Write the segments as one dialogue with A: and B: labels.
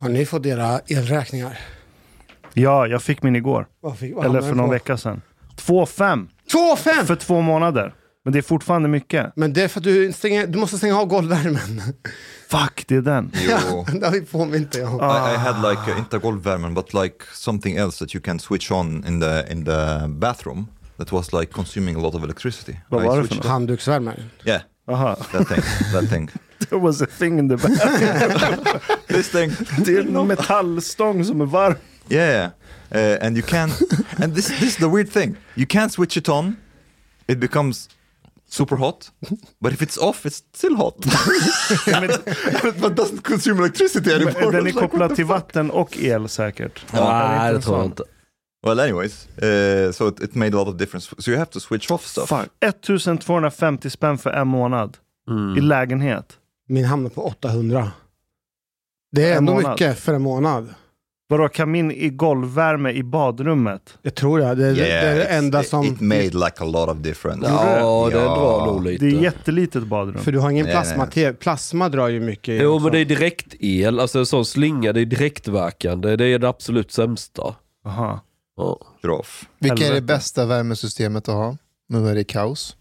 A: Har ni fått era elräkningar?
B: Ja, jag fick min igår.
A: Vad fick- vad
B: Eller
A: hamnade
B: för
A: den
B: någon
A: på?
B: vecka sedan. 2,5
A: Två fem!
B: för två månader. Men det är fortfarande mycket.
A: Men det är för att du, stänger, du måste stänga av golvvärmen.
B: Fuck, det är den.
A: Ja,
C: You,
A: det har vi påmint dig om.
C: I, I had like uh, inte golvvärmen, but like something else that you can switch on in the in the bathroom that was like consuming a lot of electricity.
B: Vad
C: I
B: var det för
C: switched-
A: Handduksvärmare.
C: Yeah,
B: Aha.
C: that thing, that thing.
B: There was a thing in the back.
C: This thing.
B: Det är en metallstång som är varm.
C: Yeah, uh, and you can, and this this is the weird thing. You can switch it on, it becomes super hot, but if it's off, it's still hot. but doesn't consume electricity anymore.
B: Den är
C: It's like,
B: kopplad till vatten och el säkert.
D: Nej,
B: är inte
D: det
B: en
D: tror jag
B: sån.
D: inte.
C: well, anyways, uh, so it, it made a lot of difference. So you have to switch off stuff.
B: Fan, 1250 spänn för en månad i
D: Mm.
B: lägenhet.
A: Min hamnar på 800. Det är
B: En
A: ändå
B: månad.
A: mycket för en månad.
B: Vadå, kamin i golvvärme i badrummet?
A: Det tror jag. Det, det är det
C: it's-
A: enda
C: it-
A: som...
C: It made like a lot of difference.
D: Ja, det
C: Ja.
D: drar nog lite.
B: Det är jättelitet badrum.
A: För du har ingen
C: Nej, nej.
A: plasma-tv. Plasma drar ju mycket. el
D: Jo
A: också.
D: men det är direktel, alltså en sån slinga, det är direktverkande. Det är det absolut sämsta.
B: Aha.
D: Ja.
C: Groff.
E: Vilka är det
B: Helvete.
E: bästa värmesystemet att ha? Nu är det kaos.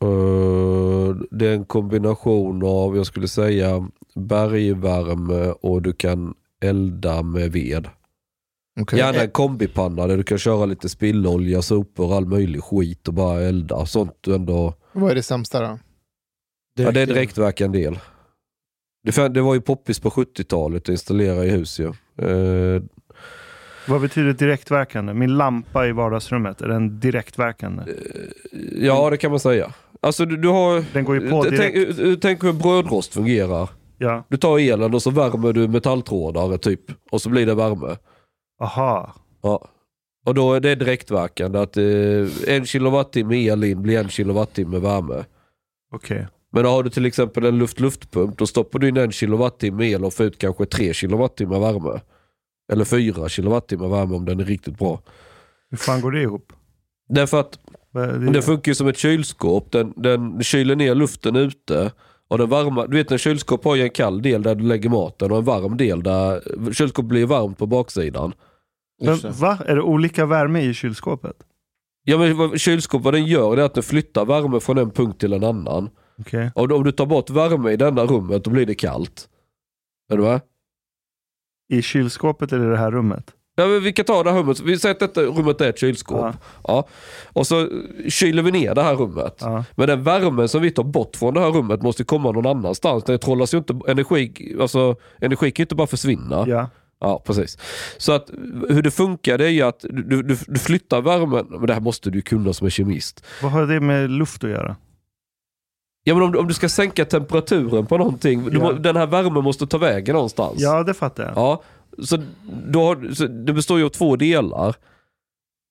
D: Eh, det är en kombination av, jag skulle säga, bergvärme och du kan elda med ved.
E: Okej.
D: Gärna en kombipanna där du kan köra lite spillolja, sopor och all möjlig skit och bara elda. Sånt du ändå...
E: Vad är det sämsta då?
D: Ja, det är direktverkande el. Det, fan- det var ju poppis på 70-talet att installera i hus ju. Eh,
B: Vad betyder direktverkande? Min lampa i vardagsrummet, är den direktverkande?
D: ja, det kan man säga. Alltså du, du har...
B: Den går ju på
D: Tänk,
B: direkt.
D: tänk hur en brödrost fungerar.
B: Ja.
D: Du tar elen och så värmer du metalltrådar typ. Och så blir det värme.
B: Aha.
D: Ja. Och då är det direktverkande. Att eh, en kilowattimme el in blir en kilowattimme värme.
B: Okej.
D: Men har du till exempel en luft-luftpump, då stoppar du in en kilowattimme el och får ut kanske tre kilowattimmar värme. Eller fyra kilowattimmar värme om den är riktigt bra.
B: Hur fan går det ihop?
D: Därför att
B: Vad är
D: det funkar ju som ett kylskåp. Den, den kyler ner luften ute. Och den varma, du vet en kylskåp har ju en kall del där du lägger maten och en varm del där kylskåpet blir varmt på baksidan.
A: Just
B: Men,
A: det.
B: va? Är det olika värme i kylskåpet?
D: Ja men vad- kylskåp, vad den gör det är att den flyttar värme från en punkt till en annan.
B: Okej.
D: Om du, om du tar bort värme i denna rummet då blir det kallt. Är du med?
B: I kylskåpet eller i det här rummet?
D: Ja, men vi kan ta det här rummet. Vi säger att detta rummet är ett kylskåp.
B: Ja.
D: Ja. Och så kyler vi ner det här rummet.
B: Ja.
D: Men den värmen som vi tar bort från det här rummet måste ju komma någon annanstans. Det trollas ju inte, energi, alltså, energi kan ju inte bara försvinna.
B: ja.
D: Ja, precis. Så att hur det funkar det är ju att du, du, du flyttar värmen. Men det här måste du ju kunna som är kemist.
B: Vad har det med luft att göra?
D: Ja, men om, du- om du ska sänka temperaturen på någonting. Du,
B: Ja.
D: må- den här värmen måste ta vägen någonstans.
B: Ja, det fattar jag.
D: Ja, så, då har, så det består ju av två delar.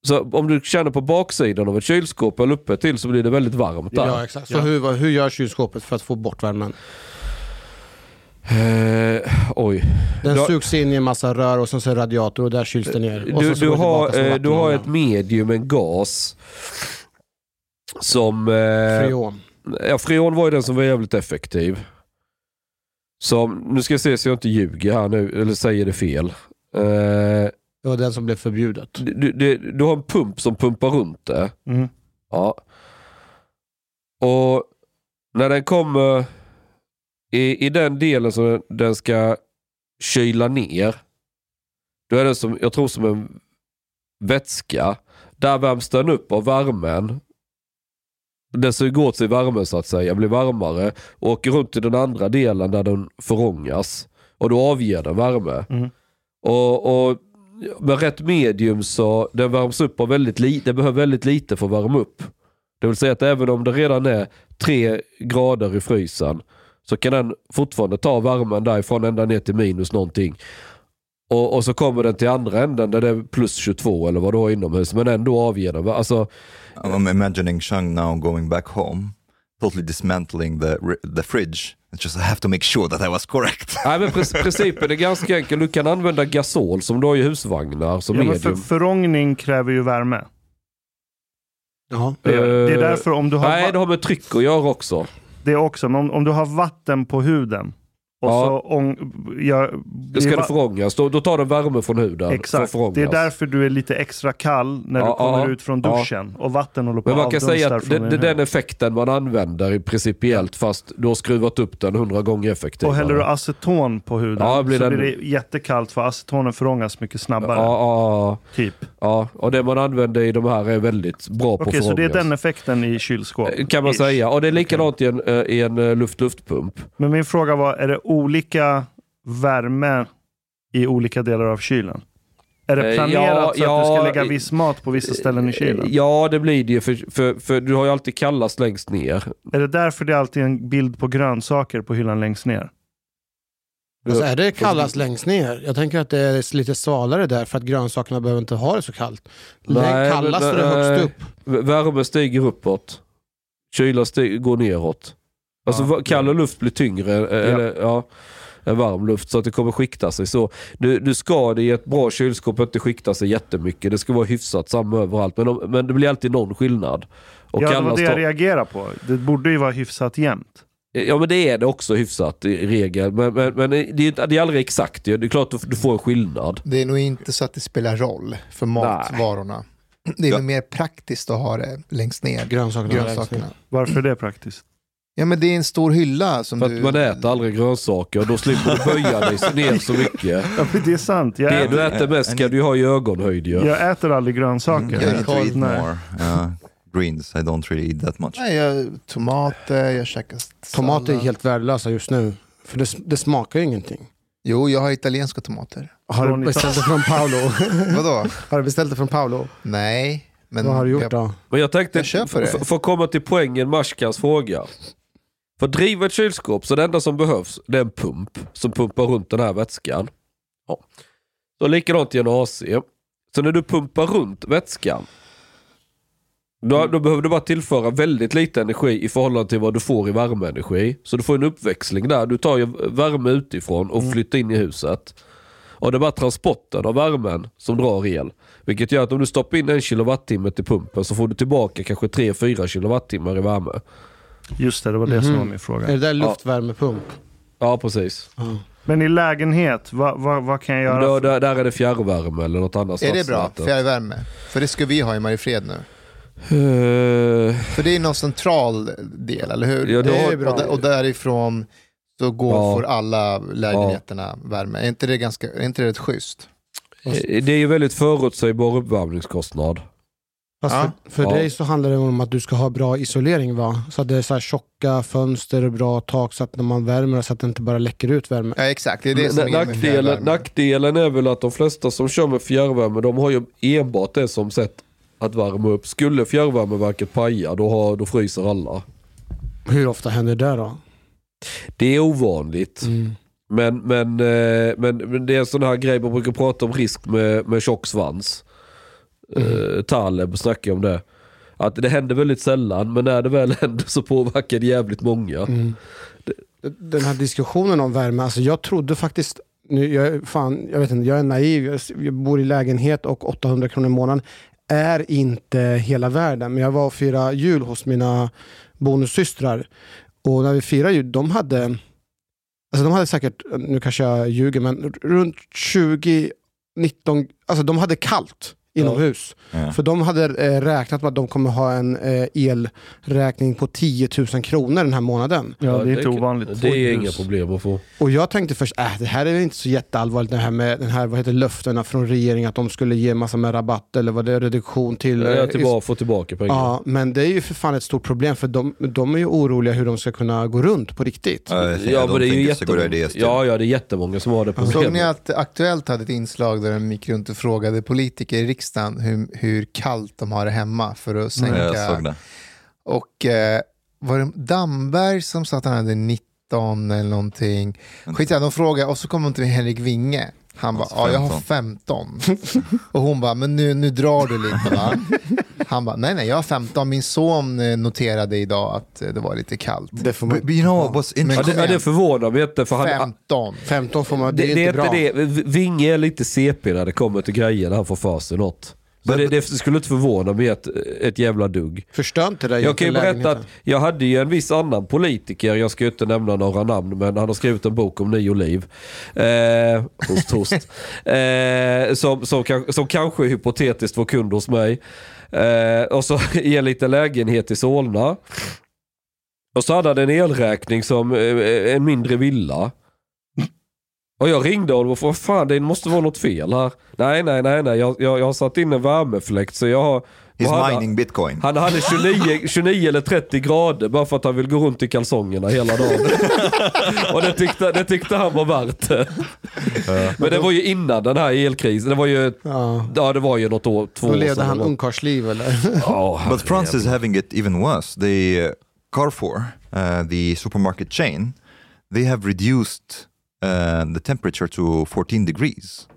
D: Så om du känner på baksidan av ett kylskåp eller uppe till så blir det väldigt varmt där.
A: Ja, exakt. Så
B: Ja.
A: Hur, vad- hur gör kylskåpet för att få bort värmen?
D: Eh, oj.
A: Den
D: Du har-
A: sugs in i en massa rör och sen så är det radiator och där kyls det ner. Och
D: Du,
A: sen så
D: du,
A: går det
D: har,
A: tillbaka som
D: eh, du har ett
A: vattenånga.
D: medium, en gas. Som... Eh,
A: Freon.
D: ja, freon var ju den som var jävligt effektiv. Som, nu ska jag se så jag inte ljuger här nu, eller säger det fel. Eh,
A: Det var den som blev förbjudet.
D: du, du, du- du har en pump som pumpar runt det.
B: Mm.
D: Ja. Och när den kommer i, i den delen som den, den ska kyla ner. Då är den som, jag tror som en vätska. Där värms den upp av värmen. Den suger åt sig värmen så att säga, blir varmare. Och åker runt till den andra delen där den förångas. Och då avger den värme.
B: Mm.
D: Och, och med rätt medium så den värms upp av väldigt lite, den behöver väldigt lite för att värma upp. Det vill säga att även om det redan är tre grader i frysen så kan den fortfarande ta värmen därifrån ända ner till minus någonting. Och, och så kommer den till andra änden där det är plus 22 eller vad du har inomhus, men ändå avger den. Alltså,
C: I'm imagining Shang now going back home, totally dismantling the ri- the fridge. It's just I have to make sure that I was correct.
D: nej, men pr- principen är ganska enkel. Du kan använda gasol som du har i husvagnar som
B: Ja, men för,
D: medium.
B: förångning kräver ju värme.
A: Ja.
B: Det, gör det. det är
D: Eh,
B: därför om du har,
D: Nej,
B: va-
D: det har med tryck att göra också.
B: det är också, men om, om du har vatten på huden Och
D: Ja.
B: så ång... Jag,
D: Det ska
B: det
D: det
B: var-
D: förångas. Då, då tar den värme från huden. för att
B: Exakt.
D: förångas.
B: Det är därför du är lite extra kall när du
D: alltså. Ja,
B: kommer
D: ja,
B: ut från
D: ja.
B: duschen. Och vatten håller på
D: Men man
B: att
D: kan säga
B: avdunstar
D: att det,
B: från din
D: det är
B: hud.
D: den effekten man använder i principiellt fast du har skruvat upp den hundra gånger effektivare.
B: Och häller du aceton på huden
D: Typ. Ja, blir
B: så
D: den-
B: blir det jättekallt för acetonen förångas mycket
D: Ja,
B: snabbare.
D: ja,
B: Typ.
D: ja, och det man använder i de här är väldigt bra på
B: Okej, så det är
D: förångas.
B: den effekten i kylskåp?
D: Eh, Kan man
B: Ish.
D: säga. Och det är likadant i en, eh, i en eh, luft-luftpump.
B: Men min fråga var, är det olika värme i olika delar av kylen? Är
D: Eh,
B: det planerat
D: ja,
B: så att du
D: ja,
B: ska lägga
D: i-
B: viss mat på vissa ställen i kylen?
D: Eh, Ja, det blir det ju. För, för, för du har ju alltid kallast längst ner.
B: Är det därför det alltid är en bild på grönsaker på hyllan längst ner?
A: Alltså, är det kallast längst ner? Jag tänker att det är lite svalare där för att grönsakerna behöver inte ha det så kallt.
D: Nej,
A: Nej, kallast är det högst
D: nej.
A: upp.
D: V- Värme stiger uppåt. Kyla sti- går neråt. Alltså
B: Ja,
D: va- kall och luft blir tyngre eh, eller, ja, än varm luft så att det kommer skikta sig. Så du, du ska det i ett bra kylskåp inte skikta sig jättemycket. Det ska vara hyfsat samma överallt. Men, om, men det blir alltid någon skillnad. Och
B: ja, det var
D: kallast
B: det
D: har-
B: jag reagerade på. Det borde ju vara hyfsat jämnt.
D: Ja men det är det också hyfsat i regel. Men, men, men det, är, ju inte- det är aldrig exakt. ju. Det är klart att du, du får en skillnad.
E: Det är nog inte så att det spelar roll för matvarorna. Det är
C: Ja.
E: nog mer praktiskt att ha det längst ner.
A: Grönsakerna. är längst ner.
E: Grönsakerna.
B: Varför är det praktiskt?
E: Ja men det är en stor hylla som
D: För
E: du...
D: att man äter aldrig grönsaker och då slipper du böja dig så- ner så mycket.
B: Ja, men det är sant. Jag,
D: Det
B: äter,
D: du äter mest ska du ju ha i ögonhöjd ju.
B: jag äter aldrig grönsaker.
C: I need to eat
B: Nej.
C: more uh, greens. I don't really eat that much.
E: Nej, jag, tomater, jag käkar sallad.
A: Tomater är helt värdelösa just nu. För det, det smakar ju ingenting.
E: Jo, jag har italienska tomater.
A: Har
B: Från
A: du beställt det från Paolo?
E: Vadå?
A: har du beställt det från Paolo?
E: Nej. Men
A: Vad har du gjort
E: jag,
A: då?
D: Men jag tänkte,
E: Jag köper det.
D: f- för att komma till poängen Mashkans fråga. För att driva ett kylskåp så det enda som behövs det är en pump som pumpar runt den här vätskan. Ja. Så likadant i en AC. Så när du pumpar runt vätskan då, då behöver du bara tillföra väldigt lite energi i förhållande till vad du får i värmeenergi. Så du får en uppväxling där. Du tar ju värme utifrån och flyttar in i huset. Och det är bara transporten av värmen som drar el. Vilket gör att om du stoppar in en kilowattimme till pumpen så får du tillbaka kanske 3-4 kilowattimmar i värme.
B: Just det, det var det som var min fråga.
A: Är det där luftvärmepump?
D: Ja, precis.
B: Men i lägenhet, vad, vad, vad kan jag göra?
D: Då, där, där är det fjärrvärme eller något annat
E: är det bra?
D: stadsnät.
E: Fjärrvärme? För det ska vi ha i Mariefred nu.
D: Eh,
E: För det är någon central del, eller hur?
D: Ja, det Det är
A: bra.
E: Och, där- och därifrån så går,
D: Ja.
E: får alla lägenheterna värme. Är inte det, ganska, är inte det rätt schysst?
D: eh, det är ju väldigt förutsägbar uppvärmningskostnad.
A: Fast
E: Ja.
A: för, för
D: Ja.
A: dig så handlar det om att du ska ha bra isolering va? Så att det är så här tjocka fönster och bra tak så att när man värmer så att det inte bara läcker ut värme.
E: Ja, exakt. Det är det som är
D: Men
E: med
D: nackdelen,
E: fjärrvärme.
D: nackdelen är väl att de flesta som kör med fjärrvärme de har ju enbart det som sätt att värma upp. Skulle fjärrvärmeverket paja då, har, då fryser alla.
A: Hur ofta händer det då?
D: Det är ovanligt.
A: Mm.
D: Men, men, eh, men, men det är en sån här grej man brukar prata om risk med, med tjock svans.
B: Mm.
D: Eh, Taleb snackar ju om det. Att det händer väldigt sällan men när det väl händer så påverkar det jävligt många.
B: Mm.
A: Den här diskussionen om värme, alltså jag trodde faktiskt, nu, jag, är- fan, jag vet inte, jag är naiv, jag, s- jag bor i lägenhet och 800 kronor i månaden är inte hela världen. Men jag var och firade jul hos mina bonussystrar och när vi firade jul, de hade, alltså de hade säkert, nu kanske jag ljuger, men r- runt 20, 19, alltså de hade kallt inomhus.
C: Yeah.
A: För de hade eh, räknat med att de kommer ha en eh, elräkning på 10 000 kronor den här månaden.
B: Ja, det är inte
D: kan-
B: ovanligt.
D: Det är inga
B: Hus.
D: problem att få.
A: Och jag tänkte först, äh, det här är väl inte så jätteallvarligt, det här med den här, vad heter det, löftena från regeringen att de skulle ge massor med rabatt eller vad det är, reduktion till...
D: Jag är
A: eh, is-
D: tillbaka, få tillbaka pengar.
A: Ja, men det är ju för fan ett stort problem för de, de är ju oroliga hur de ska kunna gå runt på riktigt.
C: Uh, I think, ja, I don't think it's a good
D: jättemånga-
C: idea still.
D: ja, ja, det är jättemånga som har det
E: Såg ni
D: problemet.
E: att Aktuellt hade ett inslag där de gick runt och frågade politiker i riksdagen hur, hur kallt de har det hemma för att
C: Mm. Ja,
E: sänka.
C: jag såg det.
E: Och eh, var det Damberg som sa att han hade 19 eller någonting? Skitsamma, de frågade och så kom de till Henrik Winge. Han bara,
C: Alltså
E: ja jag har 15. och hon bara, men nu, nu drar du lite va? Han bara, nej nej jag har 15. Min son eh, noterade idag att eh, det var lite kallt.
A: Det får
C: But, but you know what's
D: Ja,
C: interesting?
D: det, ja, det förvånar mig inte. För han,
E: 15.
A: 15 får man,
D: det, det är inte
A: bra.
D: det. Vinge är lite CP när det kommer till grejer när han får för sig något. Men
C: But-
D: det, det skulle inte förvåna mig ett, ett jävla dugg.
A: Förstör inte det
D: Jag kan ju
A: lägenheten.
D: berätta att jag hade ju en viss annan politiker, jag ska ju inte nämna några namn, men han har skrivit en bok om nio liv. Eh, hos Tost. eh, som, som, kan- som kanske hypotetiskt var kund hos mig. Eh, och så i en liten lägenhet i Solna. Och så hade han en elräkning som eh, en mindre villa. Och jag ringde honom och frågade, fan det måste vara något fel här. Nej, nej, nej, nej. Jag, jag, jag har satt in en värmefläkt så jag har... vad
C: He's
D: hade han?
C: mining bitcoin.
D: Han hade 29, 29 eller 30 grader bara för att han vill gå runt i kalsongerna hela dagen. och det tyckte, det tyckte han var värt det. Men det var ju innan den här elkrisen. Det var ju,
A: Ja.
D: ja, det var ju något år, två
A: Då
D: år
A: levde han
D: det var.
A: ungkarlsliv eller?
D: Ja, herre
C: But France is having it even worse. The uh, Carrefour, uh, the supermarket chain, they have reduced uh, the temperature to 14 degrees.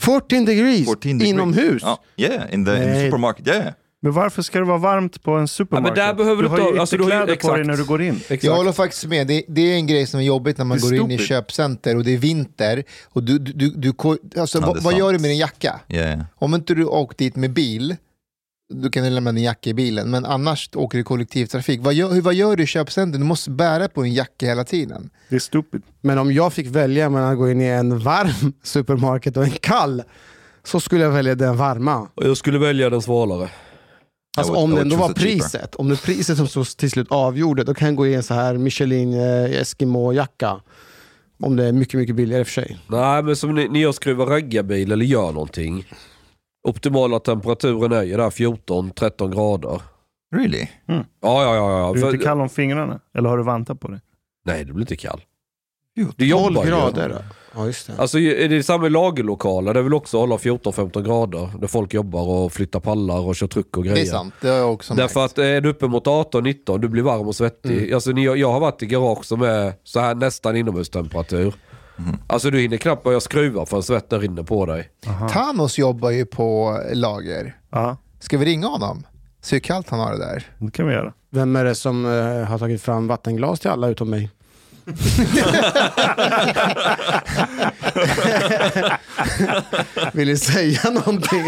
A: 14 degrees
C: 14 degrees.
A: inomhus.
C: Oh, yeah, in the, in the
A: Nej.
C: supermarket. Yeah.
B: Men varför ska det vara varmt på en supermarket?
D: där behöver du
B: du har
D: ta-
B: ju
D: alltså, du har ju-
B: ytterkläder på dig
D: exakt.
B: när du går in.
D: jävlar.
E: Jag
D: Exakt.
E: håller faktiskt med. Det, det är en grej som är jobbigt när man
C: Det är
E: går in i
C: stupid.
E: köpcenter och det är vinter. Och du, du, du, du, ko- alltså,
C: Ja,
E: vad-
C: det är
E: vad gör
C: sant.
E: du med din jacka?
C: Yeah.
E: Om inte du åkt dit med bil, då kan du lämna din jacka i bilen. Men annars åker du kollektivtrafik. Vad gör, hur, vad gör du i köpcenter? Du måste bära på en jacka hela tiden.
B: Det är stupid.
A: Men om jag fick välja mellan att gå in i en varm supermarket och en kall så skulle jag välja den varma.
D: Och Jag skulle välja den svalare.
A: Alltså
C: would-
A: om
C: I
A: det
C: would
A: ändå
C: choose
A: var
C: the cheaper.
A: priset. Om det är priset som så till slut avgjorde, då kan jag gå i en så här Michelin eh, Eskimo-jacka. Om det är mycket, mycket billigare i och för sig.
D: Nej, men som ni, när jag skruvar raggarbil eller gör någonting. Optimala temperaturen är ju där 14-13 grader.
C: Really?
D: Ja, ja, ja. ja.
B: Du är
D: För-
B: inte kall om fingrarna? Eller har du vantar på dig?
D: Nej, det blir inte kall.
C: Jo,
D: Du
A: 12
D: jobbar ju.
A: grader. Ja, just det.
D: Alltså är det samma i lagerlokaler där vill också hålla 14-15 grader. Där folk jobbar och flyttar pallar och kör truck och grejer.
E: Det är sant, det har jag också
D: Därför
E: märkt.
D: att eh, är du uppe mot 18-19, du blir varm och svettig.
E: Mm.
D: Alltså, ni- jag, jag har varit i garage som är så här nästan inomhustemperatur.
E: Mm.
D: Alltså du hinner knappt börja skruva förrän svetten rinner på dig.
E: Thanos jobbar ju på lager.
B: Ja,
E: Ska vi ringa honom? Se hur kallt han har det där.
B: det kan vi göra.
A: Vem är det som eh, har tagit fram vattenglas till alla utom mig? Vill ni säga någonting?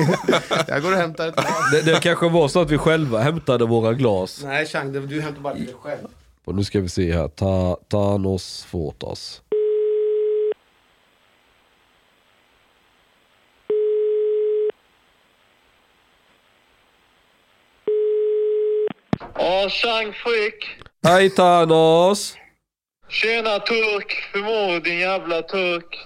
A: Jag går och hämtar ett glas.
D: Det, det kanske var så att vi själva hämtade våra glas.
A: Nej Chang, det- du hämtar bara till dig själv.
D: Och nu ska vi se här. Ta, Thanos Fotas.
F: Ja, Chang Frick.
D: Hej Thanos!
F: Tjena turk. Hur mår du din jävla turk?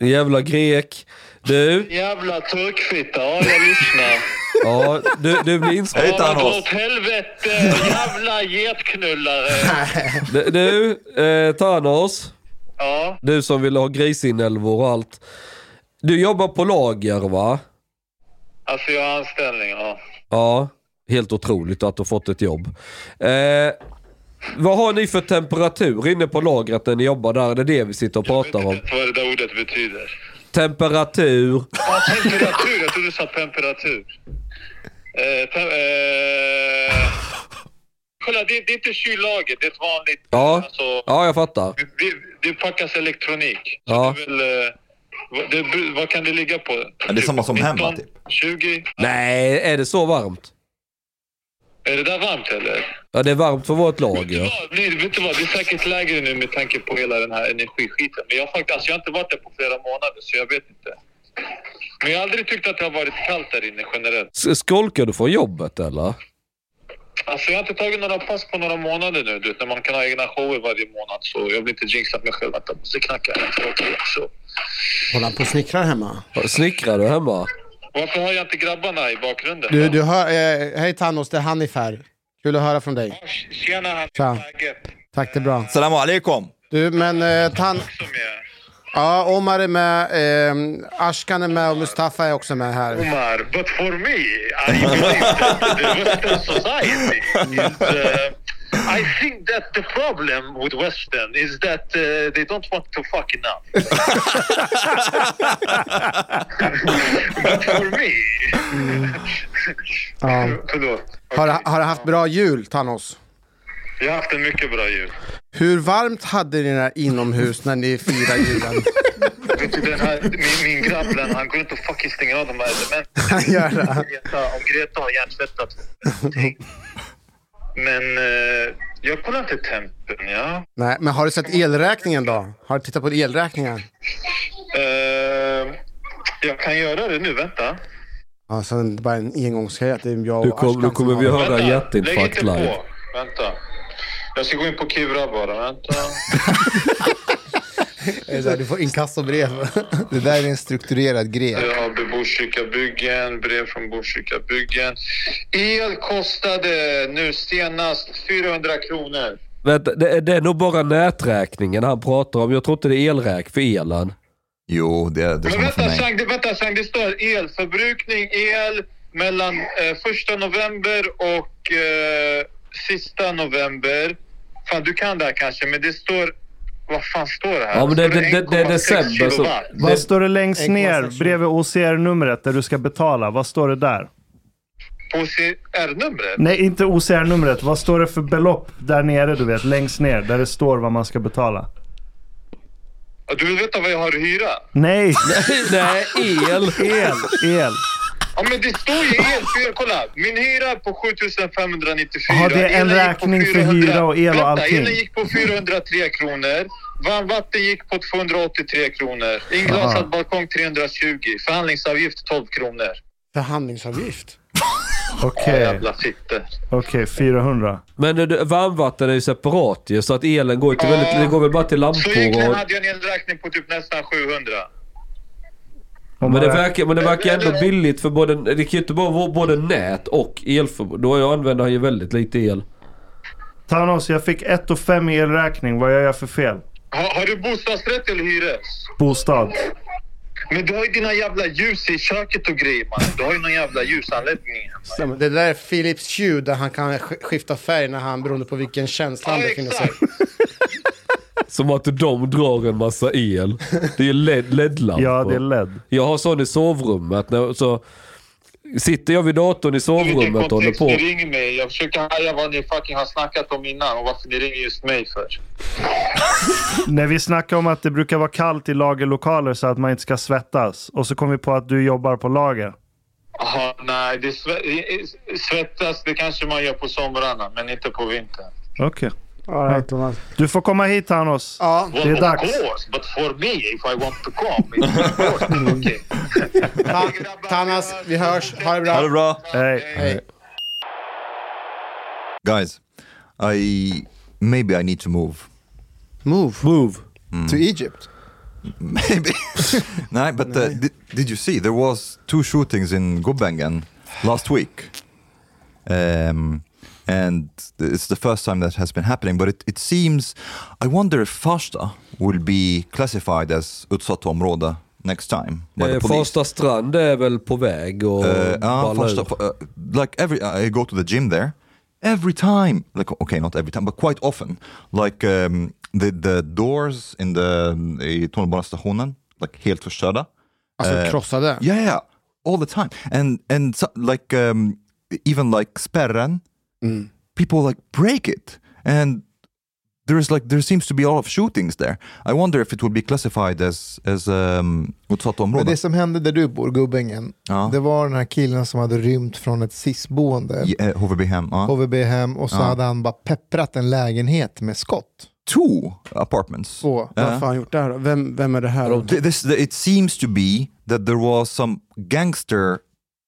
D: Din jävla grek. Du,
F: Jävla turkfitta. Ja, jag lyssnar.
D: ja, du, du blir inspelad.
C: Hej
F: Ja, dra
C: Thanos!
F: åt helvete. Jävla getknullare.
D: Du, du eh, Thanos.
F: Ja,
D: Du som ville ha grisinälvor och allt. Du jobbar på lager va?
F: alltså jag har anställning. Ja.
D: Ja, helt otroligt att du har fått ett jobb. Eh, vad har ni för temperatur inne på lagret när ni jobbar där? Det är det vi sitter och pratar om.
F: Vad det där ordet betyder.
D: Temperatur.
F: Ja, temperatur. Jag trodde du sa temperatur. Eh, tem- eh... Kolla, det, det är inte kyllager. Det är ett vanligt...
D: Ja.
F: Alltså,
D: Ja, jag fattar.
F: det, det packas elektronik. Så
D: Ja.
F: det är väl, eh, vad- det, bru- vad kan det ligga på?
C: det är samma som hemma, typ.
F: 20?
D: Nej, är det så varmt?
F: Är det där varmt eller?
D: Ja, det är varmt för vårt
F: Ja.
D: lager.
F: Nej, vet du vad? Det är säkert lägre nu med tanke på hela den här energiskiten. Men jag har, faktiskt, alltså, jag har inte varit där på flera månader så jag vet inte. Men jag har aldrig tyckt att det har varit kallt där inne generellt.
D: S- Skolkar du från jobbet eller?
F: Alltså jag har inte tagit några pass på några månader nu. Du vet, när man kan ha egna shower varje månad så jag vill inte jinxa mig själv att jag måste knacka en tråkig också.
A: Håller han på och snickrar hemma?
D: Snickrar du hemma?
F: Varför har jag inte grabbarna i bakgrunden?
A: Du, du hör, eh, hej Thanos, det är Hanif här. Kul att höra från dig.
F: Tjena han,
A: Tja. Tack, det är bra.
C: Salam alaikum!
A: Du, men eh, Tan...
F: Som jag.
A: Ja, Omar är med, eh, Ashkan är med och Mustafa är också med här.
F: Omar, but for me, I believe that the Western society is. Uh, I think that the problem with Western is that uh, they don't want to fuck enough. but for me.
A: Ja.
F: Förlåt.
A: Har, har du haft bra jul, Thanos?
F: Jag har haft en mycket bra jul.
A: Hur varmt hade ni det inomhus när ni firade julen?
F: Vet du, den här, min, min grabb, den, han går inte och fucking stänger av de här elementen.
A: Han gör det.
F: Greta, om Greta har hjärntvättat någonting. Men eh, jag kollar inte tempen, ja.
A: Nej, men har du sett elräkningen då? Har du tittat på elräkningen?
F: Eh, jag kan göra det nu, vänta.
A: Alltså, det är bara en engångsgrej att det är jag och
D: Du kom,
A: Ashkan
D: nu
A: som
D: kommer
A: har
D: vi
A: det.
D: höra
F: Vänta, lägg
D: hjärtinfarkt
F: inte
D: live.
F: på. Vänta. Jag ska gå in på Kivra bara, vänta.
A: Det är så här, Du får inkassobrev.
E: Det där är en strukturerad grej.
F: Jag har Botkyrka byggen, brev från Botkyrka byggen. El kostade nu senast 400 kronor.
D: Vänta, det, är- det är nog bara näträkningen han pratar om. Jag tror inte det är elräk för elen.
C: Jo, det är det
F: Men
C: samma för
F: vänta
C: mig.
F: Chang, det, vänta, Chang, det står elförbrukning, el mellan eh, första november och eh, sista november. Fan, du kan det här kanske, men det står... Vad fan står det här?
D: Ja, men det-
F: Står
D: det- det- det är
F: 1,6
D: december, alltså. så-
F: kilowatt?
B: Vad står det längst
A: 1,6.
B: ner bredvid OCR-numret där du ska betala? Vad står det där?
F: På CR-numret?
B: Nej, inte OCR-numret. Vad står det för belopp där nere, du vet? Längst ner, där det står vad man ska betala.
F: Ja, Du vill veta vad jag har att hyra?
B: Nej,
D: Nej, el.
B: el, el.
F: Ja, men det står ju el. Fyra, kolla, min hyra på 7594.
B: Ja, det är en
F: Elen gick på
B: räkning för hyra och el och
F: Vänta,
B: allting.
F: Elen gick på 403 kronor. Varmvatten gick på 283 kronor.
B: Aha.
F: Inglasad balkong 320. Förhandlingsavgift 12 kronor.
A: Förhandlingsavgift.
B: Okej,
F: Jävla fitte.
B: okej. 400.
D: Men det- det, varmvatten är ju separat ju, så att elen går ju till väldigt...
F: Ja.
D: Det går väl bara till
F: Så
D: lampor
F: egentligen
D: och...
F: hade jag en elräkning på typ nästan 700.
B: Om
D: Men det,
B: man-
D: verkar, men det verkar ändå billigt för både... Det kan ju inte bara vara både nät och elförbrukning. Då jag använder han ju väldigt lite el.
B: Thanos, jag fick 1 och 5 i elräkning. Vad gör jag för fel?
F: Har, har du bostadsrätt eller hyres?
B: Bostad.
F: Men du har ju dina jävla ljus i köket och grejer man. Du har ju någon jävla ljusanläggning.
A: Stämmer. Det där är Philips Hue där han kan sk- skifta färg när han, beroende på vilken känsla han
F: Ja,
A: befinner sig
F: exakt.
D: Som att de drar en massa el. Det är ju LED, LED-lampor.
B: Ja, det är LED.
D: Jag har sån i sovrummet. När, så sitter jag vid datorn i
F: Vilken
D: sovrummet och håller
F: kontext
D: på.
F: ni ringer mig. Jag försöker härja vad ni fucking har snackat om innan och varför ni ringer just mig för.
B: När vi snackade om att det brukar vara kallt i lagerlokaler så att man inte ska svettas. Och så kom vi på att du jobbar på lager.
F: Jaha, nej, det sve- i- i- svettas det kanske man gör på somrarna, men inte på vintern.
B: Okej.
A: i.
B: Du får komma hit Thanos.
A: Ja,
F: Well,
B: Det är
F: of
B: dags.
F: course, but for me if I want to come. it's of course, okay.
A: ta- Tanas, vi hörs. Ha det
C: Ha det
A: bra.
C: bra!
F: Eh,
B: Hej.
A: Hej.
C: Guys, I... Maybe I need to move.
A: Move. Move.
C: Mm.
E: To Egypt.
C: Maybe. Nej, but uh, did, did you see? There was two shootings in Gulbengen last week. Um, and it's the first time that has been happening, but it, it seems... I wonder if Farsta will be classified as utsatt område next time by the
D: Eh,
C: police.
D: Farsta strand är väl på väg och
E: Eh,
C: Uh, ah,
D: ballar
C: Farsta,
D: ur.
C: Fa- uh, like every I go to the gym there every time like okay not every time but quite often like um, the the doors in the i tunnelbanestationen like helt förstörda Eh,
A: Alltså krossade.
C: yeah yeah all the time and and so, like um, even like spärren
A: Mm.
C: people like break it and there's like there seems to be a lot of shootings there I wonder if it will be classified as as um, Ah. utsatt
E: Men
C: område
E: det som hände där du bor, Gubbängen,
C: Ja.
E: det var den här killen som hade rymt från ett SIS-boende,
C: yeah, ah. HVB-hem ja.
E: HVB-hem, och så hade han bara pepprat en lägenhet med skott.
C: two apartments
E: Så.
A: Vad fan har han gjort där då? Vem, vem är det här? då?
C: Th- this th- it seems to be that there was some gangster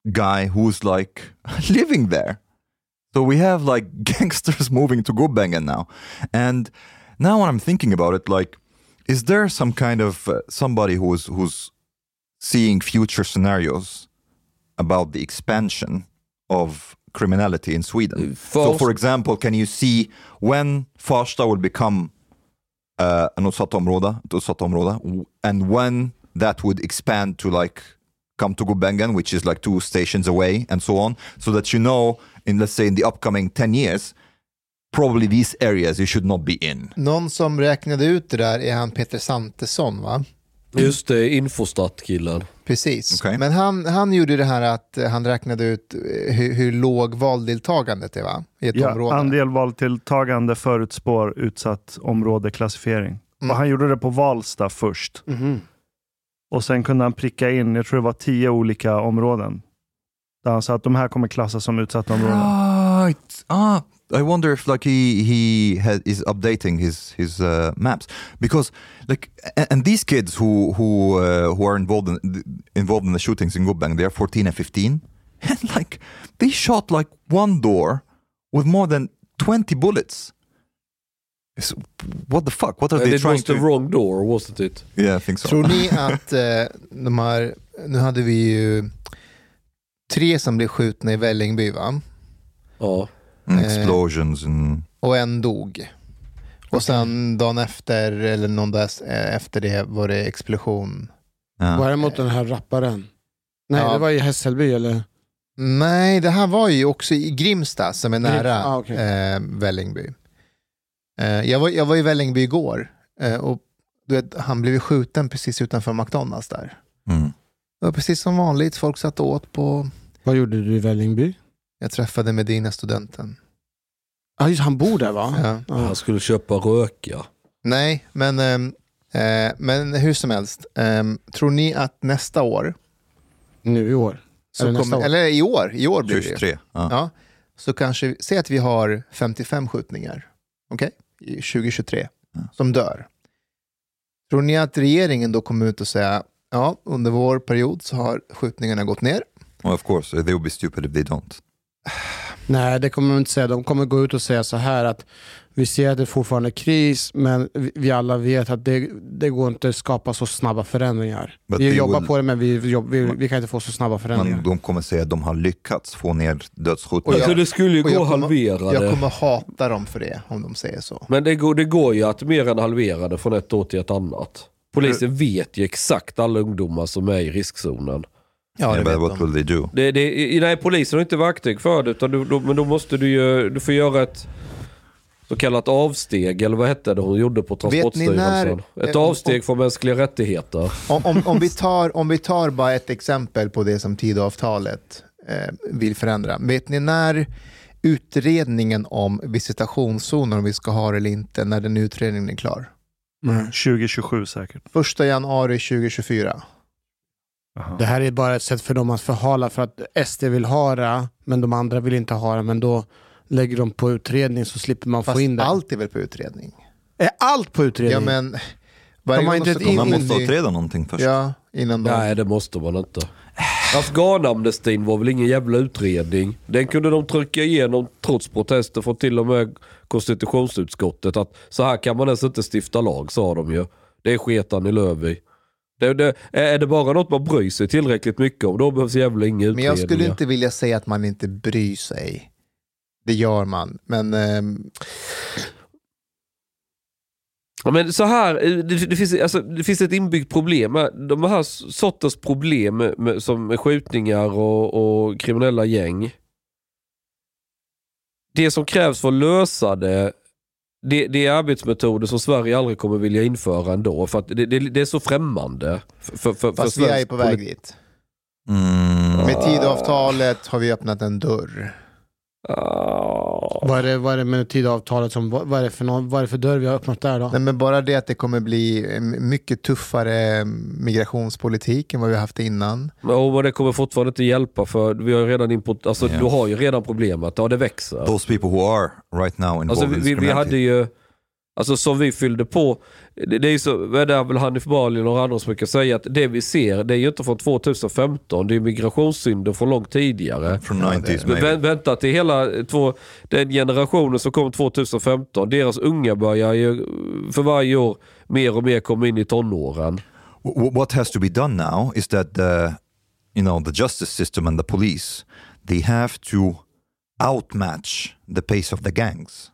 C: guy who's like living there so we have like gangsters moving to Gobengen now and now when i'm thinking about it like is there some kind of uh, somebody who's who's seeing future scenarios about the expansion of criminality in sweden so
D: Fast-
C: for example can you see when farsta will become uh, an utsatt område, ett utsatt område, w- and when that would expand to like come to Gubengen, which is like two stations away, and so on, so that you know, in let's say in the upcoming 10 years, probably these areas you should not be in.
E: Någon som räknade ut det där är han Peter Santesson va?
D: Just det, Infostat-killen.
E: Precis.
C: Okej.
E: Men han, han gjorde det här att eh, han räknade ut eh, hur, hur låg valdeltagandet är va? i ett
B: Ja,
E: område.
B: andel valtilltagande förutspår utsatt område klassificering.
E: Mm.
B: Och han gjorde det på Valsta först.
A: Mhm.
B: Och sen kunde han pricka in, jag tror det var tio olika områden. Där han sa att de här kommer klassas som utsatta områden.
C: Right. Ah, I wonder if like he he has, is updating his his uh, maps because like and, and these kids who who uh, who are involved in involved in the shootings in Gubang, they are 14 and 15, and like they shot like one door with more than 20 bullets. So, what the fuck? What are they
D: It
C: trying
D: was the
C: to?
D: Eh, wrong door, wasn't it?
C: Yeah, I think so.
E: Tror ni att eh, de här, nu hade vi ju tre som blev skjutna i Vällingby va?
D: Ja.
C: Mm,
E: eh,
C: explosions and
E: Och en dog. Och sen dagen efter, eller någon dag s- eh, efter det var det explosion.
C: yeah.
A: Var det mot den här rapparen? Nej,
E: Ja.
A: det var i Hässelby eller?
E: Nej, det här var ju också i Grimsta som är nära
A: ah, okej.
E: eh, Vällingby. Eh, jag, var, jag var i Vällingby igår eh, och du vet, han blev ju skjuten precis utanför McDonalds där.
C: Mm.
E: Det var precis som vanligt, folk satt och åt på...
A: Vad gjorde du i Vällingby?
E: Jag träffade Medina-studenten.
A: Ah, just, han bor där va?
E: Ja.
A: Ja.
D: Han skulle köpa röka.
E: Nej, men, ehm, eh, men hur som helst. ehm, tror ni att nästa år,
A: Nu i år.
E: så
A: Eller nästa
E: kommer,
A: år?
E: eller i år, i år blir det ju.
C: 23. Ah.
E: ja, så kanske, vi- säg att vi har 55 skjutningar okej, i 2023
C: Ja.
E: som dör. Tror ni att regeringen då kommer ut och säga ja, under vår period så har skjutningarna gått ner?
C: Well, of course, they would be stupid if they don't.
A: Nej, det kommer de inte säga. De kommer gå ut och säga så här att vi ser att det fortfarande är kris, men vi- vi alla vet att det, det går inte att skapa så snabba förändringar.
C: But
A: vi
C: they
A: jobbar
C: will-
A: på det, men vi, jobb, vi, vi kan inte få så snabba förändringar.
C: Men de kommer säga att de har lyckats få ner dödsskjutningar.
E: Och
D: Alltså det skulle ju
E: och jag
D: gå att
E: kommer-
D: halvera
E: Jag
D: det.
E: kommer hata dem för det om de säger så.
D: Men det går, det går ju att mer än halvera det från ett år till ett annat.
E: Eh.
D: Polisen vet ju exakt alla ungdomar som är i riskzonen.
E: Ja, det
C: yeah, but
E: vet
C: what
E: de.
C: will they do?
D: Det, det, nej, polisen har inte verktyg för det, utan du, då, men då måste du ju du får göra ett så kallat avsteg, eller vad hette det hon gjorde på
E: ni
D: Transportstyrelsen?
E: när-
D: Ett avsteg från mänskliga rättigheter.
E: Om, om, om, vi tar, om vi tar bara ett exempel på det som Tidöavtalet eh, vill förändra. Vet ni när utredningen om visitationszoner, om vi ska ha det eller inte, när den utredningen är klar?
B: 2027 säkert.
E: 1 januari 2024.
B: Jaha.
A: Det här är bara ett sätt för dem att förhala för att SD vill ha det, men de andra vill inte ha det. Men då lägger de på utredning så slipper man
E: Fast
A: få in det.
E: allt är väl på utredning?
A: Är allt på utredning?
E: Ja, men... Varje
A: De har
E: gång
A: inte
E: ska
A: ett
E: komma
C: Man
A: in-
C: måste
E: med ny-
C: utreda någonting först.
E: Ja, innan de...
D: Nej, det måste man inte. Afghanamnestin var väl ingen jävla utredning. Den kunde de trycka igenom trots protester från till och med konstitutionsutskottet. Att så här kan man ens inte stifta lag, sa de ju. Det är sketan i löv i. Det, det, är det bara något man bryr sig tillräckligt mycket om, då behövs jävla inga
E: Men
D: utredningar.
E: jag skulle inte vilja säga att man inte bryr sig. Det gör man, men... ehm,
D: Ja, men så här, eh, det, det, finns, alltså, det finns ett inbyggt problem. här. De här sorters problem med, med, som med skjutningar och, och kriminella gäng. Det som krävs för att lösa det, det, det är arbetsmetoder som Sverige aldrig kommer vilja införa ändå. För att det, det, det är så främmande. För, för, för
E: fast vi
D: svensk
E: är på väg
D: polit-
E: dit.
C: Mm.
E: Med Tidöavtalet har vi öppnat en dörr.
D: Ah.
A: Vad är det, vad är det med tidavtalet som, vad vad är det för, någon, vad är det för dörr vi har öppnat där då?
E: Nej, men bara det att det kommer bli eh, mycket tuffare migrationspolitik än vad vi har haft innan.
D: Ja, men det kommer fortfarande inte hjälpa för vi har ju redan import, alltså,
C: Ja.
D: du har ju redan problemet. Ja, det växer.
C: Those people who are right now involved
D: Alltså,
C: in
D: vi, vi, vi hade
C: criminality.
D: ju, alltså som vi fyllde på, det, det är ju så, det är väl Hanif Bali och några andra som brukar säga att det vi ser, det är ju inte från 2015, det är migrationssynder från långt tidigare.
C: Från 90s
D: Men vä-
C: maybe.
D: vänta till hela eh, två, den generationen som kom 2015, deras unga börjar ju eh, för varje år mer och mer komma in i tonåren.
C: Wh- What has to be done now is that the, you know, the justice system and the police, they have to outmatch the pace of the gangs.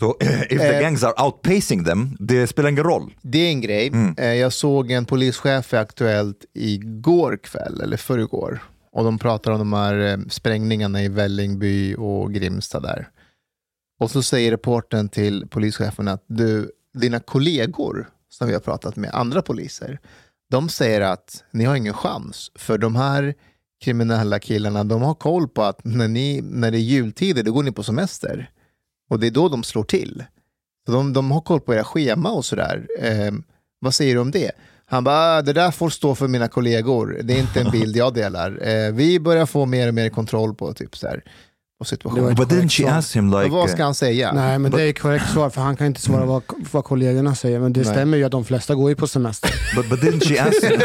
C: So if the
E: Eh.
C: gangs are outpacing them, det spelar ingen roll.
E: Det är en grej. Eh, Jag såg en polischef i Aktuellt igår kväll, eller förrgår. Och de pratar om de här eh, sprängningarna i Vällingby och Grimsta där. Och så säger reportern till polischefen att du, dina kollegor som vi har pratat med, andra poliser, De säger att ni har ingen chans, för de här kriminella killarna, de har koll på att när, ni, när det är jultider, då går ni på semester. Och det är då de slår till. Så de, de har koll på era schema och sådär. Eh, vad säger du om det? Han bara, "Ah, det där får stå för mina kollegor. Det är inte en bild jag delar. Eh, vi börjar få mer och mer kontroll på, typ, så här, på situationen.
A: Det var
C: But didn't she ask him like...
E: Men vad
C: eh,
E: ska han säga?
A: Nej, men
C: but-
A: det är korrekt svar, för han kan inte svara vad, vad kollegorna säger. Men det
E: Nej.
A: stämmer ju att de flesta går ju på semester.
C: but, but didn't she ask him...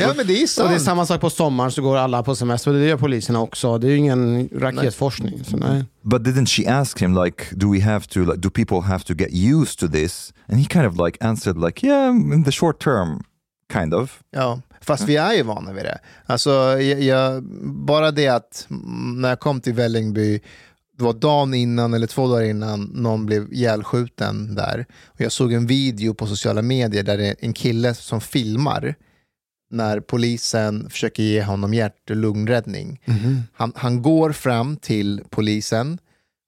E: Ja, men det är
A: Och det är
E: sant.
A: samma sak på sommaren, så går alla på semester. Och det gör poliserna också. Det är ju ingen raketforskning. Så nej.
C: But didn't she ask him like, do we have to like, do people have to get used to this? And he kind of like answered like, yeah, in the short term, kind of.
E: Ja, fast vi är ju vana vid det. Alltså, jag, jag, bara det att mm, när jag kom till Vällingby, det var dagen innan eller två dagar innan någon blev ihjälskjuten där. Och jag såg en video på sociala medier där det är en kille som filmar när polisen försöker ge honom hjärt och lungräddning. Han, han går fram till polisen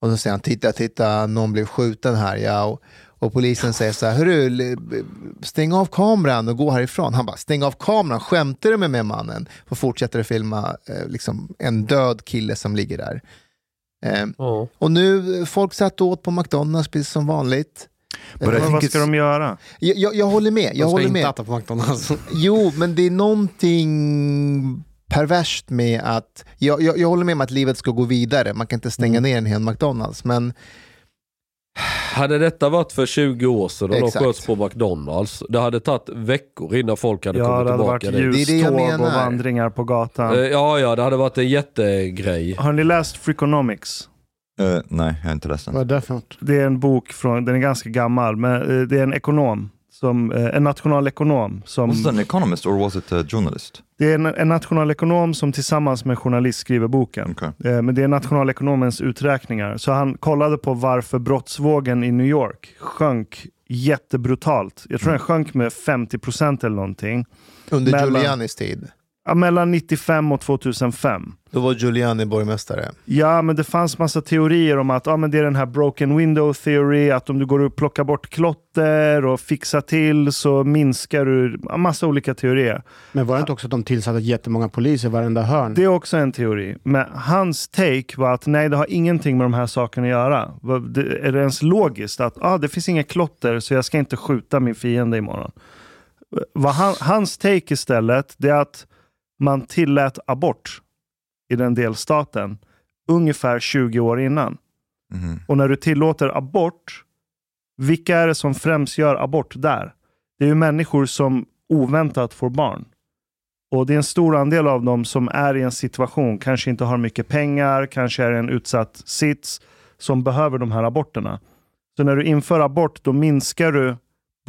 E: och så säger han, titta, titta, någon blev skjuten här. Ja, och, och polisen säger så här, hörru, l- b- stäng av kameran och gå härifrån. Han bara, stäng av kameran, skämtar du med mig mannen? Och fortsätter att filma eh, liksom, en död kille som ligger där. Eh,
D: Ja.
E: och nu, eh, folk satt och åt på McDonalds precis som vanligt. Eh,
C: But I
B: Eh, Men
C: think
B: vad
C: it's...
B: ska de göra?
E: Jag, jag, jag håller med, jag
A: de ska
E: håller
A: inte
E: med.
A: äta på McDonalds.
E: Jo, men det är någonting perverst med att... Jag, jag, jag håller med om att livet ska gå vidare. Man kan inte
A: Mm.
E: stänga ner en hel McDonalds. Men
D: Hade detta varit för 20 år sedan och de
E: Exakt.
D: sköts på McDonalds, det hade tagit veckor innan folk hade
B: Ja,
D: kommit
B: det hade varit
D: tillbaka dit.
E: Det är det
B: ljuståg
E: jag
B: och
E: menar.
B: vandringar på
D: Eh,
B: gatan.
D: Ja, ja, det hade varit en jättegrej.
B: Har ni läst Freakonomics?
C: Uh, nej, jag är inte ledsen.
A: Vad är det för något?
B: Det är en bok, från, den är ganska gammal, men eh, det är en ekonom, som, eh, en nationalekonom. Som,
C: Was it an economist or was it a journalist?
B: det är en, en nationalekonom som tillsammans med en journalist skriver boken.
C: Okay.
B: Eh, Men det är nationalekonomens uträkningar. Så han kollade på varför brottsvågen i New York sjönk jättebrutalt. Jag tror den sjönk med 50% eller någonting.
E: under
A: eh,
B: Mellan-
E: Giulianis tid,
B: Ja, mellan 95 och 2005.
E: då var Giuliani borgmästare.
B: Ja, men det fanns massa teorier om att ah, men det är den här broken window theory, att om du går och plockar bort klotter och fixar till så minskar du... ja, Massa olika teorier.
A: Men var det inte också att de tillsatte jättemånga poliser i varenda hörn?
B: Det är också en teori. Men hans take var att nej, det har ingenting med de här sakerna att göra. Vad- det- Är det ens logiskt att ah, det finns inget klotter så jag ska inte skjuta min fiende imorgon? Vad han, hans take istället, det är att man tillät abort i den delstaten ungefär 20 år innan. Och när du tillåter abort, vilka är det som främst gör abort där? Det är ju människor som oväntat får barn. Och det är en stor andel av dem som är i en situation, kanske inte har mycket pengar, kanske är i en utsatt sits, som behöver de här aborterna. Så när du inför abort, då minskar du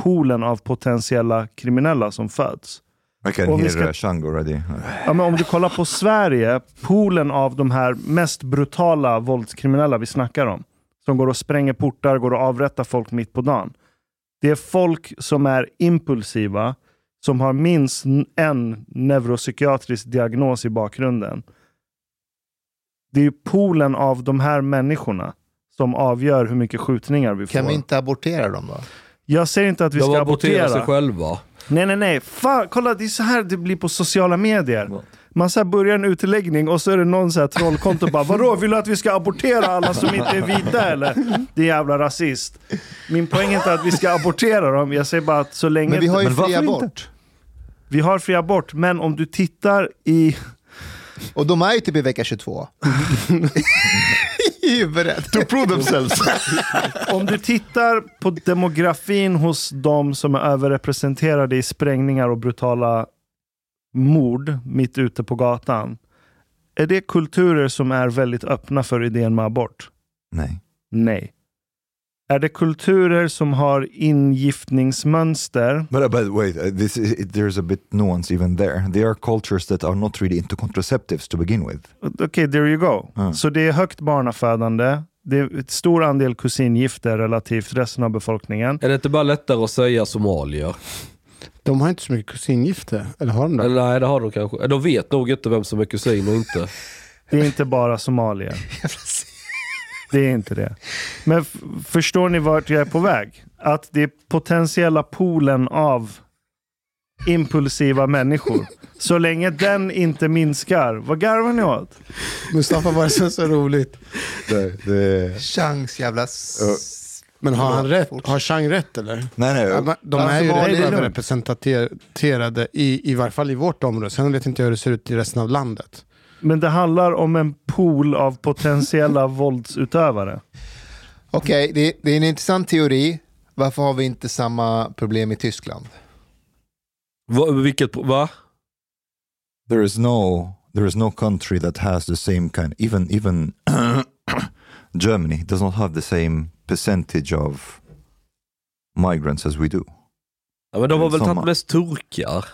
B: poolen av potentiella kriminella som föds.
C: I can
B: Om vi
C: hear
B: ska-
C: uh, Shang already. Uh,
B: Ja, men om du kollar på Sverige, poolen av de här mest brutala våldskriminella vi snackar om, som går och spränger portar, går och avrättar folk mitt på dagen. Det är folk som är impulsiva, som har minst n- en neuropsykiatrisk diagnos i bakgrunden. Det är ju poolen av de här människorna som avgör hur mycket skjutningar vi får.
E: Kan vi inte abortera dem då?
B: Jag säger inte att vi
D: De
B: ska
D: aborterar sig
B: abortera.
D: själva.
B: Nej, nej, nej. Fan, kolla, det är så här det blir på sociala medier. Man så här börjar en utläggning och så är det någon så här trollkonto och bara Vadå, vill du att vi ska abortera alla som inte är vita eller? Det är jävla rasist. Min poäng är inte att vi ska abortera dem. Jag säger bara att så länge...
E: Men vi har ju
C: Men
E: fri
C: varför
E: abort.
B: vi har fri abort, men om du tittar i...
E: Och de är ju typ i vecka 22. I huvudet. To prove themselves.
B: Om du tittar på demografin hos de som är överrepresenterade i sprängningar och brutala mord mitt ute på gatan. Är det kulturer som är väldigt öppna för idén med abort?
C: nej.
B: Nej. Är det kulturer som har ingiftningsmönster?
C: But, uh, but wait, uh, this is, it, there's a bit nuance even there. They are cultures that are not really into contraceptives to begin with.
B: Okej, there you go.
C: Mm.
B: Så det är högt barnafödande. Det är ett stor andel kusingifter relativt resten av befolkningen.
D: Är det inte bara lättare att säga somalier?
A: De har inte så mycket kusingifte. Eller har de det?
D: Eller nej, det har de kanske. De vet nog inte vem som är kusin och inte.
B: Det är inte bara somalier. Det är inte det. Men f- förstår ni vart jag är på väg? Att det är potentiella poolen av impulsiva människor. Så länge den inte minskar, vad garvar ni åt?
A: Mustafa var så, så roligt.
C: Det, det...
E: Chans jävla... s-
A: Men har han
E: Förlåt,
A: rätt?
E: fortsätt.
A: Har Chang rätt eller?
C: Nej, nej.
A: Ja, De
E: Alltså,
A: är ju
E: vad är det
A: redan
E: lugnt?
A: representerade i, i varje fall i vårt område. Sen vet inte jag hur det ser ut i resten av landet.
B: Men det handlar om en pool av potentiella våldsutövare.
E: Okej, det, det är en intressant teori. Varför har vi inte samma problem i Tyskland?
D: Va, vilket, va?
C: there is no there is no country that has the same kind even even Germany does not have the same percentage of migrants as we do.
D: Ja, men de har väl
C: Samma.
D: tagit mest turkar?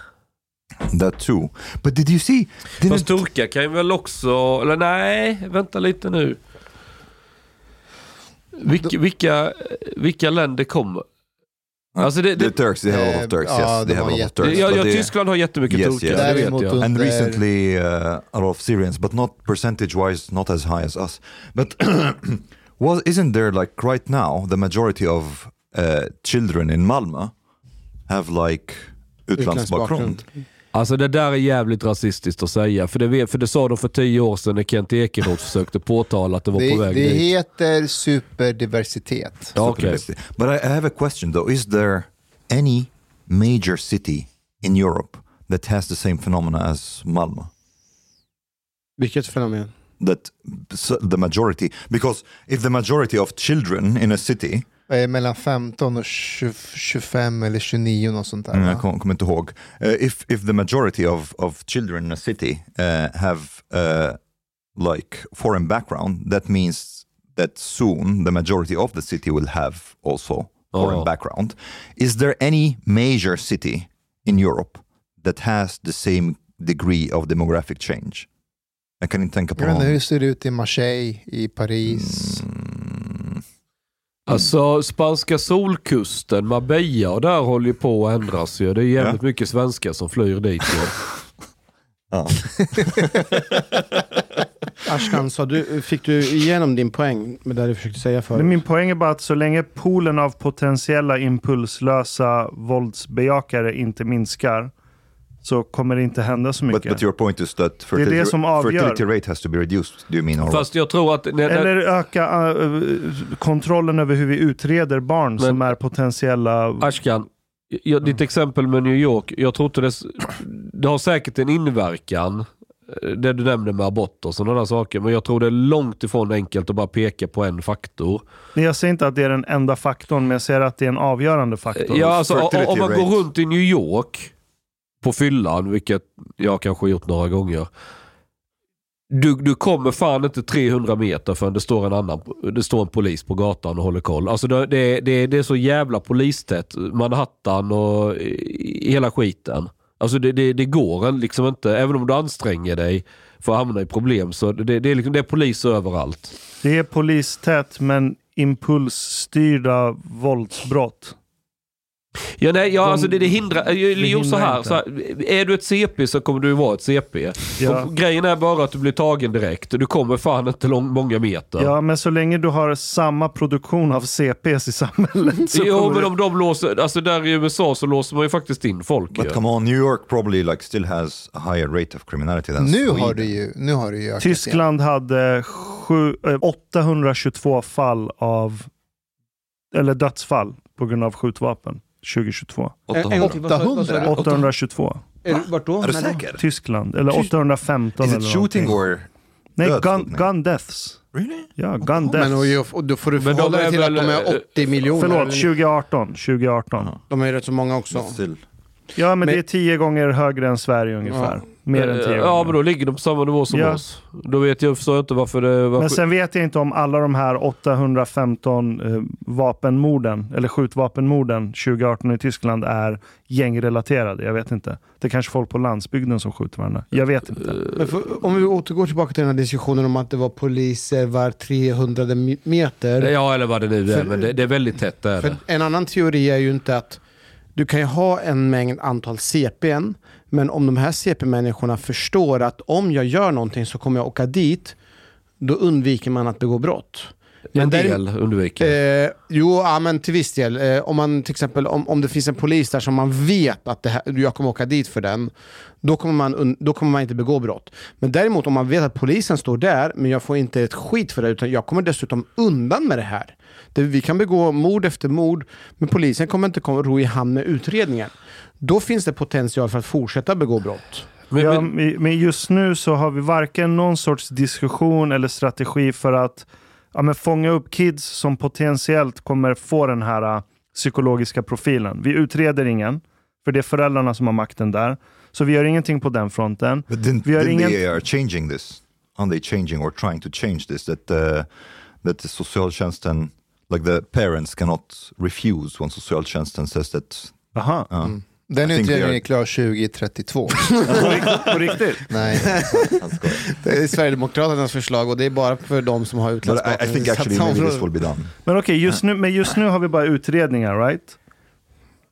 C: That too. But did you see
D: Fast
C: didn't
D: turkar kan ju väl också... Eller nej, vänta lite nu. Vilka, vilka, vilka länder kommer? Alltså det,
C: the
D: det,
C: Turks they have a lot
E: Eh,
C: of Turks,
E: ja,
C: yes.
E: det
C: They have a
E: var
C: lot of
E: jätte-
C: Turks.
D: ja,
C: but
D: ja,
C: they-
D: Tyskland har jättemycket
C: Yes,
D: turkar,
C: yes.
D: det vet
E: Däremot-
C: and
D: jag.
E: Under-
C: recently uh, a lot of Syrians, but not percentage wise, not as high as us. But was isn't there like right now the majority of uh, children in Malmö have like utlandsbakgrund?
D: Alltså det där är jävligt rasistiskt att säga. För det, vet- för det sa de för tio år sedan när Kent Ekeroth försökte påtala att det var
E: Det,
D: på väg
E: det
D: dit.
E: heter superdiversitet.
D: Ja, okej.
C: But I, I have a question though. Is there any major city in Europe that has the same phenomena as Malmö?
A: Vilket fenomen?
C: That s- the majority, because if the majority of children in a city,
E: Vad är mellan 15 och 20, 25 eller 29 något sånt där.
C: mm,
E: va?
C: jag kom- kommer inte ihåg, Eh, if, if the majority of, of children in a city eh, have eh, like foreign background, that means that soon the majority of the city will have also foreign
D: Oh.
C: background. Is there any major city in Europe that has the same degree of demographic change? Jag kan inte tänka på
E: Jag vet inte, hur
C: någon.
E: ser det ut i Marseille, i Paris?
C: Mm.
D: Alltså spanska solkusten, Marbella, och där håller ju på att ändras ju. Det är jävligt mycket svenskar som flyr dit. ju.
C: Ja.
A: Ashkan, sa du, fick du igenom din poäng med det du försökte säga
B: Men
A: förut?
B: min poäng är bara att så länge poolen av potentiella impulslösa våldsbejakare inte minskar så kommer det inte hända så
C: But,
B: mycket.
C: but your point is that
B: är det
C: fertility,
B: som avgör.
C: fertility rate has to be reduced, do you mean? Or what?
D: Fast jag tror att... när- när-
B: Eller öka eh, eh, kontrollen över hur vi utreder barn som är potentiella...
D: Ashkan, jag, ditt exempel med New York. Jag tror inte det, s- det har säkert en inverkan, eh, det du nämnde med abort och sådana där saker. Men jag tror det är långt ifrån enkelt att bara peka på en faktor.
B: Nej, Jag säger inte att det är den enda faktorn, men jag säger att det är en avgörande faktor.
D: Ja, alltså, o- om man
C: fertility
D: går
C: rate.
D: runt i New York på fyllan, vilket jag kanske har gjort några gånger. Du, du kommer fan inte 300 meter förrän det står en, annan, det står en polis på gatan och håller koll. Alltså det, det, det, det är så jävla polistätt. Manhattan och i- i hela skiten. Alltså det, det, det går liksom inte, även om du anstränger dig för att hamna i problem. Så det, det, är, liksom, det är polis överallt.
B: Det är polistätt, men impulsstyrda våldsbrott.
D: Ja, nej, ja,
B: De-
D: alltså det, det hindrar... eh,
B: det
D: Jo, så
B: hindrar
D: här,
B: inte.
D: så här. Är du ett CP så kommer du vara ett CP.
B: Ja.
D: Och grejen är bara att du blir tagen direkt. Du kommer fan inte lång, många meter.
B: Ja, men så länge du har samma produktion av CPs i samhället så
D: jo,
B: kommer
D: men
B: det-
D: om de låser... Alltså där i USA så låser man ju faktiskt in folk ju.
C: But come on, New York probably like still has a higher rate of criminality than
E: Nu
C: Sweden.
E: har, det ju, nu har det ju ökat igen.
B: Tyskland hade sju, eh, 822 fall av... Eller dödsfall på grund av skjutvapen 2022.
A: En- en gång till, vad sa- vad sa du?
E: 800.
B: 822.
A: Är du- Vart då?
C: Är du
A: När då?
C: säker?
B: Tyskland. Eller
C: Ty-
B: 815
C: Is
B: eller
C: it
B: någonting.
C: shooting or...
B: Nej, gun,
C: dödsskjutning?
B: gun deaths.
C: Really?
B: Ja, gun deaths.
A: Men och, ju- och då får du
D: Men de
A: förhålla
D: är
A: dig till att de
D: väl, eh,
A: är 80 miljoner.
B: Förlåt, 2018. 2018.
A: De är ju rätt så många också.
C: Still.
B: Ja, men,
A: Men-
B: det är tio gånger högre än Sverige ungefär. Mer än tio gånger.
D: Eh, Ja, men då ligger de på samma nivå som
B: Ja.
D: oss. Då vet jag förstår jag inte varför det... Var
B: Men sen vet jag inte om alla de här 815 eh, vapenmorden, eller skjutvapenmorden 2018 i Tyskland är gängrelaterade. Jag vet inte. Det är kanske folk på landsbygden som skjuter varandra. Jag vet inte.
A: Men för, om vi återgår tillbaka till den här diskussionen om att det var poliser var 300 mi- meter.
D: Ja, eller vad det nu är.
A: För-
D: men det, det är väldigt tätt där.
A: För en annan teori är ju inte att du kan ju ha en mängd antal CPN, men om de här CP-människorna förstår att om jag gör någonting så kommer jag åka dit, då undviker man att begå brott.
D: En
A: Men där-
D: del undviker.
A: Eh, jo, ja, men till viss del. Eh, om, man, till exempel, om, om det finns en polis där som man vet att det här, jag kommer åka dit för den, då kommer, man, und- då kommer man inte begå brott. Men däremot om man vet att polisen står där, men jag får inte ett skit för det, utan jag kommer dessutom undan med det här. Det, vi kan begå mord efter mord, men polisen kommer inte komma, ro i hamn med utredningen. Då finns det potential för att fortsätta begå brott.
D: men,
B: Ja,
D: men,
B: men- men just nu så har vi varken någon sorts diskussion eller strategi för att ja, men fånga upp kids som potentiellt kommer få den här äh, psykologiska profilen. Vi utreder ingen, för det är föräldrarna som har makten där. Så vi gör ingenting på den fronten.
C: But didn't,
B: Vi har
C: didn't
B: ingen-
C: they are changing this? Aren't they changing or trying to change this? That uh, that the socialtjänsten, like the parents cannot refuse when socialtjänsten says that.
B: Aha.
C: Uh,
E: Den
C: I think they
E: utredningen
C: are-
E: är klar 2032.
B: På, rikt- på riktigt?
E: Nej,
A: Det är Eh, Sverigedemokraternas förslag och det är bara för de som har
C: But
A: utländsk
C: I, I think actually maybe this will be done.
B: Men okej, just nu, men just nu har vi bara utredningar, right?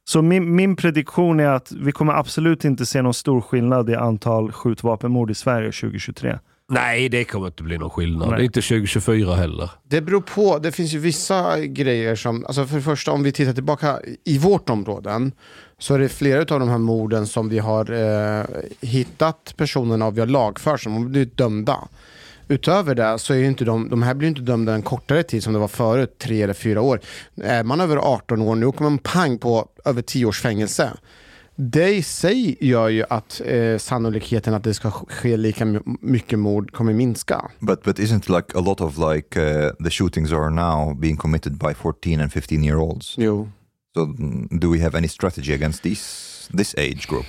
B: Så min, min prediktion är att vi kommer absolut inte se någon stor skillnad i antal skjutvapenmord i Sverige 2023.
D: nej, det kommer inte bli någon skillnad.
B: Nej.
D: Det är inte 2024 heller.
A: Det beror på. Det finns ju vissa grejer som, alltså för det första om vi tittar tillbaka i vårt område så är det flera av de här morden som vi har eh, hittat personerna av, vi har lagfört som har blivit dömda. Utöver det så är ju inte de, de här blir ju inte dömda en kortare tid som det var förut, tre eller fyra år. Är man över 18 år nu kommer man pang på över 10 års fängelse. Det i sig gör ju att eh, sannolikheten att det ska ske lika my- mycket mord kommer minska.
C: But but isn't like a lot of like uh, the shootings are now being committed by 14 and 15 year olds?
A: Jo.
C: So mm, do we have any strategy against these this age group?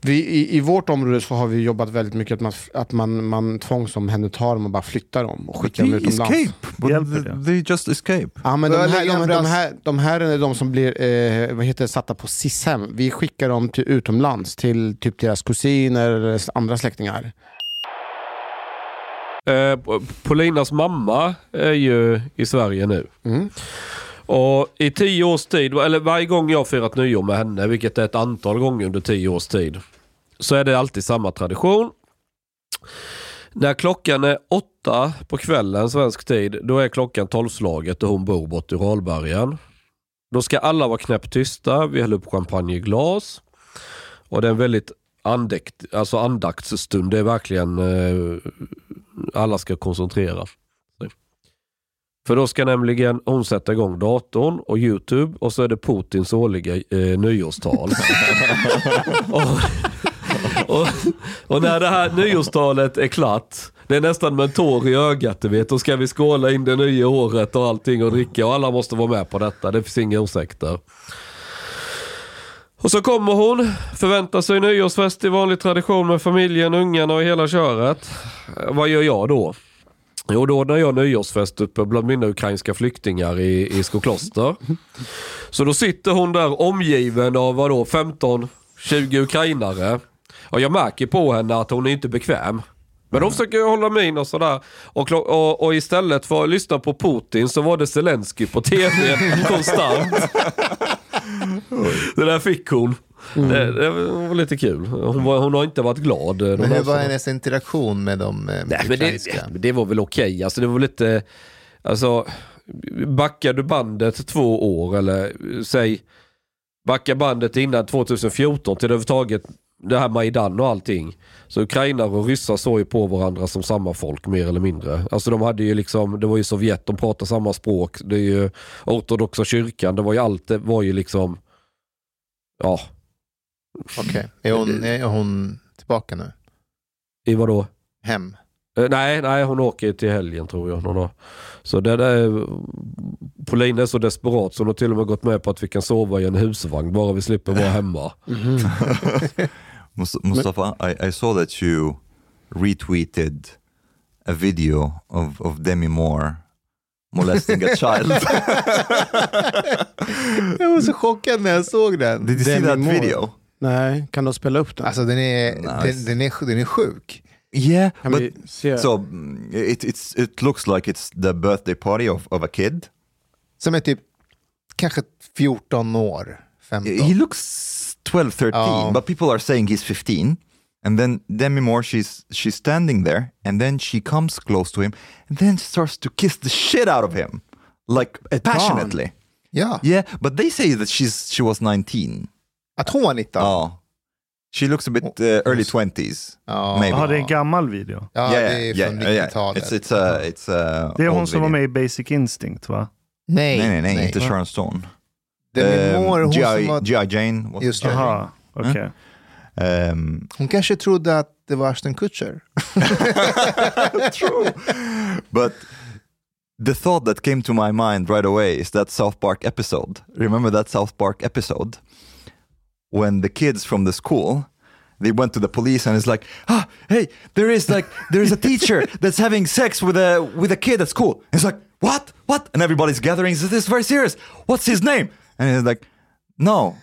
A: Vi, i, I vårt område så har vi jobbat väldigt mycket att man, att man, man tvångsomhändertar dem och bara flyttar dem och skickar dem
C: They
A: utomlands.
C: escape. But
B: Hjälper
C: th-
B: det?
C: they just escape.
A: Ja, men de,
E: Börja
A: här,
E: lägga
A: de,
E: en
A: de,
E: brass-
A: här, de här är de som blir eh, vad heter, det, satta på SIS-hem. Vi skickar dem till utomlands till typ deras kusiner eller andra släktingar.
D: Eh, Polinas mamma är ju i Sverige nu.
A: Mm.
D: Och i tio års tid, eller varje gång jag har firat nyår med henne, vilket är ett antal gånger under tio års tid, så är det alltid samma tradition. När klockan är åtta på kvällen svensk tid, då är klockan tolvslaget och hon bor bort i Ralbergen. Då ska alla vara knäpptysta, vi häller upp champagne i glas. Och det är en väldigt andäkt, alltså andaktsstund, det är verkligen eh, alla ska koncentrera sig. För då ska nämligen hon sätta igång datorn och YouTube och så är det Putins årliga eh, nyårstal. och, och, och när det här nyårstalet är klart, det är nästan med en tår i ögat du vet, då ska vi skåla in det nya året och allting och dricka och alla måste vara med på detta, det finns inga ursäkter. Och så kommer hon, förväntar sig nyårsfest i vanlig tradition med familjen, ungarna och hela köret. Eh, Vad gör jag då? Jo, då ordnar jag nyårsfest uppe bland mina ukrainska flyktingar i, i Skokloster. Så då sitter hon där omgiven av vadå, 15-20 ukrainare. Och jag märker på henne att hon är inte bekväm. Men då försöker jag hålla min och sådär. Och, klo- och, och istället för att lyssna på Putin så var det Zelensky på TV konstant. Det där fick hon.
E: Mm.
D: Det, det var lite kul. Hon, var, hon har inte varit glad. eh, de
E: men hur
D: här
E: var
D: åren.
E: hennes interaktion med de eh,
D: Nej, men det,
E: ukrainska?
D: det var väl okej. Alltså, det var lite... Alltså, backar du bandet två år eller eh, säg backa bandet innan 2014 till överhuvudtaget det här Majdan och allting. Så ukrainare och ryssar såg ju på varandra som samma folk mer eller mindre. Alltså de hade ju liksom, det var ju Sovjet, de pratade samma språk. Det är ju ortodoxa kyrkan, det var ju allt, det var ju liksom, ja,
E: Okej. Är, hon, är hon tillbaka nu?
D: i vadå?
E: Hem?
D: Eh, Nej, nej, hon åker till helgen tror jag. Någon dag. Så det där, Pauline är så desperat så hon har till och med gått med på att vi kan sova i en husvagn bara vi slipper vara hemma.
E: Mm.
A: Mm.
C: Mus- Mustafa, I, I saw that you retweeted a video of, of Demi Moore molesting a child.
E: Jag var så chockad när jag såg den.
C: Did you see
A: Demi
C: that
A: Moore.
C: video?
A: Nej, kan du spela upp den?
E: Alltså den är,
C: Nice.
E: den, den är, den är sjuk.
C: Yeah,
A: kan
C: but
A: vi se?
C: so mm, it, it's, it looks like it's the birthday party of, of a kid.
E: Som är typ kanske 14 år, 15.
C: He looks 12, 13,
E: Oh.
C: but people are saying he's 15. And then Demi Moore, she's she's standing there, and then she comes close to him, and then starts to kiss the shit out of him. like passionately.
E: Ja,
C: Yeah, but they say that she's she was 19.
E: att hon var 19.
C: Ja. She looks a bit uh, early 20s.
E: Ja.
C: Maybe.
B: Ja, det är en gammal video.
C: yeah,
E: Ja, det är
C: yeah,
E: från
C: yeah, yeah.
E: 90-talet.
C: It's, it's uh, a, it's a
B: Det är hon
C: old
B: som var
C: video.
B: med i Basic Instinct va?
E: Nej,
C: Nej, nej, nej, inte Um, Sharon Stone.
E: Det är min mor, hon som
C: G.I.
E: var...
C: G.I. Jane. was-
E: Just det.
A: Mm.
B: Jaha, okej.
C: Ehm,
E: Hon kanske trodde att det var Ashton Kutcher.
C: True. But the thought that came to my mind right away is that South Park episode. Remember that South Park episode when the kids from the school they went to the police and it's like, ah, hey, there is like there is a teacher that's having sex with a with a kid at school. It's like, what, what? And everybody's gathering. This is very serious. What's his name? And it's like, no,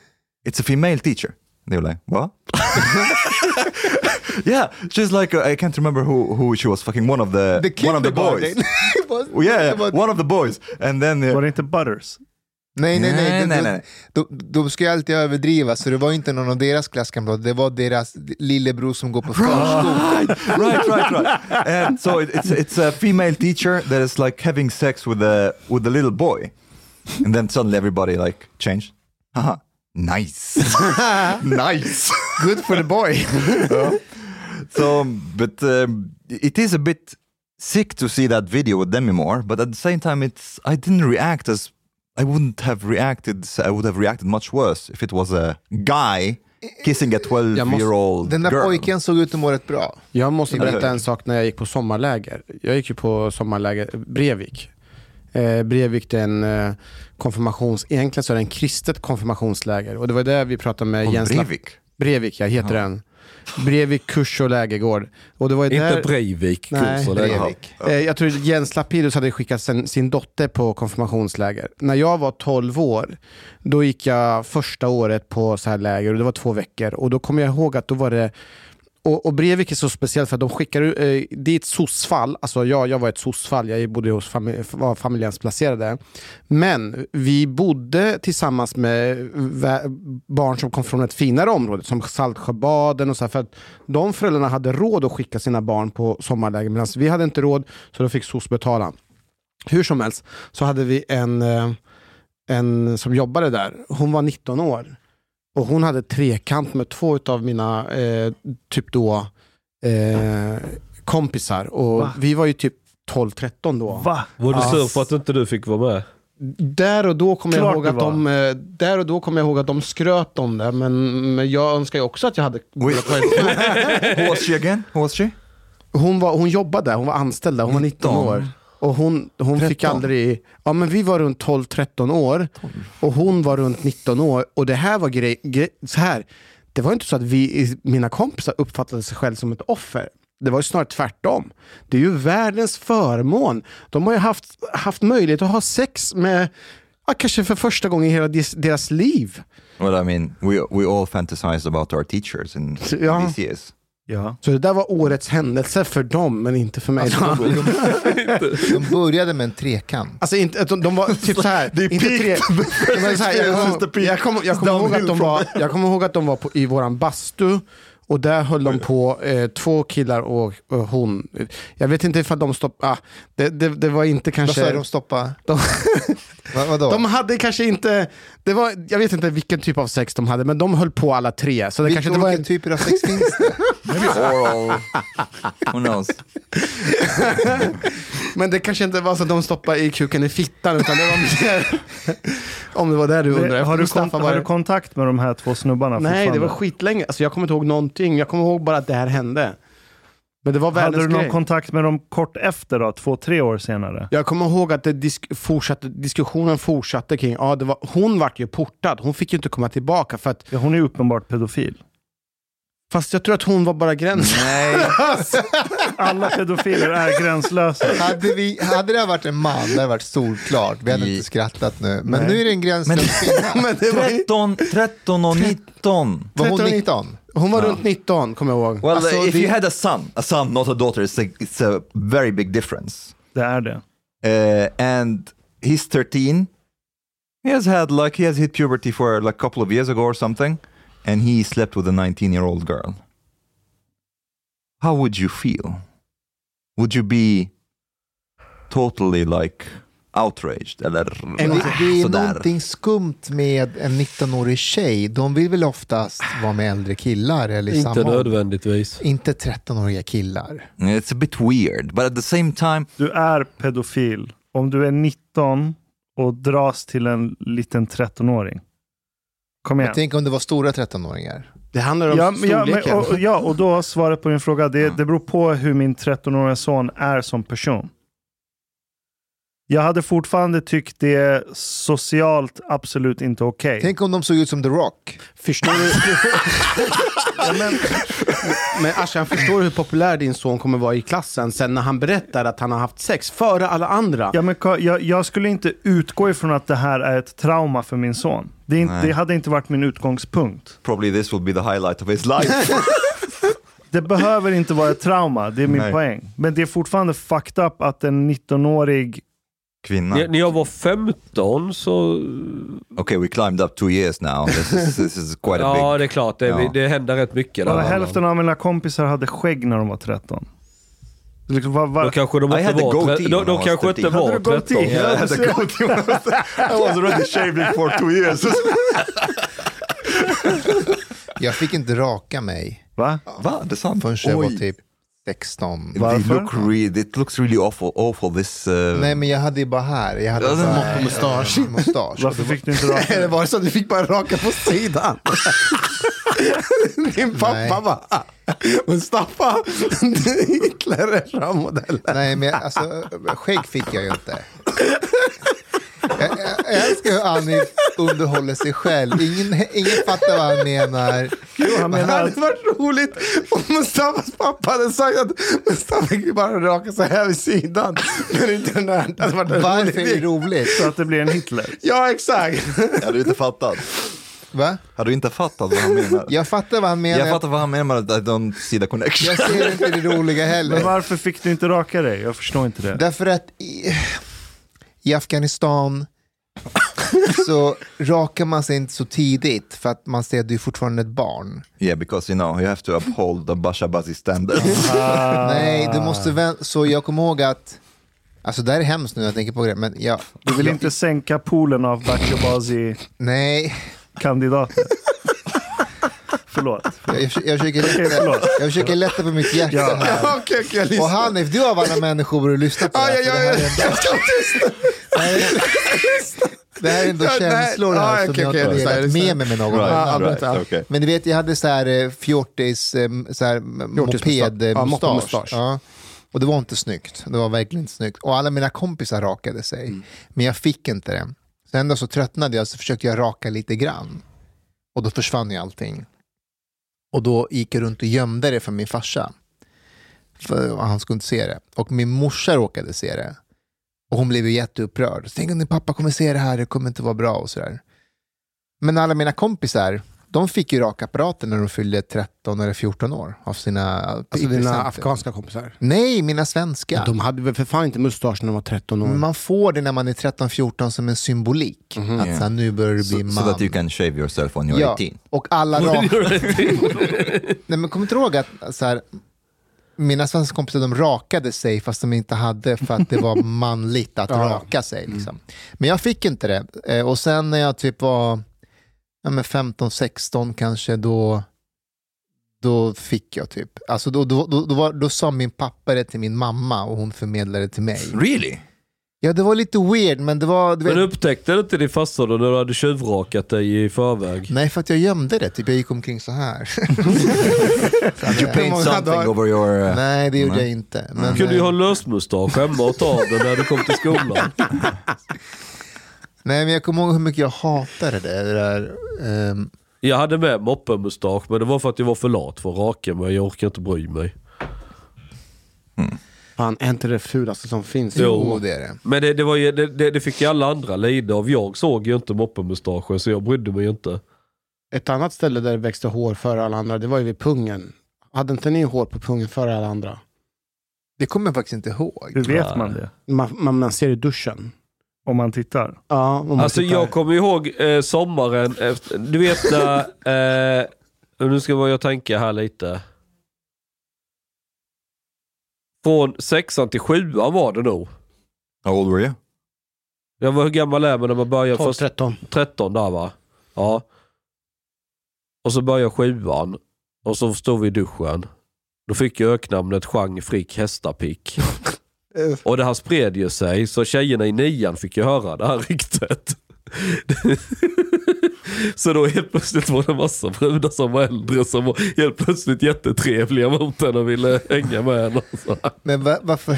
C: it's a female teacher. They were like, what? yeah, she's like uh, I can't remember who who she was fucking one of the,
E: The
C: one of the boys.
E: kindergarten. It was-
C: Well, yeah,
E: it was-
C: one of the boys. And then uh,
B: Var det inte Butters?
E: Nej, nej, nej.
C: Nej,
E: De-
C: nej,
E: de-
C: nej.
E: De, de ska ju alltid överdriva, så det var inte någon av deras klasskamrater. Det var deras lillebror som går på förskolan.
C: right, right, right, right. And so it, it's it's a female teacher that is like having sex with a with a little boy, and then suddenly everybody like changed. Haha, nice, nice.
E: Good for the boy.
C: so, but um, it is a bit sick to see that video with Demi Moore, but at the same time, it's I didn't react as I wouldn't have reacted. I would have reacted much worse if it was a guy kissing a
A: måste-
C: twelve-year-old
E: Den där
C: girl.
E: pojken såg ut att må rätt bra.
A: Jag måste
C: Eller
A: berätta
C: hur?
A: en sak när jag gick på sommarläger. Jag gick ju på sommarläger Brevik. Eh, Brevik det är en eh, konfirmations, egentligen så är det en kristet konfirmationsläger. Och det var där vi pratade med
C: Från
A: Jens Lapp-
C: Breivik.
A: Brevik, ja, heter den. Brevik kurs och lägergård. Och det var ju
D: Inte
A: där...
D: Breivik.
A: Nej,
D: kursen, eller?
E: Breivik.
A: Eh, Jag tror Jens Lapidus hade skickat sin, sin dotter på konfirmationsläger. När jag var 12 år, då gick jag första året på så här läger och det var två veckor. Och då kommer jag ihåg att då var det och, och Breivik är så speciellt för att de skickar eh, dit soc-fall, alltså jag, jag var ett soc-fall, jag bodde hos fami- var familjehemsplacerade. Men vi bodde tillsammans med vä- barn som kom från ett finare område, som Saltsjöbaden och så här, för att de föräldrarna hade råd att skicka sina barn på sommarläger medan vi hade inte råd, så då fick soc betala. Hur som helst så hade vi en, eh, en som jobbade där, hon var 19 år. Och hon hade trekant med två av mina, eh, typ då, eh, kompisar. Och
B: Va?
A: vi var ju typ 12-13 då.
B: Va?
D: Var du
A: Ja.
D: sur för att inte du fick vara med?
A: Där och då kommer jag
B: Klart
A: ihåg
B: det
A: att de, eh, där och då kommer jag ihåg att de skröt om det. Men, men jag önskar ju också att jag hade...
C: Wait, who was she again? Who was she?
A: Hon, var, hon jobbade där, hon var anställd där, hon var 19
C: 19.
A: år. Och hon, hon fick
C: 13.
A: aldrig... Ja men vi var runt 12-13 år. Och hon var runt 19 år. Och det här var grej, grej så här. Det var inte så att vi, mina kompisar uppfattade sig själv som ett offer. Det var ju snarare tvärtom. Det är ju världens förmån. De har ju haft, haft möjlighet att ha sex med, ja, kanske för första gången i hela des- deras liv.
C: Well, I mean, we we all fantasize about our teachers in
A: Ja.
C: these years.
B: Ja.
A: Så det där var årets händelse för dem, men inte för mig. Alltså,
E: De började med en trekant.
A: inte, att de, de var typ så här. inte tre, de var så här jag kommer jag kommer jag kommer ihåg att de var, jag kommer ihåg att de var på, i våran bastu. Och där höll de på, eh, två killar och, och hon. Jag vet inte ifall de stoppade, ah, det, det, det var inte
E: Vad sa
A: kanske...
E: du, de stoppa?
A: de,
E: Vad, vadå?
A: de hade kanske inte, det var, jag vet inte vilken typ av sex de hade, men de höll på alla tre. Så det
E: Vilka
A: kanske inte var
E: olika
A: en,
E: typer typ av sex finns det?
C: Maybe oral. Who knows?
A: men det kanske inte var så att de stoppade i kuken i fittan, utan det var mer... om det var det du undrade.
B: Det, har, du kon-
A: Mustafa var-
B: har du kontakt med de här två snubbarna
A: Nej, det
B: fortfarande?
A: var skitlänge. Alltså, jag kommer inte ihåg någonting. Jag kommer ihåg bara att det här hände. Men det var
B: Hade
A: världens
B: du någon
A: grej.
B: kontakt med dem kort efter då? Två, tre år senare?
A: jag kommer ihåg att det disk fortsatte, diskussionen fortsatte kring, ja, det var, hon vart ju portad. Hon fick ju inte komma tillbaka. För att,
B: Ja, hon är ju uppenbart pedofil.
A: fast jag tror att hon var bara gränsen.
C: Nej.
B: Alla pedofiler är gränslösa.
E: Hade, vi, hade det här varit en man, det hade varit solklart. Vi hade
C: I-
E: inte skrattat nu. Men
B: Nej.
E: nu är det en gränslös kvinna.
A: Men det var, ju-
C: 13, 13 och 19.
E: Var hon
A: 13?
E: 19?
A: hon var runt 19, kommer jag ihåg.
C: Well,
A: Alltså,
C: uh, if
A: det-
C: you had a son, a son, not a daughter, it's a, it's a very big difference.
B: Det är det.
C: Uh, and he's 13. He has had like he has hit puberty for like a couple of years ago or something, and he slept with a 19-year-old girl. How would you feel? Would you be totally like outraged eller
E: Det, det är
C: sådär.
E: någonting skumt med en 19-årig tjej. De vill väl oftast vara med äldre killar eller i
D: Inte
E: samma ålder.
D: nödvändigtvis.
E: Inte 13-åriga killar.
C: It's a bit weird, but at the same time,
B: Du är pedofil om du är 19 och dras till en liten 13-åring. Kom igen.
E: Jag tänker om det var stora 13-åringar.
A: Det handlar om
B: Ja, men- ja,
A: storleken.
B: men, och, ja, och då svaret på din fråga. Det, det beror på hur min 13-åriga son är som person. Jag hade fortfarande tyckt det socialt absolut inte okej.
E: Tänk om de såg ut som The Rock.
A: Förstår du? men Ashkan, förstår du hur populär din son kommer vara i klassen sen när han berättar att han har haft sex före alla andra?
B: Ja, men, Ka- jag, jag skulle inte utgå ifrån att det här är ett trauma för min son. Det, är inte,
C: Nej.
B: det hade inte varit min utgångspunkt.
C: probably this will be the highlight of his life.
B: Det behöver inte vara ett trauma, det är min
C: Nej.
B: poäng. Men det är fortfarande fucked up att en 19-årig...
C: Kvinna.
D: När- När jag var 15 så...
C: Okay, we climbed up two years now. This is, this is quite a
D: Ja,
C: big...
D: det är klart. Det,
C: Ja.
D: det händer rätt mycket där.
B: Bara hälften av mina kompisar hade skägg när de var 13. Liksom, vad- vad-
D: Då kanske de
C: I
D: inte
C: had a
D: var,
C: goatee
D: tre- då,
C: when I
D: då
C: was
D: kanske
C: 13.
D: inte var
B: Hade du goatee?
D: 13.
C: Yeah, I had a gold I was already shaving for two years.
E: Jag fick inte raka mig
B: Va?
C: Va? Det är sant?
E: förrän jag var
C: Oj.
E: typ 16.
C: It,
B: Varför?
C: look really, it looks really awful, awful this... Uh,
E: Nej men jag hade ju bara här. Jag hade
C: Ja, det är
E: bara,
A: mustasch.
E: eh, mustasch.
B: Varför fick du inte raka
A: Eller
B: dig?
A: var det så att du fick bara raka på sidan? Din pappa
E: Nej.
A: bara, Mustafa, Hitler är rambodell.
E: Nej, men jag- alltså, skägg fick jag ju inte. Jag, jag, jag älskar hur Annie underhåller sig själv. Ingen, ingen fattar vad han menar.
B: Han
A: Det
B: menar att
A: hade varit roligt om Mustafas pappa hade sagt att Mustafa fick bara raka så här vid sidan. Men inte den här. Det hade varit en
E: Varför är det
A: rolig.
E: roligt?
B: så att det blir en Hitler.
A: Ja, exakt.
C: Hade du inte fattat?
E: Va?
C: Hade du inte fattat vad han menar?
E: Jag fattar vad han menar.
C: Jag fattar vad han menar med att I don't see the connection.
E: Jag ser inte det roliga
B: Men
E: heller.
B: varför fick du inte raka dig? Jag förstår inte det.
E: Därför att i, i Afghanistan så rakar man sig inte så tidigt för att man ser att du är fortfarande ett barn.
C: Yeah, because you know, you have to uphold the Bashabazi standards.
B: Ah.
E: Nej, du måste vänta. Så jag kommer ihåg att, alltså det här är hemskt nu när jag tänker på det, men jag,
B: Du vill inte sänka poolen av Bachobazi-kandidater.
E: nej.
B: Förlåt.
E: Jag, jag, jag, försöker
B: Okej,
E: lätta,
B: förlåt.
E: jag försöker lätta på mitt hjärta
B: Ja.
E: här.
A: Okej, okej, jag lyssnar.
E: Och Hanif, du av alla människor borde lyssna på det
A: Ja,
E: här.
A: ja,
E: för det,
A: ja,
E: här
A: ja.
E: är
A: Jag ska tysta.
E: ändå, det här är ändå
A: Ja, nej.
E: känslor här
A: Ja,
E: som
A: okej,
E: jag
A: okej,
E: inte
A: jag
E: delat
A: lyssnar.
E: med mig med någon
C: Right,
E: annan. alltså.
A: Ja, berätta.
C: right, okay.
E: Men du vet, jag hade så här eh, fjortis, eh, så här
A: Fjortismustasch. Ja,
E: mopedmustasch. Ja,
A: moppemustasch.
E: Och det var inte snyggt. Det var verkligen inte snyggt. Och alla mina kompisar rakade sig.
A: Mm.
E: Men jag fick inte det. Så ändå så tröttnade jag så försökte jag raka lite grann. Och då försvann ju allting. Och då gick jag runt och gömde det från min farsa. För han skulle inte se det. Och min morsa råkade se det. Och hon blev ju jätteupprörd. Tänk om din pappa kommer se det här, det kommer inte vara bra och sådär. Men alla mina kompisar, de fick ju rakapparater när de fyllde 13 eller 14 år. Av sina
A: Alltså dina
E: presenter.
A: afghanska kompisar.
E: Nej, mina svenska.
A: De hade väl för fan inte mustasch när de Mhm. var 13 år.
E: Man får det när man är 13-14 som en symbolik. att så här, nu börjar du
C: So,
E: bli man.
C: so that you can shave yourself when you're
E: ja,
C: 18.
E: och alla rakar. Nej, men kom inte ihåg att så här, mina svenska kompisar de rakade sig fast de inte hade för att det var manligt att raka sig. Liksom. Men jag fick inte det. Eh, Och sen när jag typ var ja, 15-16 kanske, då, då fick jag typ. Alltså då, då, då, då, var, då sa min pappa det till min mamma och hon förmedlade det till mig.
C: Really?
E: Ja, det var lite weird, men det var... Du vet,
D: Men upptäckte inte din farsa då när du hade tjuvrakat dig i förväg?
E: Nej, för att jag gömde det. Typ, jag gick omkring så här.
C: Did you paint
A: många
C: something
A: dagar-
C: over your... Uh...
E: Nej, det gjorde jag inte. Men,
D: Du kunde ju
E: eh,
D: ha en lösmustasch skämmat av den när du kom till skolan.
E: Nej, men jag kommer ihåg hur mycket jag hatade det. det där. ehm,
D: Jag hade med moppemustasch men det var för att jag var för lat för att raka mig. Jag orkar inte bry mig.
A: Fan, är inte det fulaste som finns?
E: jo, det är det.
D: Men det, det, var ju, det, det, det fick ju alla andra lida av. Jag såg ju inte moppemustaschen så jag brydde mig inte.
A: Ett annat ställe där det växte hår före alla andra, det var ju vid pungen. Hade inte ni hår på pungen före alla andra?
E: Det kommer jag faktiskt inte ihåg.
B: Hur vet man det?
A: Man, man, man ser i duschen.
B: Om man tittar.
A: Ja, om man
D: Alltså
A: tittar.
D: jag kommer ihåg eh, sommaren efter, du vet när, eh, nu ska jag tänka här lite. Från sexan till sjuan var det nog.
C: How old were you?
D: Jag var, hur gammal är man när man börjar?
A: 12,
D: Först,
A: 13.
D: 13 där va? Ja. Och så börjar sjuan. Och så står vi i duschen. Då fick jag öknamnet Chang Frick Hästapick. och det här spred ju sig, så tjejerna i nian fick ju höra det här ryktet. så då helt plötsligt var det en massa brudar som var äldre som var helt plötsligt jättetrevliga mot henne och ville hänga med henne. och så här.
E: Men va, varför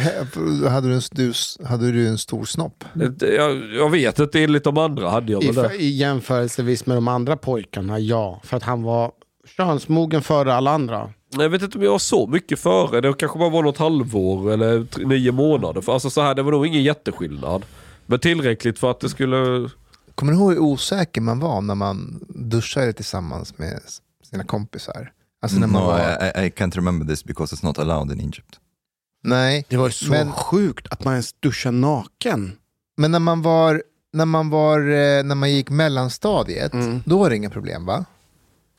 E: hade du, en, du, hade du en stor snopp?
D: Det- Jag, jag vet inte, enligt de andra hade jag
A: I,
D: väl det.
A: I jämförelsevis med de andra pojkarna, ja. För att han var könsmogen före alla andra.
D: Jag vet inte om jag var så mycket före. Det kanske bara var något halvår eller t- nio månader. För alltså så här, det var nog ingen jätteskillnad. Men tillräckligt för att det skulle...
E: Kommer du ihåg hur osäker man var när man duschade tillsammans med s- sina kompisar? Alltså när man
C: No,
E: var...
C: I, I, I can't remember this because it's not allowed in Egypt.
E: Nej,
A: Det var ju så
E: Men-
A: sjukt att man ens duschar naken.
E: men när man var... När man, var, eh, när man gick mellanstadiet,
D: Mm.
E: då var det inga problem va?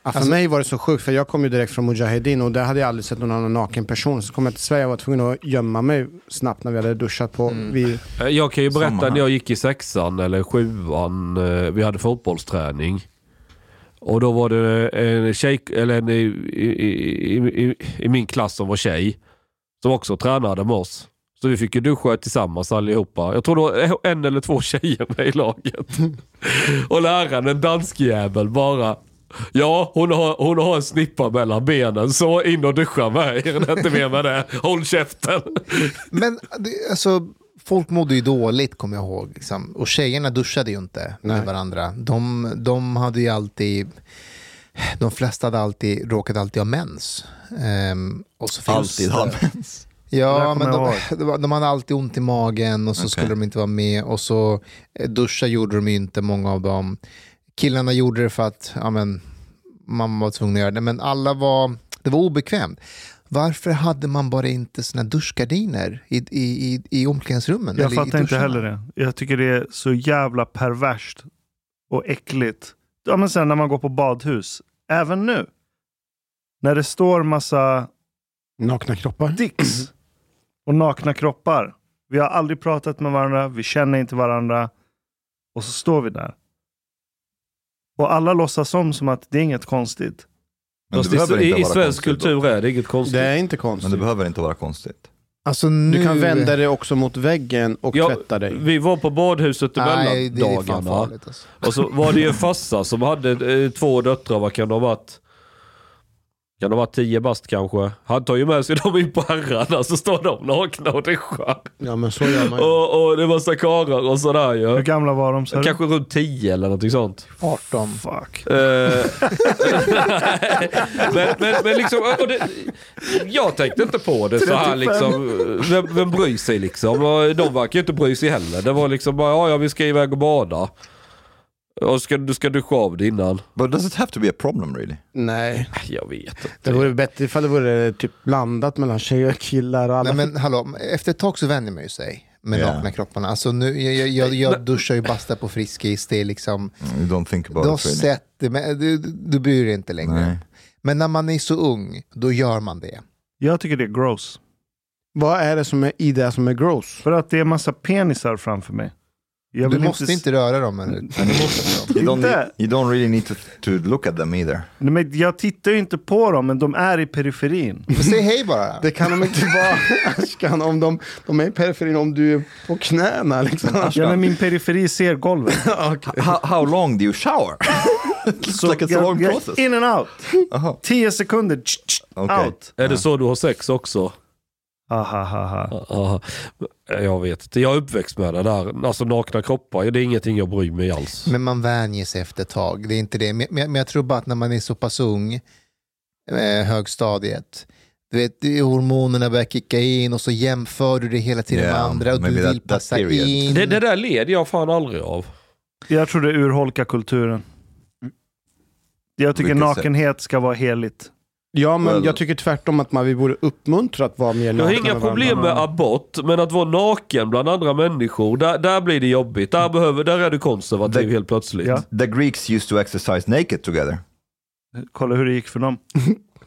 A: Ja, för
E: Alltså-
A: mig var det så sjukt, för jag kom ju direkt från Mujahedin och där hade jag aldrig sett någon annan naken person. Så kom jag till Sverige och var tvungen att gömma mig snabbt när vi hade duschat på. Vi,
D: Eh, Jag kan ju berätta
C: Samma här.
D: när jag gick i sexan eller sjuan. eh, Vi hade fotbollsträning. Och då var det en tjej, eller en i, i, i, i, i min klass som var tjej, som också tränade med oss. Så vi fick ju duscha tillsammans allihopa. Jag tror det var en eller två tjejer med i laget. Och läraren, en dansk jävel, bara Ja, hon har, hon har en snippa mellan benen, så in och duscha med er. Det är inte mer med det. Håll käften.
E: Men det, alltså, folk mådde ju dåligt kommer jag ihåg. Liksom. Och tjejerna duschade ju inte med varandra. De, de hade ju alltid... De flesta hade alltid, råkat alltid ha mens. Ehm, och så finns
C: Alltid
E: det-
C: har
B: Det där
E: Ja,
B: kommer
E: men
B: jag
E: de, det var- de hade alltid ont i magen och så
C: Okej.
E: skulle de inte vara med. Och så eh, duscha gjorde de ju inte, många av dem. Killarna gjorde det för att ja, men, man var tvungen att göra det, men alla var, det var obekvämt. Varför hade man bara inte sina duschgardiner i, i, i, i omklädningsrummen?
B: Jag
E: eller i
B: fattar inte
E: duscharna?
B: heller det. Jag tycker det är så jävla perverst och äckligt. Ja, men sen när man går på badhus, även nu, när det står massa
A: nakna kroppar.
B: dicks och nakna kroppar. Vi har aldrig pratat med varandra, vi känner inte varandra och så står vi där. Och alla låtsas om som att det är inget konstigt.
C: Men det
D: Fast i-
C: behöver
D: I,
C: inte
D: i
C: vara konstigt
D: svensk
C: då.
D: kultur är det inget konstigt.
A: Det är inte
C: Men
A: konstigt.
C: det behöver inte vara konstigt.
E: Alltså nu...
A: Du kan vända dig också mot väggen och
D: Ja,
A: tvätta dig.
D: Vi var på badhuset i
E: Nej, det är fan
D: mellandagarna.
E: farligt. Alltså.
D: Och så var det ju en farsa som hade eh, två döttrar. Vad kan de ha varit? Kan de ha varit tio bast kanske? Han tar ju med sig dem in på herrarna så står de nakna och duschar.
A: Ja men så gör man ju.
D: Och, och det var massa karlar och sådär
B: Hur
D: ju.
B: gamla var de? sa du?
D: Kanske runt tio eller någonting sånt.
E: 18.
B: Fuck.
D: Eh, men, men, men liksom, och det, jag tänkte inte på det så här
B: 35.
D: liksom. Vem, vem bryr sig liksom? Och De verkar ju inte bry sig heller. Det var liksom bara, ja, ja vi ska iväg och bada. Och ska, du ska duscha av det innan.
C: But does it have to be a problem really?
A: Nej,
D: Jag vet inte.
A: det vore bättre ifall det vore typ blandat mellan tjejer och killar. Och alla
E: Nej, men hallå, efter ett tag så vänjer man ju sig med
C: Ja.
E: nakna kropparna. Alltså nu, jag, jag, jag, jag duschar ju basta på Friskis, det är liksom...
C: You don't think about
E: Du har
C: it really.
E: sett det, men du, du- du bryr dig inte längre.
C: Nej.
E: Men när man är så ung, då gör man det.
B: Jag tycker det är gross.
A: Vad är det som är i det som är gross?
B: För att det är massa penisar framför mig. Jag
E: Du
B: vill
E: måste inte,
B: inte...
E: röra dem. Eller, eller låta dem.
C: You don't,
B: Inte.
C: need, you don't really need to, to look at them either.
B: Nej, men jag tittar ju inte på dem, men de är i periferin.
E: Men Säg hej bara.
A: Det kan de inte vara, Ashkan, om de, de är i periferin om du är på knäna. Liksom.
B: Ja, men min periferi ser golvet.
C: How, how long do you shower? It's like it's a long
B: jag-
C: process.
B: In and out.
C: Aha.
B: Tio sekunder. tsch, tsch,
C: Okej.
B: Out.
D: Är det så du har sex också?
B: Aha, ha, ha.
D: Ja, Jag vet inte. Jag är uppväxt med det där. Alltså nakna kroppar, det är ingenting jag bryr mig alls.
E: Men man vänjer sig efter ett tag. Det är inte det. Men, men, men jag tror bara att när man är så pass ung, eh, högstadiet, du vet, det är hormonerna börjar kicka in och så jämför du det hela tiden
C: Ja,
E: med andra och du
C: maybe
E: vill
C: that- that
E: passa
C: period.
E: in.
D: Det, det där led jag fan aldrig av.
B: Jag tror det urholkar kulturen. Jag tycker
C: Vilket sätt?
B: nakenhet ska vara heligt.
A: Ja, men
C: Well-
A: jag tycker tvärtom att man, vi borde uppmuntra att vara mer
D: Jag har
A: nakna
D: inga
A: med varandra. Mm.
D: problem med abort, men att vara naken bland andra människor, där, där blir det jobbigt. Där, behöver, där är du konservativ
C: Det-
D: helt plötsligt.
B: Ja.
C: The Greeks used to exercise naked together.
B: Kolla hur det gick för dem.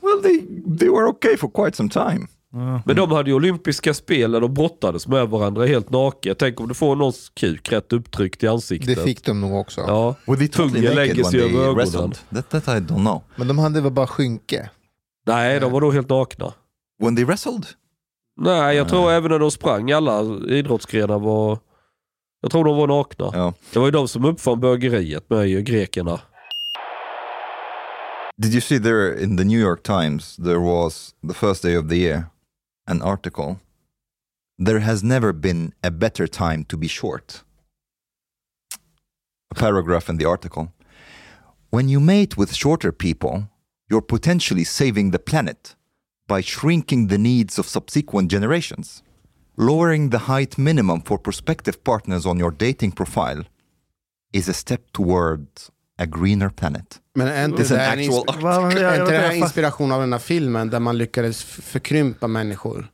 C: Well, they, they were okay for quite some time.
B: Ja.
D: Men de hade ju olympiska spel där de brottades med varandra helt nakna. Tänk om du får någons kuk rätt upptryckt i ansiktet.
E: Det fick de nog också.
D: Ja.
C: Were they totally naked
D: Tungan lägger
C: when
D: sig över
C: they
D: ögonen.
C: wrestled? That, that I don't know.
E: Men de hade väl bara skynke.
D: Nej, de var nog helt nakna.
C: When they wrestled?
D: Nej, jag tror även när de sprang, alla idrottsgrenar var... Jag tror de var nakna.
C: Ja.
D: Det var ju de som uppfann bögeriet med ju grekerna.
C: Did you see there in the New York Times, there was the first day of the year, an article. There has never been a better time to be short. A paragraph in the article. When you mate with shorter people, you're potentially saving the planet by shrinking the needs of subsequent generations, lowering the height minimum for prospective partners on your dating profile is a step toward a greener planet.
A: Men är inte
C: This is
A: det
C: an
A: här, en,
C: actual
A: ins-
B: Va, va, jag-
A: är
B: jag-
A: inte det här
B: jag-
A: inspiration av den här filmen där man lyckades f- förkrympa människor?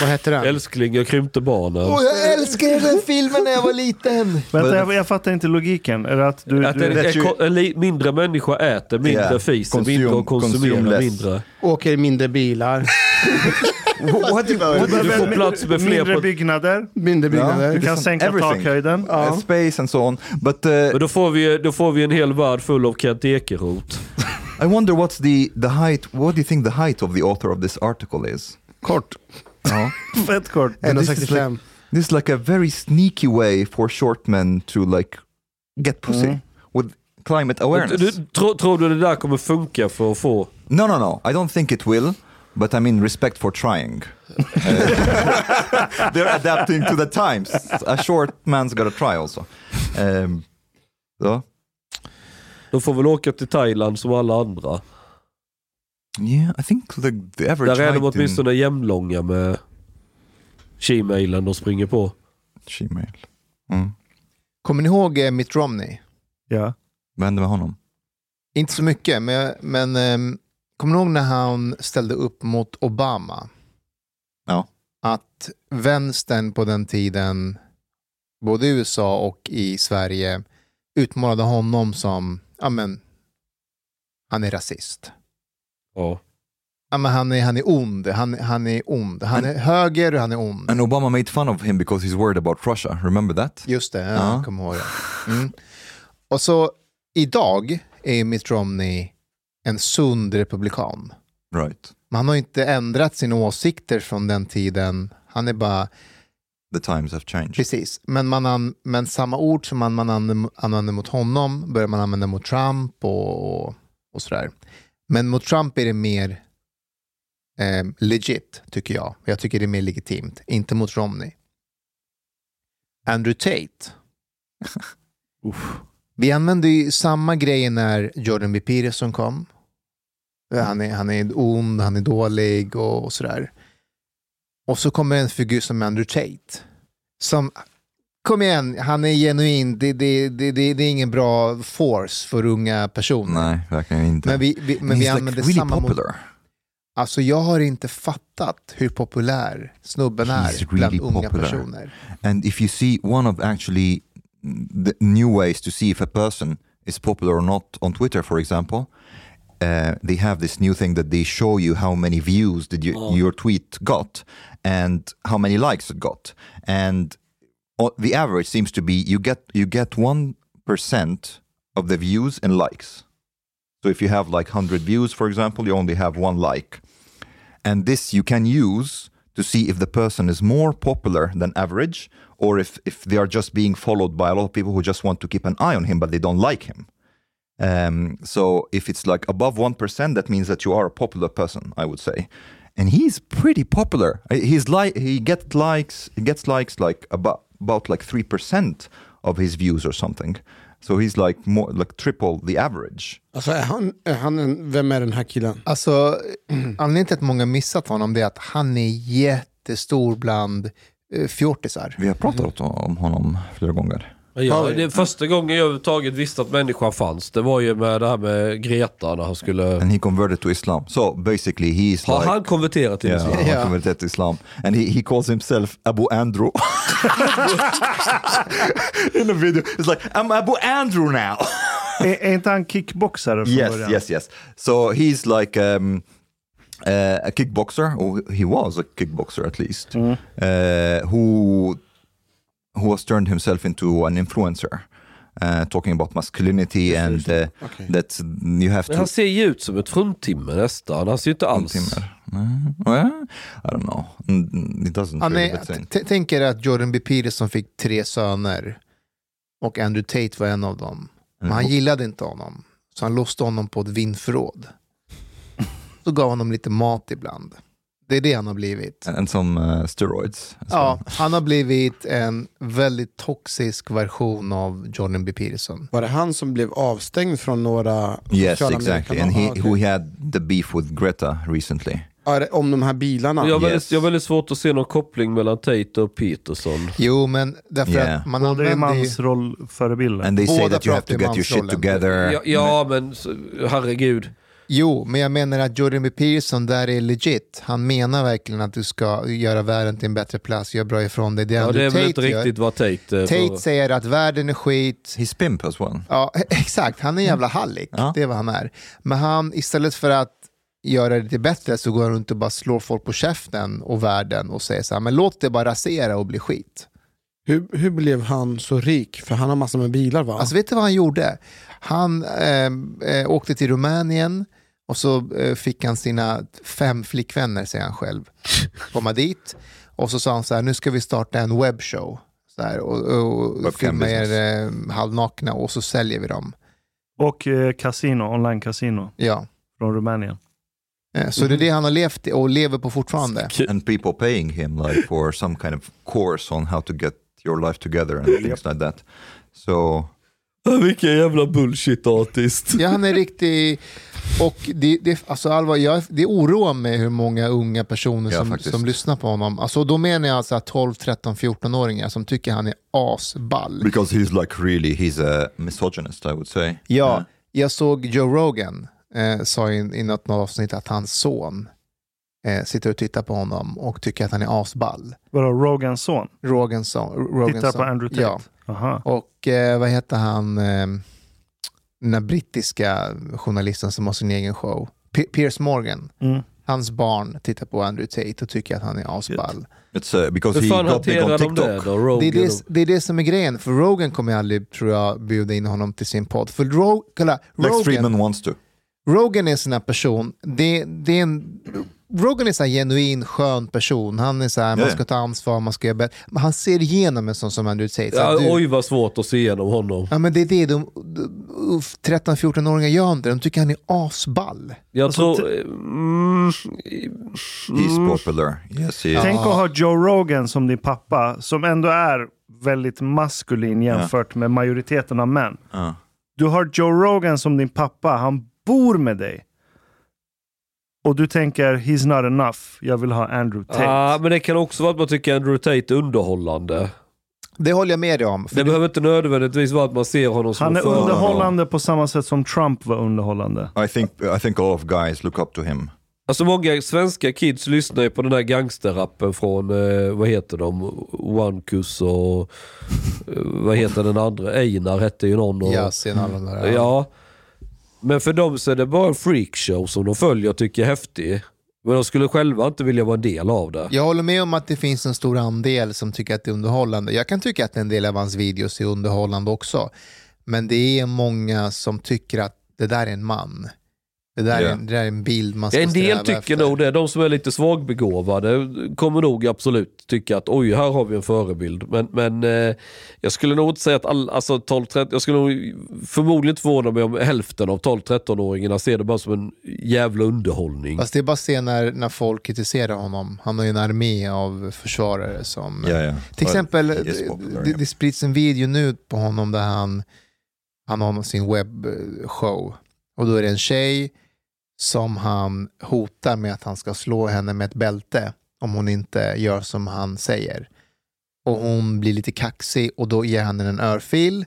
A: Vad hette den?
D: Älskling, jag krympte barnen.
E: Åh, jag älskade den filmen när jag var liten!
B: Vänta, jag, jag fattar inte logiken. Är det att du...
D: Att
B: du
D: en,
C: That
D: en,
C: you-
D: ko- en li- mindre människa äter mindre,
C: Yeah.
D: fiser
C: Consume-
D: mindre och konsumerar
C: consumeless.
D: mindre.
A: Åker i mindre bilar,
C: what do you- what do you
D: Du
B: Men-
D: får plats med fler
B: Mindre
D: på...
B: byggnader,
A: mindre
B: du
A: byggnader.
B: kan sänka
C: everything.
B: takhöjden.
C: uh, space and so on. But uh,
D: Men då får, vi, då får vi en hel värld full av Kent Ekeroth.
C: I wonder what's the the height. What do you think the height of the author of this article is?
A: Kort,
C: Uh,
B: Fett kort.
C: Men this is
A: 1,65.
C: this is like a very sneaky way for short men to like get pussy
B: Mm.
C: with climate awareness.
D: Du, tro, tror du det där kommer funka för att få...
C: No, no, no. I don't think it will. But I mean, respect for trying. Uh, they're adapting to the times. A short man's got to try also. Um, so,
D: De får väl åka till Thailand som alla andra.
C: yeah, I think the, the average
D: Där är de
C: height in
D: åtminstone jämnlånga med Shemailen de springer på.
C: Gmail. Mm.
E: Kommer ni ihåg eh, Mitt Romney?
B: Ja.
C: Vad hände med honom?
E: Inte så mycket, men, men ehm, kommer ni ihåg när han ställde upp mot Obama?
C: Ja.
E: Att vänstern på den tiden, både i USA och i Sverige, utmålade honom som, ja men, han är rasist.
D: Ja.
E: Ja, men han, är, han är ond, han, han är ond. Han är höger och han är ond.
C: And Obama made fun of him because he's worried about Russia. Remember that?
E: Just det, ja,
C: Ja.
E: jag kommer ihåg det. Mm. Och så idag är Mitt Romney en sund republikan.
C: Right.
E: Men han har ju inte ändrat sina åsikter från den tiden. Han är bara,
C: The times have changed.
E: precis. Men, man an, men samma ord som man, man an- använder mot honom börjar man använda mot Trump och, och, och sådär. Men mot Trump är det mer eh, legit, tycker jag. Jag tycker det är mer legitimt. Inte mot Romney. Andrew Tate. Vi använde ju samma grejer när Jordan B. Peterson kom. Eh, Han är, han är ond, han är dålig och, och sådär. Och så kommer en figur som Andrew Tate. Som, kom igen, han är genuin. Det, det, det, det, det är ingen bra force för unga personer.
C: Nej, verkligen inte.
E: Men vi, vi, men
C: He's
E: vi
C: like
E: använder
C: really
E: samma... mot-
C: popular.
E: Alltså jag har inte fattat hur populär snubben
C: He's
E: är bland
C: really
E: unga
C: popular.
E: personer.
C: And if you see one of actually the new ways to see if a person is popular or not on Twitter, for example, uh, they have this new thing that they show you how many views did you, your tweet got and how many likes it got. And o- the average seems to be you get you get one percent of the views and likes. So if you have like hundred views, for example, you only have one like. And this you can use to see if the person is more popular than average or if, if they are just being followed by a lot of people who just want to keep an eye on him but they don't like him. Um, so if it's like above 1%, that means that you are a popular person, I would say. And he's pretty popular. Uh, He's like he gets likes, he gets likes like about about like 3% of his views or something. So he's like more like triple the average.
A: Alltså, är han, är han en, vem är den här killen?
E: Alltså, anledningen till att många missat honom det är att han är jättestor bland eh, fjortisar.
C: Vi har pratat om honom flera gånger.
D: Ja, det är första gången jag överhuvudtaget visste att människan fanns, det var ju med det här med Greta när han skulle...
C: and he converted to Islam. So basically, he's
D: Har
C: like,
D: han konverterat till
C: yeah,
D: islam?
C: he
E: Yeah.
C: converted to Islam, and he, he calls himself Abu Andrew. In the video, it's like I'm Abu Andrew now.
B: Är, är inte han kickboxare från
C: yes,
B: början?
C: yes, yes. So he's like um, uh, a kickboxer, or he was a kickboxer at least, uh, who who has turned himself into an influencer, uh, talking about masculinity and uh, that you have to.
D: Men han ser ju ut som ett fruntimmer nästan. Han ser ju inte alls...
C: Fruntimmer. Mm, well, I don't know. Mm, It doesn't
E: Han
C: really
E: är,
C: fit in.
E: t- tänk er att Jordan B. Peterson fick tre söner och Andrew Tate var en av dem. Men han gillade inte honom, så han låste honom på ett vindförråd. Så gav honom lite mat ibland. Det är det han har blivit.
C: And, and some uh, steroids. as
E: Ja,
C: well.
E: han har blivit en väldigt toxisk version av Jordan B. Peterson.
A: Var det han som blev avstängd från några
C: Yes,
A: sociala
C: exactly.
A: mediekanaler?
C: And he
A: Ah, okej.
C: who had the beef with Greta recently.
A: Ja, det- Om de här bilarna?
D: Men Jag har,
C: Yes.
D: väldigt, jag har väldigt svårt att se någon koppling mellan Tate och Peterson.
E: Jo, men därför
C: Yeah.
E: att man
B: Båda är
E: använder ju...
B: mansrollförebilder.
C: And they say
E: Båda
C: that you have
E: pratar
C: to
E: ju
C: get your shit
E: mansrollen.
C: together.
D: Ja,
E: Mm.
D: ja men så- herregud.
E: Jo, men jag menar att Jordan B. Peterson där är legit. Han menar verkligen att du ska göra världen till en bättre plats, gör bra ifrån dig. Det,
D: Ja,
E: Andrew
D: det är väl
E: Tate
D: inte
E: gör.
D: riktigt vad Tate... eh,
E: Tate
D: för-
E: säger att världen är skit.
C: He's pimp as well.
E: Ja, exakt. Han är en
D: Mm.
E: jävla hallick.
C: Ja.
E: Det är vad han är. Men han, istället för att göra det till bättre så går han runt och bara slår folk på käften och världen och säger så här, men låt det bara rasera och bli skit.
A: Hur, hur blev han så rik? För han har massor med bilar va?
E: Alltså vet du vad han gjorde? Han eh, eh, åkte till Rumänien och så eh, fick han sina fem flickvänner, säger han själv, komma dit. Och så sa han så här, nu ska vi starta en webbshow. Så här, och, och, och
C: Webcam
E: filma er eh, halvnakna och så säljer vi dem.
B: Och eh, casino, online casino
E: Ja.
B: från Rumänien.
E: Eh, Så det är det han har levt i och lever på fortfarande.
C: And people paying him like for some kind of course on how to get your life together and things like that. So
D: Ah, Vilken jävla bullshit-artist.
E: Ja, han är riktig... Och det, det, alltså allvar, jag, det oroar mig hur många unga personer
C: Ja,
E: som,
C: faktiskt.
E: som lyssnar på honom. Alltså, då menar jag alltså 12, 13, 14-åringar som tycker han är asball.
C: because he's like really he's a misogynist I would say.
E: Ja, jag såg Joe Rogan eh, sa i, i något, något avsnitt att hans son eh, sitter och tittar på honom och tycker att han är asball.
B: Vadå, Rogans son?
E: Rogans son. Rogans
B: Tittar på
E: son.
B: Andrew Tate?
E: Ja.
B: Aha.
E: Och eh, vad heter han, eh, den där brittiska journalisten som har sin egen show? P- Piers Morgan.
B: Mm.
E: Hans barn tittar på Andrew Tate och tycker att han är asball.
C: It's uh, because
D: Hur
C: he
D: fan
C: got big on
D: hanterar de det
C: TikTok.
D: då? Rogan
E: Det är
D: och-
E: det, det är det som är grejen, för Rogan kommer aldrig, tror jag, bjuda in honom till sin podd. För Ro- kolla,
C: Like
E: Rogan,
C: Friedman wants to.
E: Rogan är en sån här person, det, det är en, Rogan är en sån här genuin skön person. Han är så här,
C: Ja,
E: man
C: ja.
E: ska ta ansvar, man ska göra bättre. Men han ser igenom en sån som Andrew Tate. Så
D: Ja,
E: att du-
D: Oj vad svårt att se igenom honom.
E: Ja men det är det de, de uff, 13-14-åringar gör inte. De tycker han är asball.
D: Jag
B: Alltså,
D: tror... Mm,
C: He's
D: mm,
C: popular. Yes, he is.
B: Tänk att ha Joe Rogan som din pappa, som ändå är väldigt maskulin jämfört med majoriteten av män.
C: Ja.
B: Du har Joe Rogan som din pappa, han bor med dig. Och du tänker, he's not enough, jag vill ha Andrew Tate.
D: ah, men det kan också vara att man tycker Andrew Tate är underhållande.
E: Det håller jag med dig om.
D: Det behöver inte nödvändigtvis vara att man ser honom som
B: han är
D: en förebild.
B: underhållande på samma sätt som Trump var underhållande.
C: I think I think a lot of guys look up to him.
D: Alltså många svenska kids lyssnar ju på den där gangsterrappen från, eh, vad heter de, Onekus och eh, vad heter den andra, Einar hette ju någon. Och,
E: Ja, sen alla de där.
D: Ja. Men för dem så är det bara en freakshow som de följer och tycker är häftig. Men de skulle själva inte vilja vara en del av det.
E: Jag håller med om att det finns en stor andel som tycker att det är underhållande. Jag kan tycka att en del av hans videos är underhållande också. Men det är många som tycker att det där är en man. Det där,
C: Ja.
E: är, en, det där är en bild man ska
D: Ja, en del
E: sträva
D: tycker
E: efter.
D: nog det. De som är lite svagbegåvade kommer nog absolut tycka att oj, här har vi en förebild. Men, men eh, jag skulle nog inte säga att all, alltså 12-13, jag skulle nog förmodligen inte förvåna mig om hälften av 12-13-åringarna ser det bara som en jävla underhållning.
E: Fast det är bara att se när, när folk kritiserar honom. Han har ju en armé av försvarare som...
C: Yeah, yeah.
E: Till exempel,
C: But he is popular,
E: det, det sprids en video nu på honom där han, han har sin webbshow. Och då är det en tjej som han hotar med att han ska slå henne med ett bälte om hon inte gör som han säger. Och hon blir lite kaxig och då ger han henne en örfil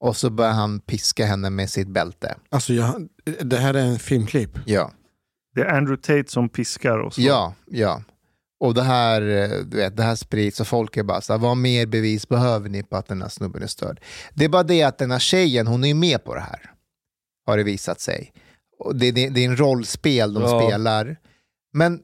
E: och så börjar han piska henne med sitt bälte.
A: Alltså, jag, det här är en filmklipp.
E: Ja.
B: Det är Andrew Tate som piskar oss.
E: Ja, ja. Och det här, eh, du vet, det här sprids och folk är bara så här, vad mer bevis behöver ni på att den här snubben är störd? Det är bara det att den här tjejen, hon är ju med på det här. Har det visat sig. Och det, det, det är en rollspel de
D: Ja.
E: spelar. Men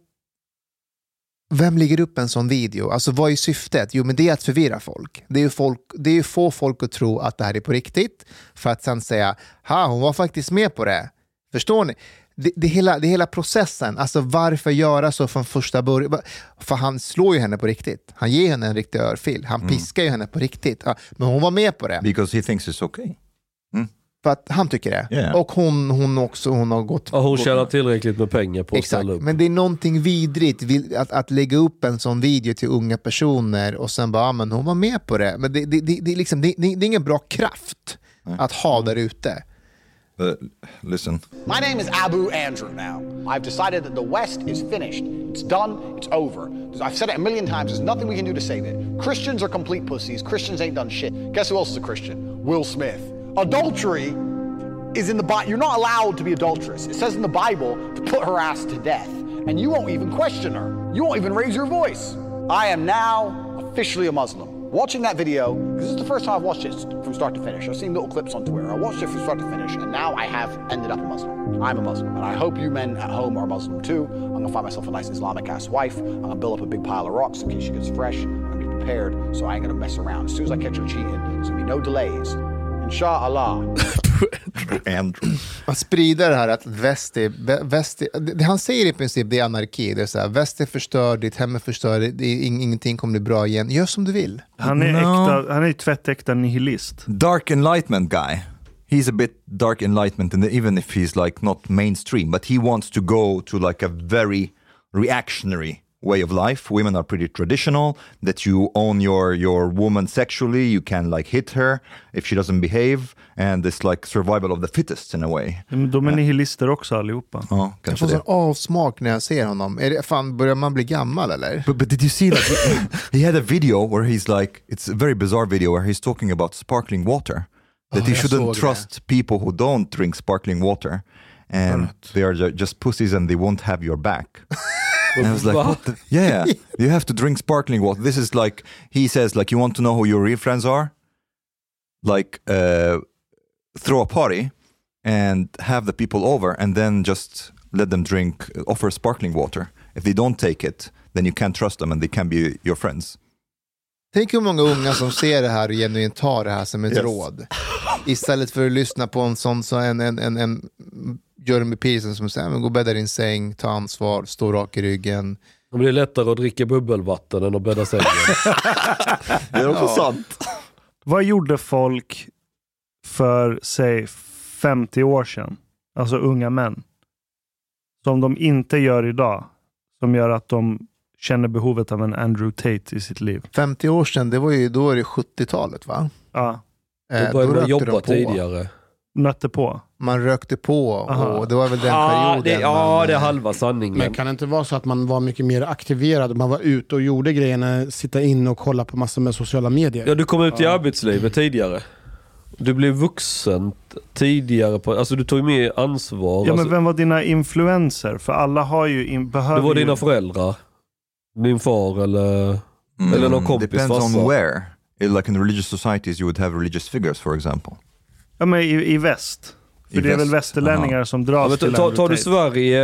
E: vem lägger upp en sån video? Alltså vad är syftet? Jo, men det är att förvirra folk. Det är ju folk, det är ju få folk att tro att det här är på riktigt för att sen säga ha, hon var faktiskt med på det. Förstår ni? Det, det, hela, det hela processen, alltså varför göra så från första början? För han slår ju henne på riktigt. Han ger henne en riktig örfil. Han piskar ju henne på riktigt. Ja, men hon var med på det.
C: because he thinks it's okay.
E: För att han tycker det.
C: Ja.
E: Och hon, hon också, hon har gått...
D: Ja, hon
E: gått-
D: tjänar tillräckligt med pengar på att
E: Exakt,
D: ställa upp.
E: men det är någonting vidrigt vid- att, att lägga upp en sån video till unga personer och sen bara, ah, men hon var med på det. Men det, det, det, det, är liksom, det, det, det är ingen bra kraft att ha där ute.
C: Uh, listen,
G: My name is Abu Andrew now. I've decided that the West is finished. It's done. It's over. I've said it a million times. There's nothing we can do to save it. Christians are complete pussies. Christians ain't done shit. Guess who else is a Christian? Will Smith. Adultery is in the Bible. You're not allowed to be adulterous. It says in the Bible to put her ass to death. And you won't even question her. You won't even raise your voice. I am now officially a Muslim. Watching that video, 'cause this is the first time I've watched it from start to finish. I've seen little clips on Twitter. I watched it from start to finish, and now I have ended up a Muslim. I'm a Muslim, and I hope you men at home are Muslim too. I'm gonna find myself a nice Islamic ass wife. I'm gonna build up a big pile of rocks in case she gets fresh. I'm gonna be prepared, so I ain't gonna mess around. As soon as I catch her cheating, there's gonna be no delays. Inshallah.
C: Andrew.
E: Att sprida det här att väst är, vä- väst är, det- det han säger i princip det är anarki. Det är så här, väst är förstörd, ditt hem är förstört, det är, ing- ingenting kommer bli bra igen. Gör som du vill.
B: Han är,
C: No.
B: äkta, han är ju tvättäkta nihilist.
C: dark enlightenment guy. He's a bit dark enlightenment, and even if he's like not mainstream, but he wants to go to like a very reactionary way of life. Women are pretty traditional. That you own your your woman sexually, you can like hit her if she doesn't behave, and it's like survival of the fittest in a way.
B: Men De är nihilister också allihopa.
C: Oh,
E: Jag får sån Alltså, avsmak när jag ser honom. Är det, fan, börjar man bli gammal eller?
C: But, but did you see like he had a video where he's like it's a very bizarre video where he's talking about sparkling water that he
E: Oh, I saw
C: shouldn't
E: that.
C: trust people who don't drink sparkling water and they are ju- just pussies and they won't have your back. and I was like, what the? yeah, you have to drink sparkling water. This is like he says like you want to know who your real friends are, like uh, throw a party and have the people over and then just let them drink offer sparkling water if they don't take it then you can't trust them and they can be your friends
E: Tänk hur många unga som ser det här och genuint tar det här som ett
C: Yes.
E: råd. Istället för att lyssna på en sån som en, en, en, en Jeremy Pearson som säger, men gå och bädda i din säng, ta ansvar, stå rak i ryggen.
D: Men det är lättare att dricka bubbelvatten än att bädda sängen.
C: det är också sant.
B: Vad gjorde folk för, säg, 50 år sedan? Alltså unga män. Som de inte gör idag. Som gör att de känner behovet av en Andrew Tate i sitt liv.
E: 50 år sedan, det var ju, då är det 70-talet va?
B: Ja,
D: Då
E: Eh,
D: började man
E: rökte de
D: jobba
E: på.
D: tidigare.
B: nötte på.
E: Man rökte på
B: Aha.
E: och det var väl den
D: Ja, det,
E: perioden.
D: ja,
E: man,
D: det är
E: eh,
D: halva
A: Men
D: sanningen.
A: kan det inte vara så att man var mycket mer aktiverad? Man var ute och gjorde grejerna, sitta inne och kolla på massor med sociala medier.
D: Ja, du kom ut i arbetslivet tidigare. Du blev vuxen t- tidigare. På, alltså du tog ju mer ansvar.
B: Ja, men
D: alltså,
B: vem var dina influenser? För alla har ju... In, behöver
D: det var
B: ju...
D: dina föräldrar. Din far eller... Eller någon kompis
C: Mm, depends
D: farsa.
C: on where In, like in religious societies you would have religious figures for example
B: Ja, men i, i väst. För
C: I
B: det är väl
C: väst,
B: västerlänningar
C: aha.
B: som
D: Ja,
B: dras
D: men ta,
B: till
D: ta,
B: Andrew
D: tar du
B: Tate.
D: Sverige,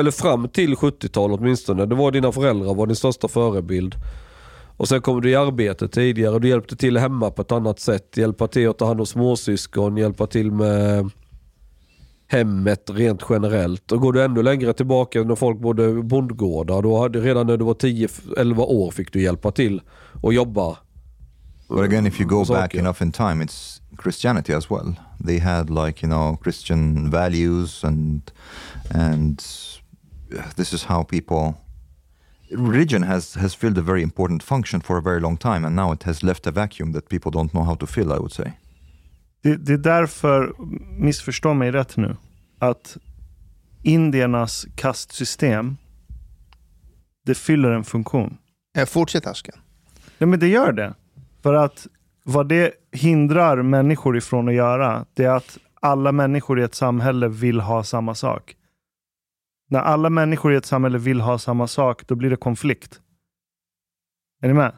D: eller fram till 70-talet åtminstone, det var dina föräldrar var din största förebild. Och sen kom du i arbete tidigare, du hjälpte till hemma på ett annat sätt. Hjälpa till att ta hand om småsyskon, hjälpa till med hemmet rent generellt. Och går du ännu längre tillbaka när folk bodde i bondgårdar, då hade, redan när du var 10-11 år fick du hjälpa till och jobba.
C: But again, if you go
D: saker.
C: back enough in time, it's Christianity as well. They had like you know Christian values and and uh, this is how people religion has has filled a very important function for a very long time, and now it has left a vacuum that people don't know how to fill. I would say.
B: Det, det är därför, missförstå mig rätt nu, att indiernas kastsystem, det fyller en funktion.
E: Eh, Fortsätt Ashkan.
B: Ja, men det gör det. För att vad det hindrar människor ifrån att göra, det är att alla människor i ett samhälle vill ha samma sak. När alla människor i ett samhälle vill ha samma sak, då blir det konflikt. Är ni med?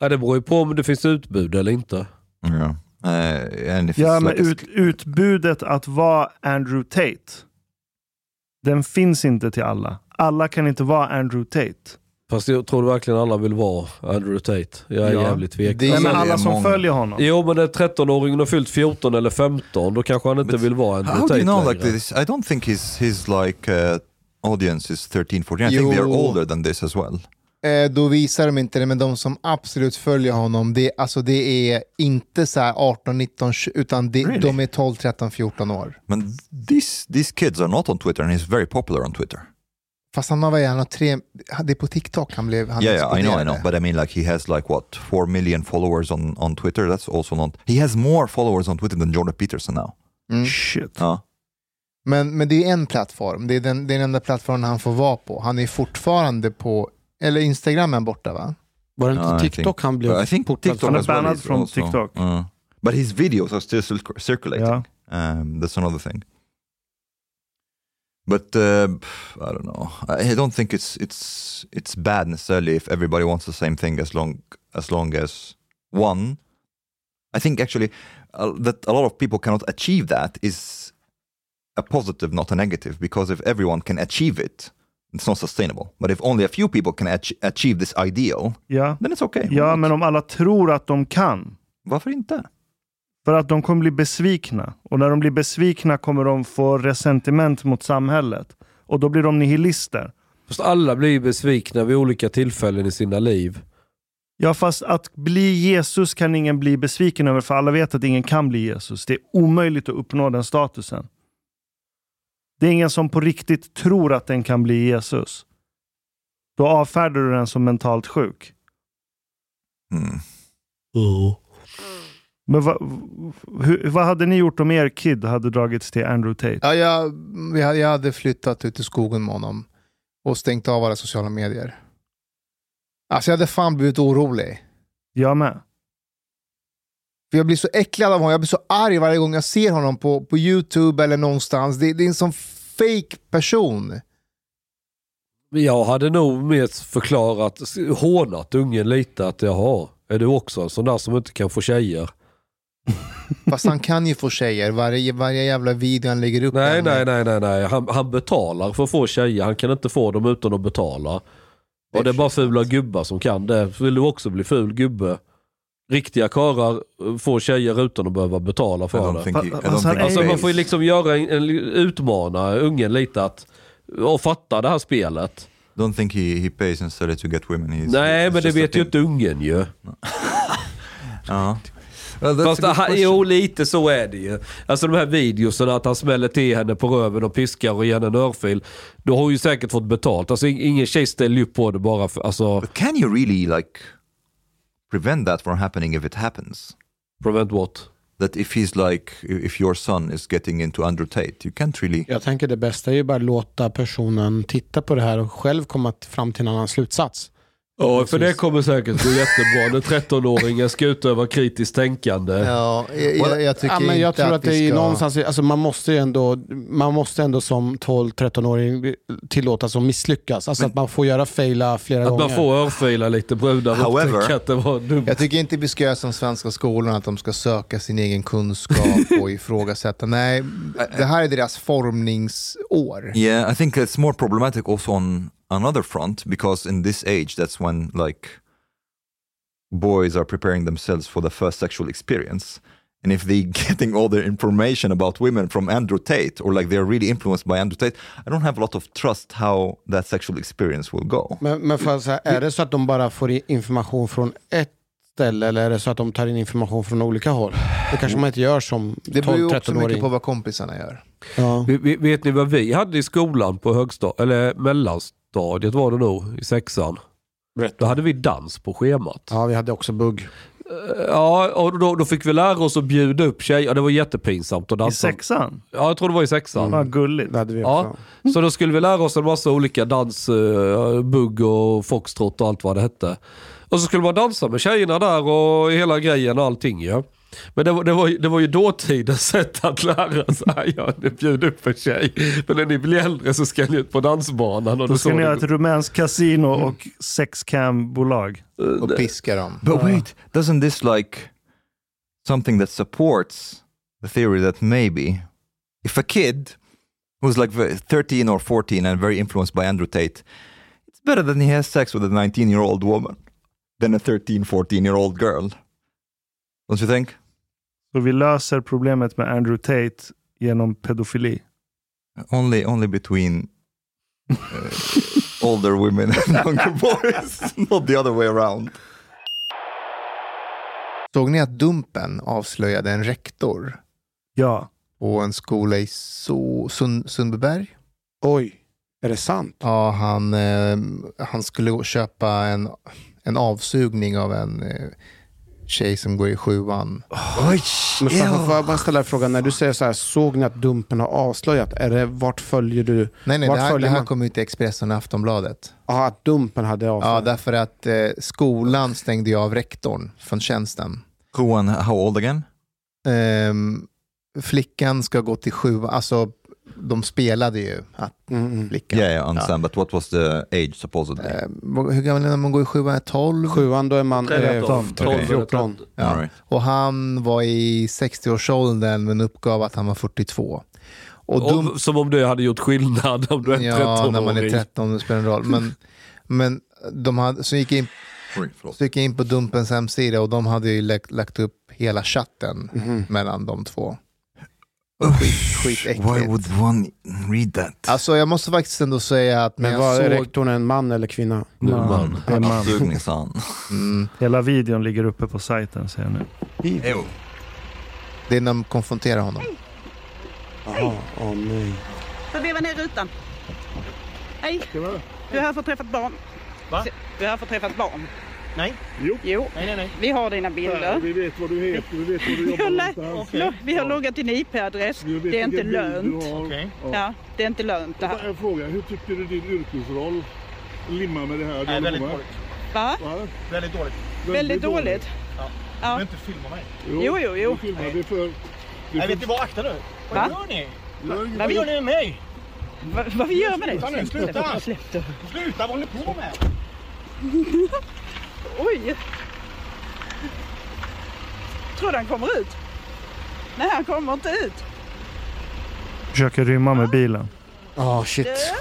D: Ja, det beror ju på om det finns utbud eller inte.
C: Yeah. Uh, and if
B: Ja,
C: it's
B: men
C: like a
B: ut, utbudet att vara Andrew Tate, Den finns inte till alla. Alla kan inte vara Andrew Tate.
D: Fast jag tror verkligen alla vill vara Andrew Tate. Jag är
B: Ja.
D: jävligt tveksam.
E: Det-
B: Nej, men
E: är
B: alla som
C: många.
B: följer honom.
D: Jo, men när 13-åringen har fyllt 14 eller 15, då kanske han inte
C: But
D: vill vara Andrew
C: How
D: Tate
C: do you know like
D: längre.
C: this? I don't think his his like uh, audience is 13, 14. I think they are
E: Jo.
C: older than this as well.
E: Eh, då visar de inte det, men de som absolut följer honom, det, alltså det är inte så här 18, 19, 20, utan det,
C: Really?
E: de är 12, 13, 14 år.
C: Man, these these kids are not on Twitter, and he's very popular on Twitter.
E: Fast han var gärna tre, det är på TikTok han blev, han
C: yeah, yeah, I know, I know.
E: exploderade.
C: But I mean, like he has like what four million followers on on Twitter. That's also not. He has more followers on Twitter than Jordan Peterson now.
E: Mm.
B: Shit.
C: Uh,
E: Men, men det är en plattform, det är, den, det är den enda plattformen han får vara på. Han är fortfarande på, eller Instagram är han borta va?
A: Var det inte
C: Ja, I
A: TikTok han blev
C: but I think
A: portad
C: TikTok
A: från?
B: Han är
C: as well
B: bannad
C: is
B: from
C: also-
B: TikTok.
C: Uh, but his videos are still circ- circulating.
B: Ja.
C: Um, that's another thing. But uh, pff, I don't know. I I don't think it's it's it's bad necessarily if everybody wants the same thing as long as long as one. I think actually uh, that a lot of people cannot achieve that is a positive, not a negative, because if everyone can achieve it, it's not sustainable. But if only a few people can ach- achieve this ideal,
B: Ja.
C: then it's okay.
B: ja, men om alla tror att de kan,
C: Varför inte?
B: För att de kommer bli besvikna. Och när de blir besvikna kommer de få resentiment mot samhället. Och då blir de nihilister.
D: Fast alla blir ju besvikna vid olika tillfällen i sina liv.
B: Ja, fast att bli Jesus kan ingen bli besviken över, för alla vet att ingen kan bli Jesus. Det är omöjligt att uppnå den statusen. Det är ingen som på riktigt tror att den kan bli Jesus. Då avfärdar du den som mentalt sjuk.
C: Mm.
B: Men vad- hur, vad hade ni gjort om er kid hade dragits till Andrew Tate?
E: Ja, jag, jag, jag hade flyttat ut i skogen med honom och stängt av alla sociala medier. Alltså jag hade fan blivit orolig.
B: Jag med.
E: För jag blir så äcklad av honom, jag blir så arg varje gång jag ser honom på, på YouTube eller någonstans. Det, det är en sån fake person.
D: Men Jag hade nog mer förklarat, hånat ungen lite att jaha, är du också en sån där som inte kan få tjejer?
E: Fast han kan ju få tjejer. Varje, varje jävla video han lägger upp.
D: Nej, nej,
E: där med-
D: nej, nej, nej. Han, han betalar för att få tjejer. Han kan inte få dem utan att betala. Och det är bara fula gubbar som kan det. Vill du också bli ful gubbe? Riktiga karlar eh, får tjejer utan att behöva betala
C: I
D: för
C: don't
D: det.
C: think he, I don't
B: Alltså,
C: think
B: han
D: Alltså
C: he
D: man får ju
C: fails.
D: liksom göra en, en, utmana ungen lite att och fatta det här spelet.
C: Don't think he, he pays necessarily to get women. He's,
D: Nej,
C: it's
D: men det
C: just a Uh-huh.
D: vet ju
C: thing.
D: inte ungen ju.
C: Ja. Well, that's
D: Fast
C: a good
D: aha,
C: question.
D: jo, lite så är det ju. Alltså de här videoserna att han smäller till henne på röven och piskar och ger henne en örfil. Då har hon ju säkert fått betalt. Alltså ing- ingen tjej ställer ju upp på det bara för, alltså,
C: But can you really like prevent that from happening if it happens?
D: prevent what?
C: That if he's like, if your son is getting into Andrew Tate, you can't really.
A: Jag tänker det bästa är ju bara låta personen titta på det här och själv komma t- fram till en annan slutsats.
D: Ja, för det kommer säkert gå jättebra när 13-åringen ska utöva kritiskt tänkande.
E: Ja, jag, jag, jag tycker
A: Ja, men jag
E: inte
A: tror att det
E: vi
A: är
E: ska...
A: någonstans, alltså man måste ju ändå, man måste ändå som 12-13-åring tillåtas att misslyckas. Alltså att man får göra fejla flera
D: Att
A: gånger.
D: man får örfila lite brudar och
C: However-
D: upptäcka att det var dumt.
E: Jag tycker inte vi ska göra som svenska skolan, att de ska söka sin egen kunskap och ifrågasätta. Nej, det här är deras formningsår.
C: Yeah, I think it's more problematic also on another front because in this age, that's when like boys are preparing themselves for the first sexual experience. And if they getting all their information about women from Andrew Tate, or like they're really influenced by Andrew Tate, I don't have a lot of trust how that sexual experience will go.
A: Men, men får jag säga, är det så att de bara får i- information från ett ställe eller är det så att de tar in information från olika håll? Det kanske man inte gör som
E: Det beror ju också mycket
A: 12-13-åring.
E: på vad kompisarna gör.
A: Ja.
D: Vi- vi- Vet ni vad vi hade i skolan på högstad eller mellanstadiet var det nog, i sexan? Då hade vi dans på schemat. Eh,
A: ja, vi hade också bugg.
D: Ja, och då, då fick vi lära oss att bjuda upp tjejer. Ja, det var jättepinsamt att
B: I
D: dansa.
B: sexan?
D: Ja, jag tror det var i sexan.
B: Vad gulligt.
A: Det hade vi också.
D: Ja, så då skulle vi lära oss en massa olika dans, eh, bugg och foxtrot och allt vad det hette. Och så skulle man dansa med tjejerna där och hela grejen och allting ju. Men det var, det, var, ju- det var ju dåtidens sätt att lära sig. Ja, ni bjuder upp en tjej, men när ni blir äldre så ska ni ut på dansbanan. Och
B: Då ska ni ha
D: det,
B: ett rumänskt kasino och sexcam-bolag.
E: Och piska dem.
C: But wait, doesn't this like something that supports the theory that maybe if a kid who's like ve- 13 or 14 and very influenced by Andrew Tate, it's better that he has sex with a 19 year old woman than a 13, 14 year old girl. Don't you think?
B: Så vi löser problemet med Andrew Tate genom pedofili.
C: Only, only between uh, older women and younger boys, not the other way around.
E: Såg ni att Dumpen avslöjade en rektor
B: Ja.
E: på en skola i so- Sund- Sundbyberg?
A: Oj, är det sant?
E: Ja, han, eh, han skulle köpa en, en avsugning av en eh, tjej som går i sjuan.
C: Oj!
A: Men får jag- får jag bara ställa en fråga? När du säger så här, såg ni att Dumpen har avslöjat? Är det, vart följer du?
E: Nej, nej,
A: vart
E: det här, det
A: följer
E: här
A: man?
E: kom ut i Expressen och Aftonbladet.
A: Ja, att Dumpen hade
E: Ja,
A: avslöjat.
E: därför att eh, skolan stängde ju av rektorn från tjänsten.
C: Juan, how old again?
E: Ehm, flickan ska gå till sjuan, alltså de spelade ju att
A: Mm, mm.
E: flickan...
C: Yeah, Ah. Uh, yeah, I understand, but what was the age supposedly?
E: Ehm, hur gammal är man när man går i sjuan? 12?
A: Sjuan, då är man eh,
D: Tretton.
A: 12,
D: Okej.
A: 14.
E: Ja.
C: All right.
E: Och han var i 60-årsåldern men uppgav att han var 42. Och dum-
D: Om, som om det hade gjort skillnad om du är en
E: ja,
D: 13-åring.
E: när man är 13, det spelar en roll. Men, men de hade, så gick jag in,
C: Oj, förlåt.
E: så gick jag in på Dumpens hemsida och de hade ju lagt, lagt upp hela chatten
A: Mhm.
E: mellan de två. Och Skit,
C: Why
E: skitäckligt.
C: would one read that?
E: Alltså jag måste faktiskt ändå säga att när
A: Men
E: jag
A: var är
E: såg...
A: rektorn en man eller kvinna?
D: Nu,
B: Man.
D: man.
B: Det är man.
C: Sugning, son.
E: Mm,
B: Hela videon ligger uppe på sajten ser jag nu.
C: Ew.
E: det är när de konfronterar honom.
A: Jaha, åh nej.
H: Får veva ner rutan. Hej. Du har här förträffat barn. Va? Du har här förträffat barn.
I: Nej.
H: Jo. Nej, nej, nej. Vi har dina bilder. Vi vet vad du heter, vi vet vad du jobbar med. Vi har loggat din IP-adress. Det är inte lönt.
I: Okej.
H: Ja, det är inte lönt det här.
J: En fråga, hur tycker du din yrkesroll limmar med det här?
I: Nej, väldigt
J: jobbar?
I: dåligt.
H: Va?
I: Väldigt dåligt.
H: Väldigt dåligt.
I: Du
H: Ja.
I: behöver inte filma mig.
H: Jo, jo, jo.
J: Du filmar det för... Du
I: Nej, vet ni vad? Akta nu.
H: Va?
I: Vad gör ni?
H: Vad
I: Vad
H: vi
I: gör
H: gör
I: ni med mig?
H: Va- Vad vi gör med
I: Sluta nu,
H: dig?
I: sluta.
H: Släpp det.
I: Sluta, vad håller ni på med?
H: Oj. Tror du han kommer ut? Nej, han kommer inte ut.
B: Försöker rymma med bilen.
A: Ja, shit.
H: Du?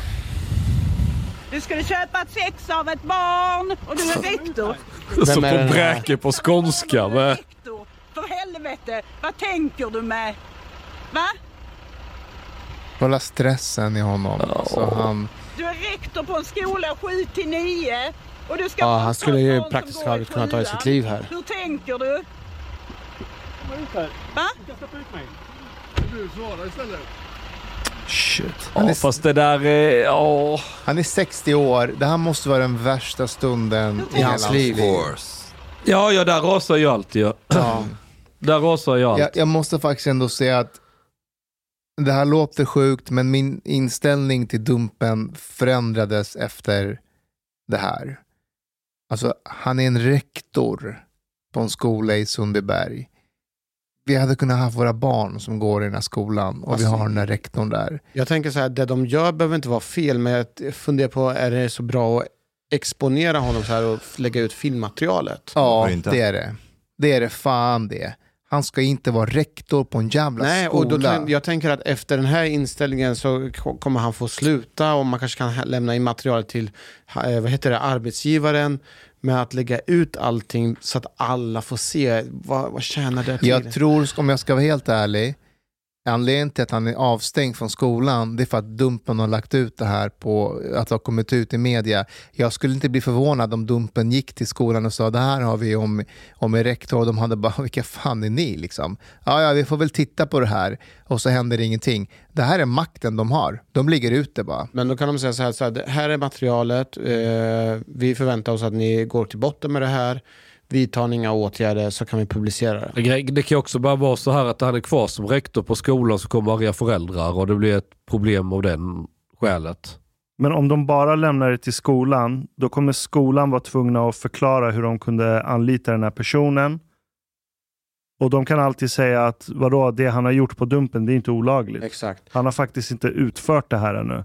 H: Du skulle köpa sex av ett barn och du är rektor.
D: Så
A: är den
D: på
A: här?
D: bräke på skånska.
H: Du är
D: Med.
H: rektor. För helvete, vad tänker du med? Va?
E: Kolla stressen i honom. Så han...
H: Du är rektor på en skola 7 till 9 och du ska
A: Ja,
H: vara
A: han
H: en
A: skulle ju
H: sån som
A: praktiskt
H: går i
A: taget kunna ta i
H: sjuan.
A: sitt liv här.
H: Hur tänker du? Va?
J: Du svarar istället.
B: Shit.
E: Han är-
D: Ja, fast det där är... Ja.
E: Han är 60 år. Det här måste vara den värsta stunden i hela hans liv.
C: Horse.
D: Ja, ja, där rasar ju allt ju.
E: Ja.
D: Där rasar ju allt.
E: Jag, jag måste faktiskt ändå säga att det här låter sjukt, men min inställning till Dumpen förändrades efter det här. Alltså, han är en rektor på en skola i Sundbyberg. Vi hade kunnat ha våra barn som går i den här skolan och vi har den här rektorn där.
A: Jag tänker så här, det de gör behöver inte vara fel, men jag funderar på, är det så bra att exponera honom så här och lägga ut filmmaterialet?
E: Ja,
C: Varför inte?
E: det är det. Det är det fan det. Han ska inte vara rektor på en jävla
A: Nej,
E: skola.
A: och då, tän- jag tänker att efter den här inställningen så k- kommer han få sluta och man kanske kan hä- lämna in materialet till ha- eh, vad heter det, arbetsgivaren med att lägga ut allting så att alla får se. Vad, vad tjänar det till?
E: Jag tror, om jag ska vara helt ärlig, anledningen till att han är avstängd från skolan det är för att Dumpen har lagt ut det här på, att det har kommit ut i media. Jag skulle inte bli förvånad om Dumpen gick till skolan och sa det här har vi om, om en rektor och de hade bara vilka fan är ni liksom? Ja, ja, vi får väl titta på det här och så händer ingenting. Det här är makten de har. De ligger ute bara.
A: Men då kan de säga så här, så här det här är materialet, eh, vi förväntar oss att ni går till botten med det här, vi tar inga åtgärder så kan vi publicera det.
D: Grej- Det kan ju också bara vara så här att han är kvar som rektor på skolan så kommer arga föräldrar och det blir ett problem av den skälet.
B: Men om de bara lämnar det till skolan, då kommer skolan vara tvungna att förklara hur de kunde anlita den här personen. Och de kan alltid säga att vadå, det han har gjort på Dumpen, det är inte olagligt.
A: Exakt.
B: Han har faktiskt inte utfört det här ännu.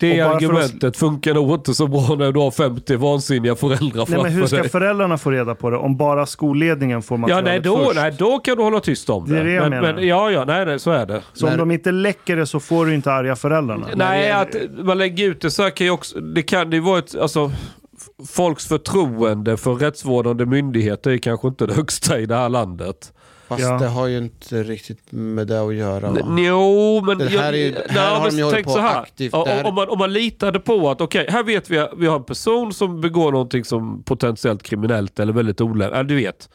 D: Det
B: Och bara för att-
D: argumentet funkar nog inte så bra när du har 50 vansinniga föräldrar
B: Nej,
D: framför
B: men hur ska
D: dig.
B: föräldrarna få reda på det om bara skolledningen får
D: Ja,
B: materialet
D: nej då,
B: först?
D: nej då kan du hålla tyst om det.
B: Det är det jag
D: men,
B: menar.
D: men, ja, ja, nej, nej, så är det.
B: Så om de inte läcker det så får du inte arga föräldrarna.
D: Nej, att man lägger ut det så här kan ju också... Det kan det ju vara ett... Alltså, f- folks förtroende för rättsvårdande myndigheter är kanske inte det högsta i det här landet.
A: Fast
B: Ja.
A: det har ju inte riktigt med det att göra. Va?
D: Jo, men...
A: Det här är ju-
D: jag-
A: här har
D: men
A: de ju hållit
D: tänk
A: på
D: så här.
A: aktivt.
D: Ja,
A: Det här-
D: Om, man, om man litade på att okej, här vet vi att vi har en person som begår någonting som potentiellt kriminellt eller väldigt olämpligt. Ja, du vet.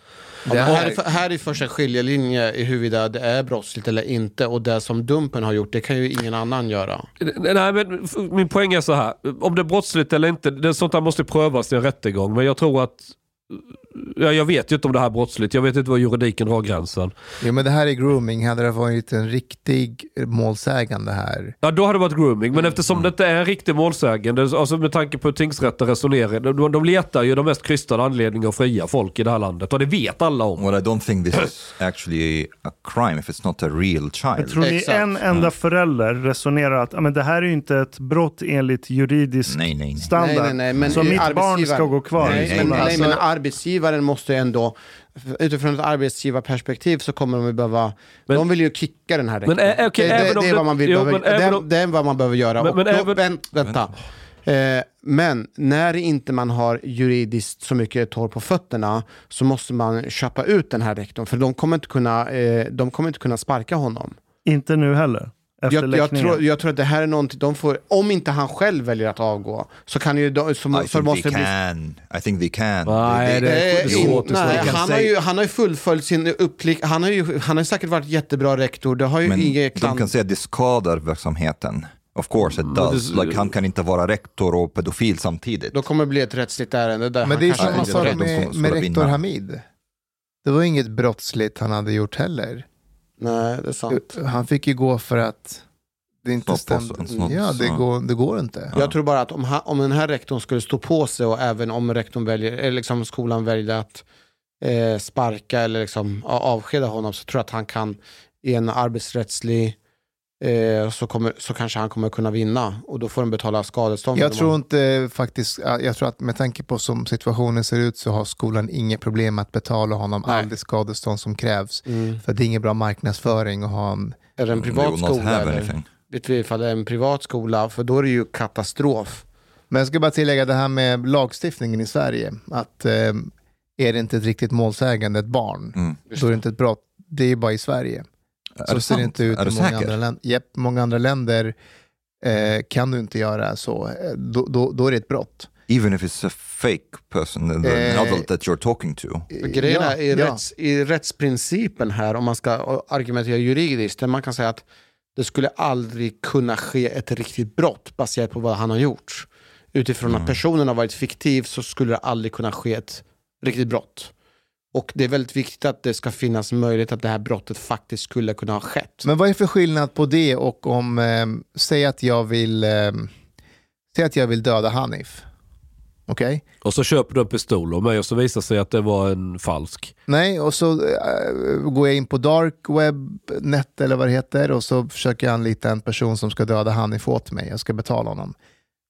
A: Det här, är, här är första skiljelinje i huruvida det är brottsligt eller inte. Och det som Dumpen har gjort, det kan ju ingen annan göra.
D: Nej, men f- min poäng är så här. Om det är brottsligt eller inte, det är sånt där måste prövas i en rättegång. Men jag tror att... Ja, jag vet ju inte om det här är brottsligt. Jag vet inte var juridiken drar gränsen.
E: Jo, men det här är grooming. Hade det varit en riktig målsägande här.
D: Ja, då hade det varit grooming. Men eftersom det inte är en riktig målsägande, alltså med tanke på hur tingsrätten resonerar. De, de letar ju de mest krystade anledningar att fria folk i det här landet. Och det vet alla om.
C: Well, I don't think this is actually a crime if it's not a real child.
B: Tror ni
A: Exakt.
B: en enda förälder resonerar att "Ja, men det här är ju inte ett brott enligt juridisk
C: Nej, nej, nej.
B: standard? så mitt barn ska
A: arbetsgivaren-
B: gå kvar i
A: nej, men,
B: skolan?
A: nej,
B: Alltså,
A: men arbetsgivaren måste ju ändå, utifrån ett arbetsgivarperspektiv så kommer de ju behöva, de vill ju kicka den här
D: Men
A: rektorn.
D: ä- okej,
A: det,
D: även
A: det,
D: om
A: det är
D: det-
A: vad man vill
D: jo,
A: behöva,
D: men
A: det,
D: även
A: är-
D: om-
A: det är vad man behöver göra.
D: Men-
A: och
D: men
A: då,
D: även-
A: vänt, vänta. Eh, men när inte man har juridiskt så mycket torr på fötterna så måste man köpa ut den här rektorn för de kommer inte kunna, eh, de kommer inte kunna sparka honom.
B: Inte nu heller. Efter
A: Jag, jag,
B: läckningen.
A: tror, jag tror att det här är någonting de får, om inte han själv väljer att avgå så kan ju de, så,
C: I
A: så
C: think
A: måste
C: they
A: det bli
C: can. I think they can.
D: Nej,
C: They-
D: det-
C: they-
A: Eh,
D: är svårt
A: in,
D: att
A: nej,
D: säga.
A: han, har ju, han har ju fullföljt sin uppplikt. Han har ju, han har ju säkert varit jättebra rektor. Det har ju
C: Men
A: inget
C: de kan
A: klant.
C: säga att det skadar verksamheten. Of course it does.
D: det-
C: like, han kan inte vara rektor och pedofil samtidigt.
A: Då kommer det bli ett rättsligt ärende där
E: Men
A: han
E: det är
A: kanske
E: samma
A: inte
E: sak
A: rätt.
C: de som-
E: med,
C: som
E: med
C: de
E: rektor
C: vinner.
E: Hamid. Det var inget brottsligt han hade gjort heller.
A: Nej, det är sant.
E: Han fick ju gå för att det inte
C: Stå på
E: stämde.
C: en sån-
E: Ja, det
C: sån-
E: går, det går inte.
A: Jag tror bara att om, han, om den här rektorn skulle stå på sig och även om rektorn väljer, eller liksom skolan väljer att eh, sparka eller liksom a- avskeda honom så tror jag att han kan i en arbetsrättslig eh, så, kommer, så kanske han kommer kunna vinna och då får de betala skadestånd.
E: Jag tror inte faktiskt, jag tror att med tanke på som situationen ser ut så har skolan inget problem att betala honom
A: Nej.
E: all det skadestånd som krävs.
A: Mm.
E: För det är ingen bra marknadsföring att ha en...
A: Är det en
C: They
A: privat
C: will Mm, not
A: skola?
C: have
A: Eller?
C: anything.
A: vet vi ifall det är en privat skola, för då är det ju katastrof.
E: Men jag ska bara tillägga det här med lagstiftningen i Sverige. Att eh, är det inte ett riktigt målsägande, ett barn,
C: Mm.
E: då är det inte ett brott. Det är ju bara i Sverige.
C: Är
E: Så
C: det
E: ser
C: sant?
E: det inte ut
C: Är
E: i
C: du
E: många
C: säker?
E: andra länder. Japp, många andra länder
C: Mm.
E: eh, kan du inte göra så. Eh, Då, då, då är det ett brott.
C: Even if it's a fake person, an
E: Eh,
C: adult that you're talking to.
A: Grejen är i,
E: ja.
A: rätts, i rättsprincipen här, om man ska argumentera juridiskt, där man kan säga att det skulle aldrig kunna ske ett riktigt brott baserat på vad han har gjort. Utifrån
C: Mm.
A: att personen har varit fiktiv så skulle det aldrig kunna ske ett riktigt brott. Och det är väldigt viktigt att det ska finnas möjlighet att det här brottet faktiskt skulle kunna ha skett.
E: Men vad är för skillnad på det och om, eh, säg att jag vill eh, säg att jag vill döda Hanif. Okej?
D: Och så köper du en pistol av mig och så visar sig att det var en falsk.
E: Nej, och så eh, går jag in på dark web, net eller vad det heter och så försöker jag anlita en person som ska döda Hanif åt mig. Jag ska betala honom.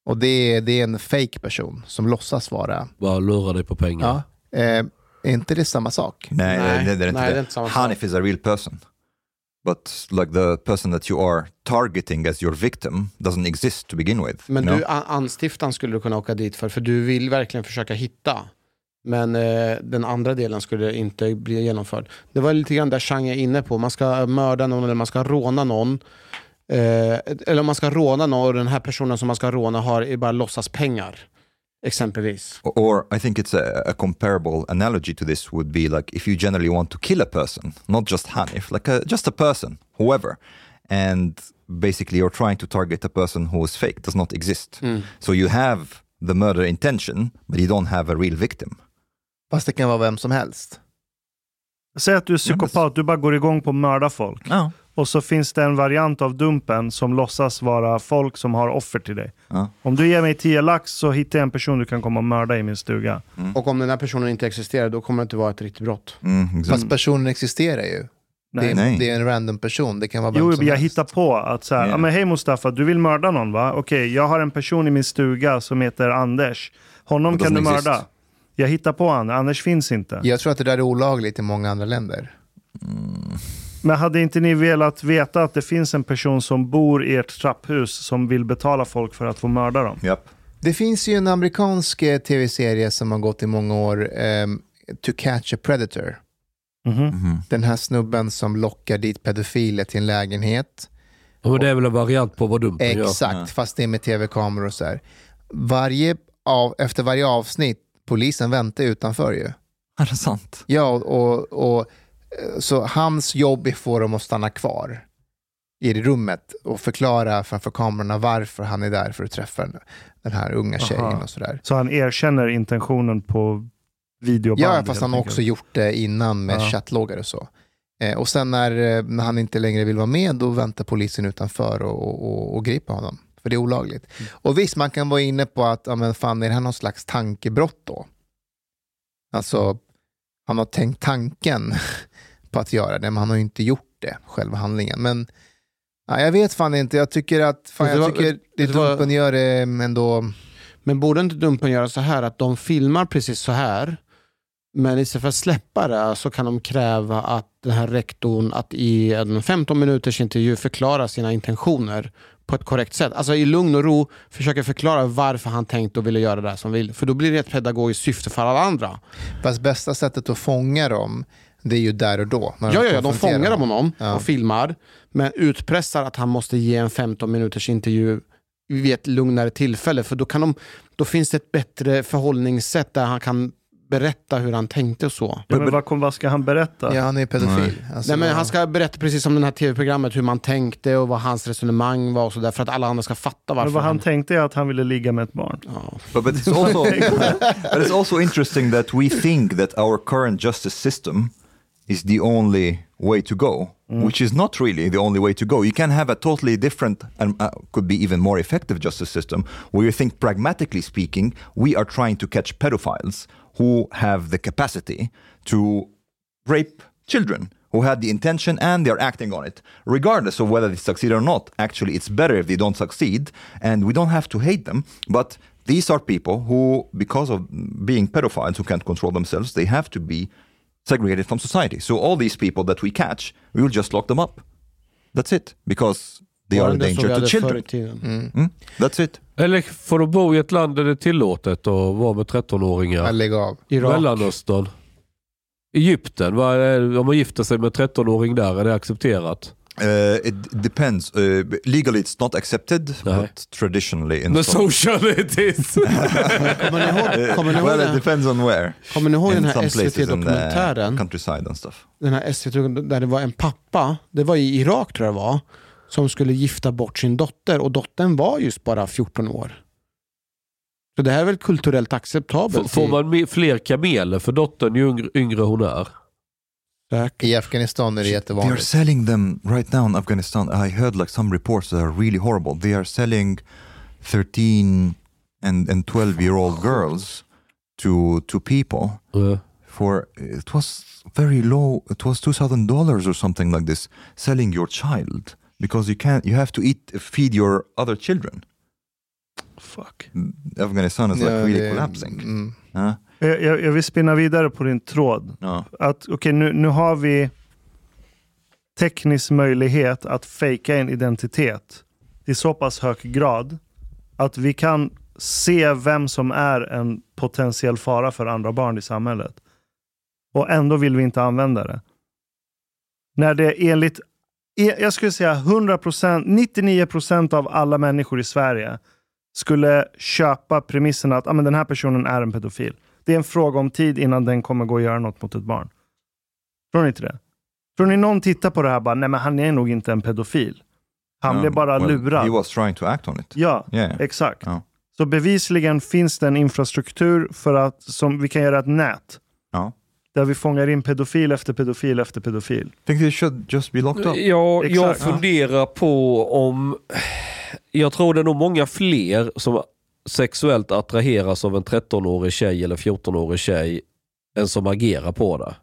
E: Och det är, det är en fake person som låtsas vara.
D: Bara lurar dig på pengar.
E: Ja. Eh, är inte det samma sak?
C: Nej,
A: Nej,
C: det, det, är inte
A: nej,
C: det.
A: det är inte samma sak.
C: Hanif is a real person. But like the person that you are targeting as your victim doesn't exist to begin with.
A: Men
C: you know?
A: du, an- anstiftan skulle du kunna åka dit för, för du vill verkligen försöka hitta. Men eh, den andra delen skulle inte bli genomförd. Det var lite grann där Chang är inne på. Man ska mörda någon eller man ska råna någon. Eh, eller om man ska råna någon och den här personen som man ska råna har är bara låtsas pengar. Exempelvis.
C: Or I think it's a, a comparable analogy to this would be like if you generally want to kill a person, not just Hanif, like a, just a person, whoever, and basically you're trying to target a person who is fake, does not exist.
A: Mm.
C: So you have the murder intention, but you don't have a real victim.
E: Fast det kan vara vem som helst.
B: Säg att du är psykopat, du bara går igång på att mörda folk.
C: Ja.
B: Och så finns det en variant av Dumpen som låtsas vara folk som har offer till dig.
C: Ja.
B: Om du ger mig 10 lax så hittar jag en person du kan komma och mörda i min stuga.
A: Och om den här personen inte existerar då kommer det inte vara ett riktigt brott.
C: Mm, exactly.
E: Fast personen existerar ju. Det, är,
C: Nej.
E: det är en random person. Det kan vara vem
B: Jo,
E: som
B: jag
E: helst.
B: hittar på att så här,
C: Ja.
B: "Ah, men hej Mustafa, du vill mörda någon va? Okej, jag har en person i min stuga som heter Anders. Honom
C: It
B: kan du
C: doesn't
B: mörda.
C: exist.
B: Jag hittar på han, Anders finns inte.
E: Jag tror att det där är olagligt i många andra länder.
B: Men hade inte ni velat veta att det finns en person som bor i ert trapphus som vill betala folk för att få mörda dem?
C: Japp.
E: Det finns ju en amerikansk eh, tv-serie som har gått i många år, ehm, To Catch a Predator.
B: Mhm.
C: Mm-hmm.
E: Den här snubben som lockar dit pedofiler till en lägenhet.
D: Och det är väl en variant på vad dumpen gör.
E: Exakt,
C: Ja.
E: fast det är med tv-kameror och så här. Varje av, efter varje avsnitt, polisen väntar utanför ju.
C: Är det sant?
E: Ja, och, och, och, eh, så hans jobb är att få dem att stanna kvar i det rummet och förklara framför kamerorna varför han är där för att träffa den- den här unga tjejen
B: Aha.
E: och sådär.
B: Så han erkänner intentionen på videoband?
E: Ja, fast
B: helt
E: han har
B: enkelt.
E: också gjort det innan med
B: Ja.
E: chattloggar och så. Eh, och sen när, eh, när han inte längre vill vara med, då väntar polisen utanför och, och, och, och griper honom. För det är olagligt. Och visst, man kan vara inne på att, ja men fan, är det här någon slags tankebrott då? Alltså, han har tänkt tanken på att göra det, men han har ju inte gjort det, själva handlingen. Men ja, jag vet fan inte, jag tycker att fan,
A: Det
E: jag
A: var-
E: tycker det
A: det var-
E: Dumpen gör är ändå...
A: Men borde inte Dumpen göra så här att de filmar precis så här men istället för att släppa det så kan de kräva att den här rektorn att i en 15 minuters intervju förklara sina intentioner på ett korrekt sätt. Alltså i lugn och ro försöka förklara varför han tänkt och ville göra det här som vill. För då blir det ett pedagogiskt syfte för alla andra.
E: Fast bästa sättet att fånga dem, det är ju där och då. när
A: Ja, ja, ja de
E: konfronterar
A: fångar honom
E: Ja.
A: och filmar men utpressar att han måste ge en 15 minuters intervju vid ett lugnare tillfälle för då, kan de, då finns det ett bättre förhållningssätt där han kan berätta hur han tänkte och så.
C: Alltså,
B: Ja, men vad, kom- vad ska han berätta?
E: Ja, han är ju pedofil. Alltså,
A: Nej, men han ska berätta precis om det här tv-programmet, hur man tänkte och vad hans resonemang var och så där, för att alla andra ska fatta varför
B: Men vad han tänkte är att han ville ligga med ett barn.
C: But, but it's also but it's also interesting that we think that our current justice system is the only way to go, which is not really the only way to go. You can have a totally different and uh, could be even more effective justice system where you think pragmatically speaking, we are trying to catch pedophiles who have the capacity to rape children who had the intention and they're acting on it, regardless of whether they succeed or not. Actually, it's better if they don't succeed, and we don't have to hate them. But these are people who, because of being pedophiles who can't control themselves, they have to be segregated from society. So all these people that we catch, we will just lock them up. That's it, because they
A: Var
C: are a
A: den där som
C: danger
A: vi
C: to
A: hade förr i
C: children.
A: tiden?
C: Mm? That's it.
D: Eller får de bo i ett land där det är tillåtet att vara med 13-åringar?
E: Ja, Lägg av.
A: Irak.
B: uh,
D: Mellanöstern. Egypten, vad är det? om man gifter sig med 13-åring där, är det accepterat?
C: Uh, it depends. Uh, legally, it's not accepted,
D: Nej.
C: but traditionally, in
D: The
C: some-
D: social it is!
A: Kommer ni ihåg, kommer ni ihåg,
C: well, it
A: den,
C: depends on where.
A: kommer ni ihåg den
C: in
A: här
C: some places uh, in the
A: SVT-dokumentären?
C: countryside and stuff.
A: Den här SVT där det var en pappa, det var i Irak tror jag det var, som skulle gifta bort sin dotter och dottern var just bara 14 år. Så det här är väl kulturellt
D: F-
A: acceptabelt?
D: Får
A: i-
D: man me- fler kameler för dottern ju yngre, yngre hon är?
A: Säkert.
E: I Afghanistan är det
C: They are
E: jättevanligt.
C: selling them right now in Afghanistan. I heard like some reports that are really horrible. They are selling 13 and and 12 year old girls to to people
D: Eh,
C: for it was very low. It was two thousand dollars or something like this. Selling your child because you can't. You have to eat feed your other children.
B: Fuck.
C: Afghanistan is like
E: Ja,
C: really
E: det-
C: collapsing.
E: Mm.
C: Huh?
B: Jag, jag, jag vill spinna vidare på din tråd.
C: No.
B: att okej, nu, nu har vi teknisk möjlighet att fejka en identitet i så pass hög grad att vi kan se vem som är en potentiell fara för andra barn i samhället. Och ändå vill vi inte använda det. När det enligt, e- jag skulle säga 100%, 99% av alla människor i Sverige skulle köpa premissen att ah, men den här personen är en pedofil. Det är en fråga om tid innan den kommer gå och göra något mot ett barn. Tror ni inte det? Tror ni någon tittar på det här och bara, nej men han är nog inte en pedofil. Han blev
C: Um,
B: bara
C: well,
B: lurad.
C: He was trying to act on it.
B: Ja,
C: Yeah.
B: exakt.
C: Ja.
B: Så bevisligen finns det en infrastruktur för att som vi kan göra ett nät
C: Ja.
B: där vi fångar in pedofil efter pedofil efter pedofil.
C: think they should just be locked up.
D: Ja, jag
B: Exakt.
D: funderar på om... Jag tror det är nog många fler som sexuellt attraheras av en 13-årig tjej eller 14-årig tjej än som agerar på det.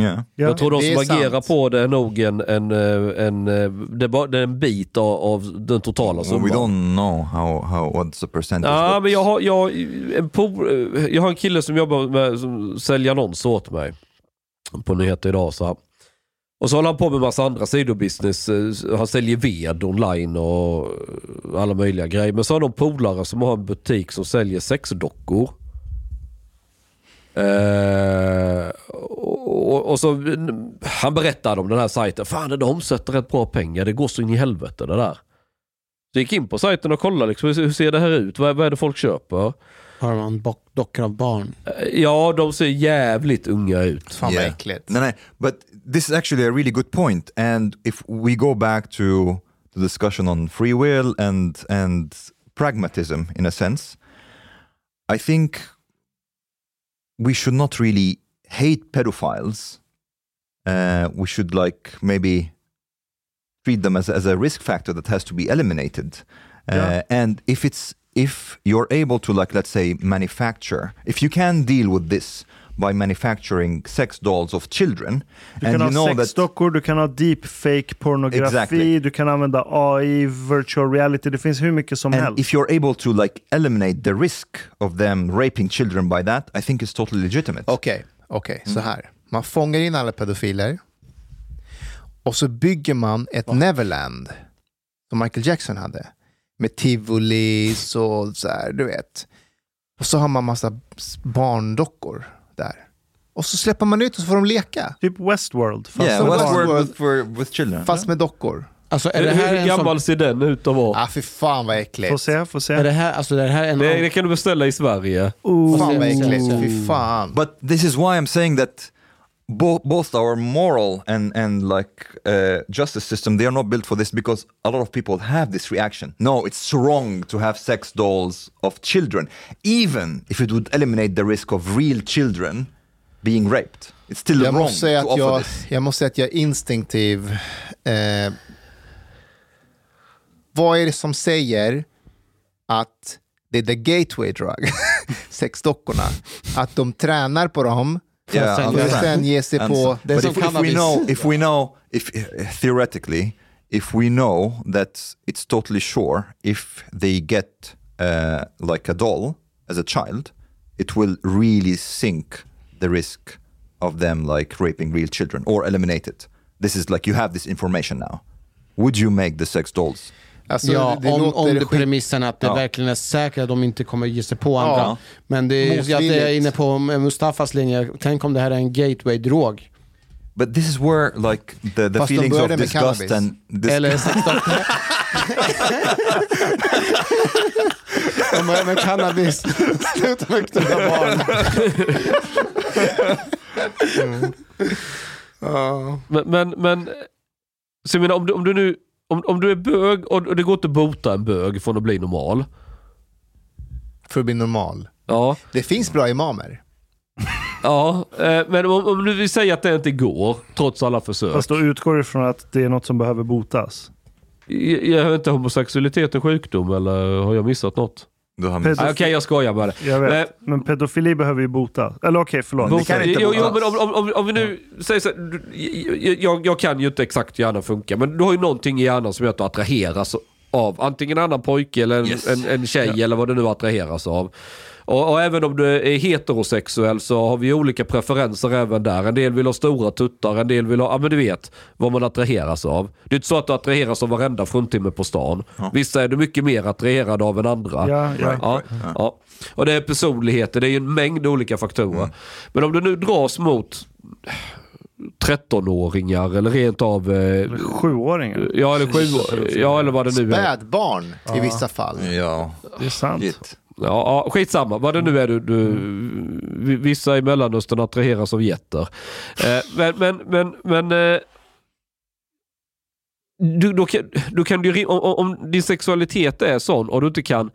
C: Yeah.
B: Ja.
D: Jag tror de
E: Det
D: som
E: är sant.
D: agerar på det är nog en, en, eh, en, eh, det är bara- det är en bit av, av den
C: Well,
D: totala
C: we
D: summan.
C: don't know how, how what's the percentage.
D: Ja,
C: but-
D: men jag, har, jag, en po, eh, jag har en kille som jobbar med som säljer annonser åt mig på nyheter idag. Så här. Och så håller han på med massa andra sidobusiness. eh, Han säljer ved online och eh, alla möjliga grejer. Men så har de polare som har en butik som säljer sexdockor. Eh, och, och, och så, han berättade om den här sajten. Fan, den omsätter rätt bra pengar. Det går så in i helvete det där. Så jag gick in på sajten och kollade liksom, hur hur ser det här ut? Vad, vad är det folk köper?
A: Har man bo- dockor av barn?
D: Eh, Ja, de ser jävligt unga ut.
E: Fan vad
C: Yeah.
E: äckligt.
C: No, no, but this is actually a really good point. And if we go back to the discussion on free will and and pragmatism, in a sense, I think we should not really hate pedophiles. Uh, we should like maybe treat them as as a risk factor that has to be eliminated. Uh,
B: Yeah.
C: And if it's if you're able to like let's say manufacture, if you can deal with this by manufacturing sex dolls of children,
B: Du
C: and
B: kan
C: you
B: ha
C: know that
B: sexdockor, du kan ha deepfake pornografi,
C: Exactly.
B: du kan använda AI, virtual reality, det finns hur mycket som
C: and
B: helst.
C: if you're able to like eliminate the risk of them raping children by that, I think it's totally legitimate.
E: Okej, okej, så här. Man fångar in alla pedofiler och så bygger man ett Neverland som Michael Jackson hade. Med tivolis och så här, du vet. Och så har man massa s- barndockor där. Och så släpper man ut och så får de leka.
B: Typ Westworld. Fast
C: Yeah,
B: för
E: Westworld.
B: barn.
C: Westworld with, for, with children.
E: Fast med dockor.
A: Alltså är
D: Hur,
A: det här
D: hur
A: en sån...
D: gammal ser den ut att vara?
E: Ah, för fan vad äckligt.
B: Får se, får se.
A: Är det här, alltså är det här en...
D: Det, det kan du beställa i Sverige.
E: Fan vad äckligt,
A: Oh.
E: fy fan.
C: But this is why I'm saying that bo- both our moral and and like uh, justice system they are not built for this because a lot of people have this reaction. No, it's wrong to have sex dolls of children, even if it would eliminate the risk of real children being raped. It's still
E: Jag
C: wrong
E: måste, säga
C: to
E: att
C: offer
E: jag,
C: this.
E: jag måste säga att jag är instinktiv. Eh, vad är det som säger att det är the gateway drug, sexdockorna, att de tränar på dem
C: Yeah,
E: för
C: I
E: att
C: understand.
E: sen ge sig på...
A: Det är
C: but
A: som
C: if, if we
A: cannabis.
C: know, if we know, if eh, theoretically, if we know that it's totally sure, if they get uh, like a doll as a child, it will really sink the risk of them like raping real children or eliminate it. This is like you have this information now. Would you make the sex dolls?
E: Alltså,
A: ja,
E: det, det
A: om,
E: låter
A: om det
E: skit-
A: premissen att det
C: Ja.
A: verkligen är säkert att de inte kommer ge sig på andra.
E: Ja.
A: Men det är jag
E: Motvilligt.
A: är inne på Mustafas linje. Tänk om det här är en gateway-drog.
C: But this is where like the, the
E: Fast de
C: feelings of
E: började med
C: disgust
E: cannabis.
C: and dis-
A: Eller sexdockor. De börjar med cannabis. Sluta med att knulla barn.
D: Men, men, men så jag menar, om, du, om du nu om, om du är bög och och det går inte att bota en bög från att bli normal.
E: för att bli normal.
D: Ja,
E: Det finns bra imamer.
D: ja eh, men om, om du vill säga att det inte går, trots alla försök.
B: Fast då utgår det från att det är något som behöver botas.
C: Mm.
D: Jag, jag vet inte, homosexualitet är sjukdom eller har jag missat något?
C: Du har
D: Ah,
C: missat.
D: Okej, jag skojar bara.
B: Jag vet.
D: Nej.
B: Men pedofili behöver ju botas. Eller okej, förlåt.
C: Det kan inte
D: jo, jo,
C: botas.
D: men om, om, om, om vi nu säger så här, du- jag, jag, jag kan ju inte exakt hur hjärnan funkar, men du har ju någonting i hjärnan som gör att du attraheras av antingen en annan pojke eller en,
C: Yes.
D: en, en tjej eller vad du nu attraheras av. Och, och även om du är heterosexuell så har vi olika preferenser även där. En del vill ha stora tuttar, en del vill ha, ja men du vet vad man attraheras av. Det är inte så att du attraheras av varenda fruntimmer på stan. Vissa är du mycket mer attraherad av än andra.
B: Ja, ja.
D: Ja, ja. Och det är personligheter, det är ju en mängd olika faktorer. Men om du nu dras mot 13-åringar eller rent av... Eh,
B: Sjuåringar.
D: ja, eller sju Ja, eller vad det nu är.
E: Spädbarn i vissa fall.
C: Ja,
B: Det är sant.
C: shit.
D: Ja, ja, skitsamma, vad det nu är du... du vi- vissa i Mellanöstern attraheras av getter. Eh, men... men, men, men eh, du, då, kan, då kan du, ju rim- om, om- om din sexualitet är sån och du inte kan...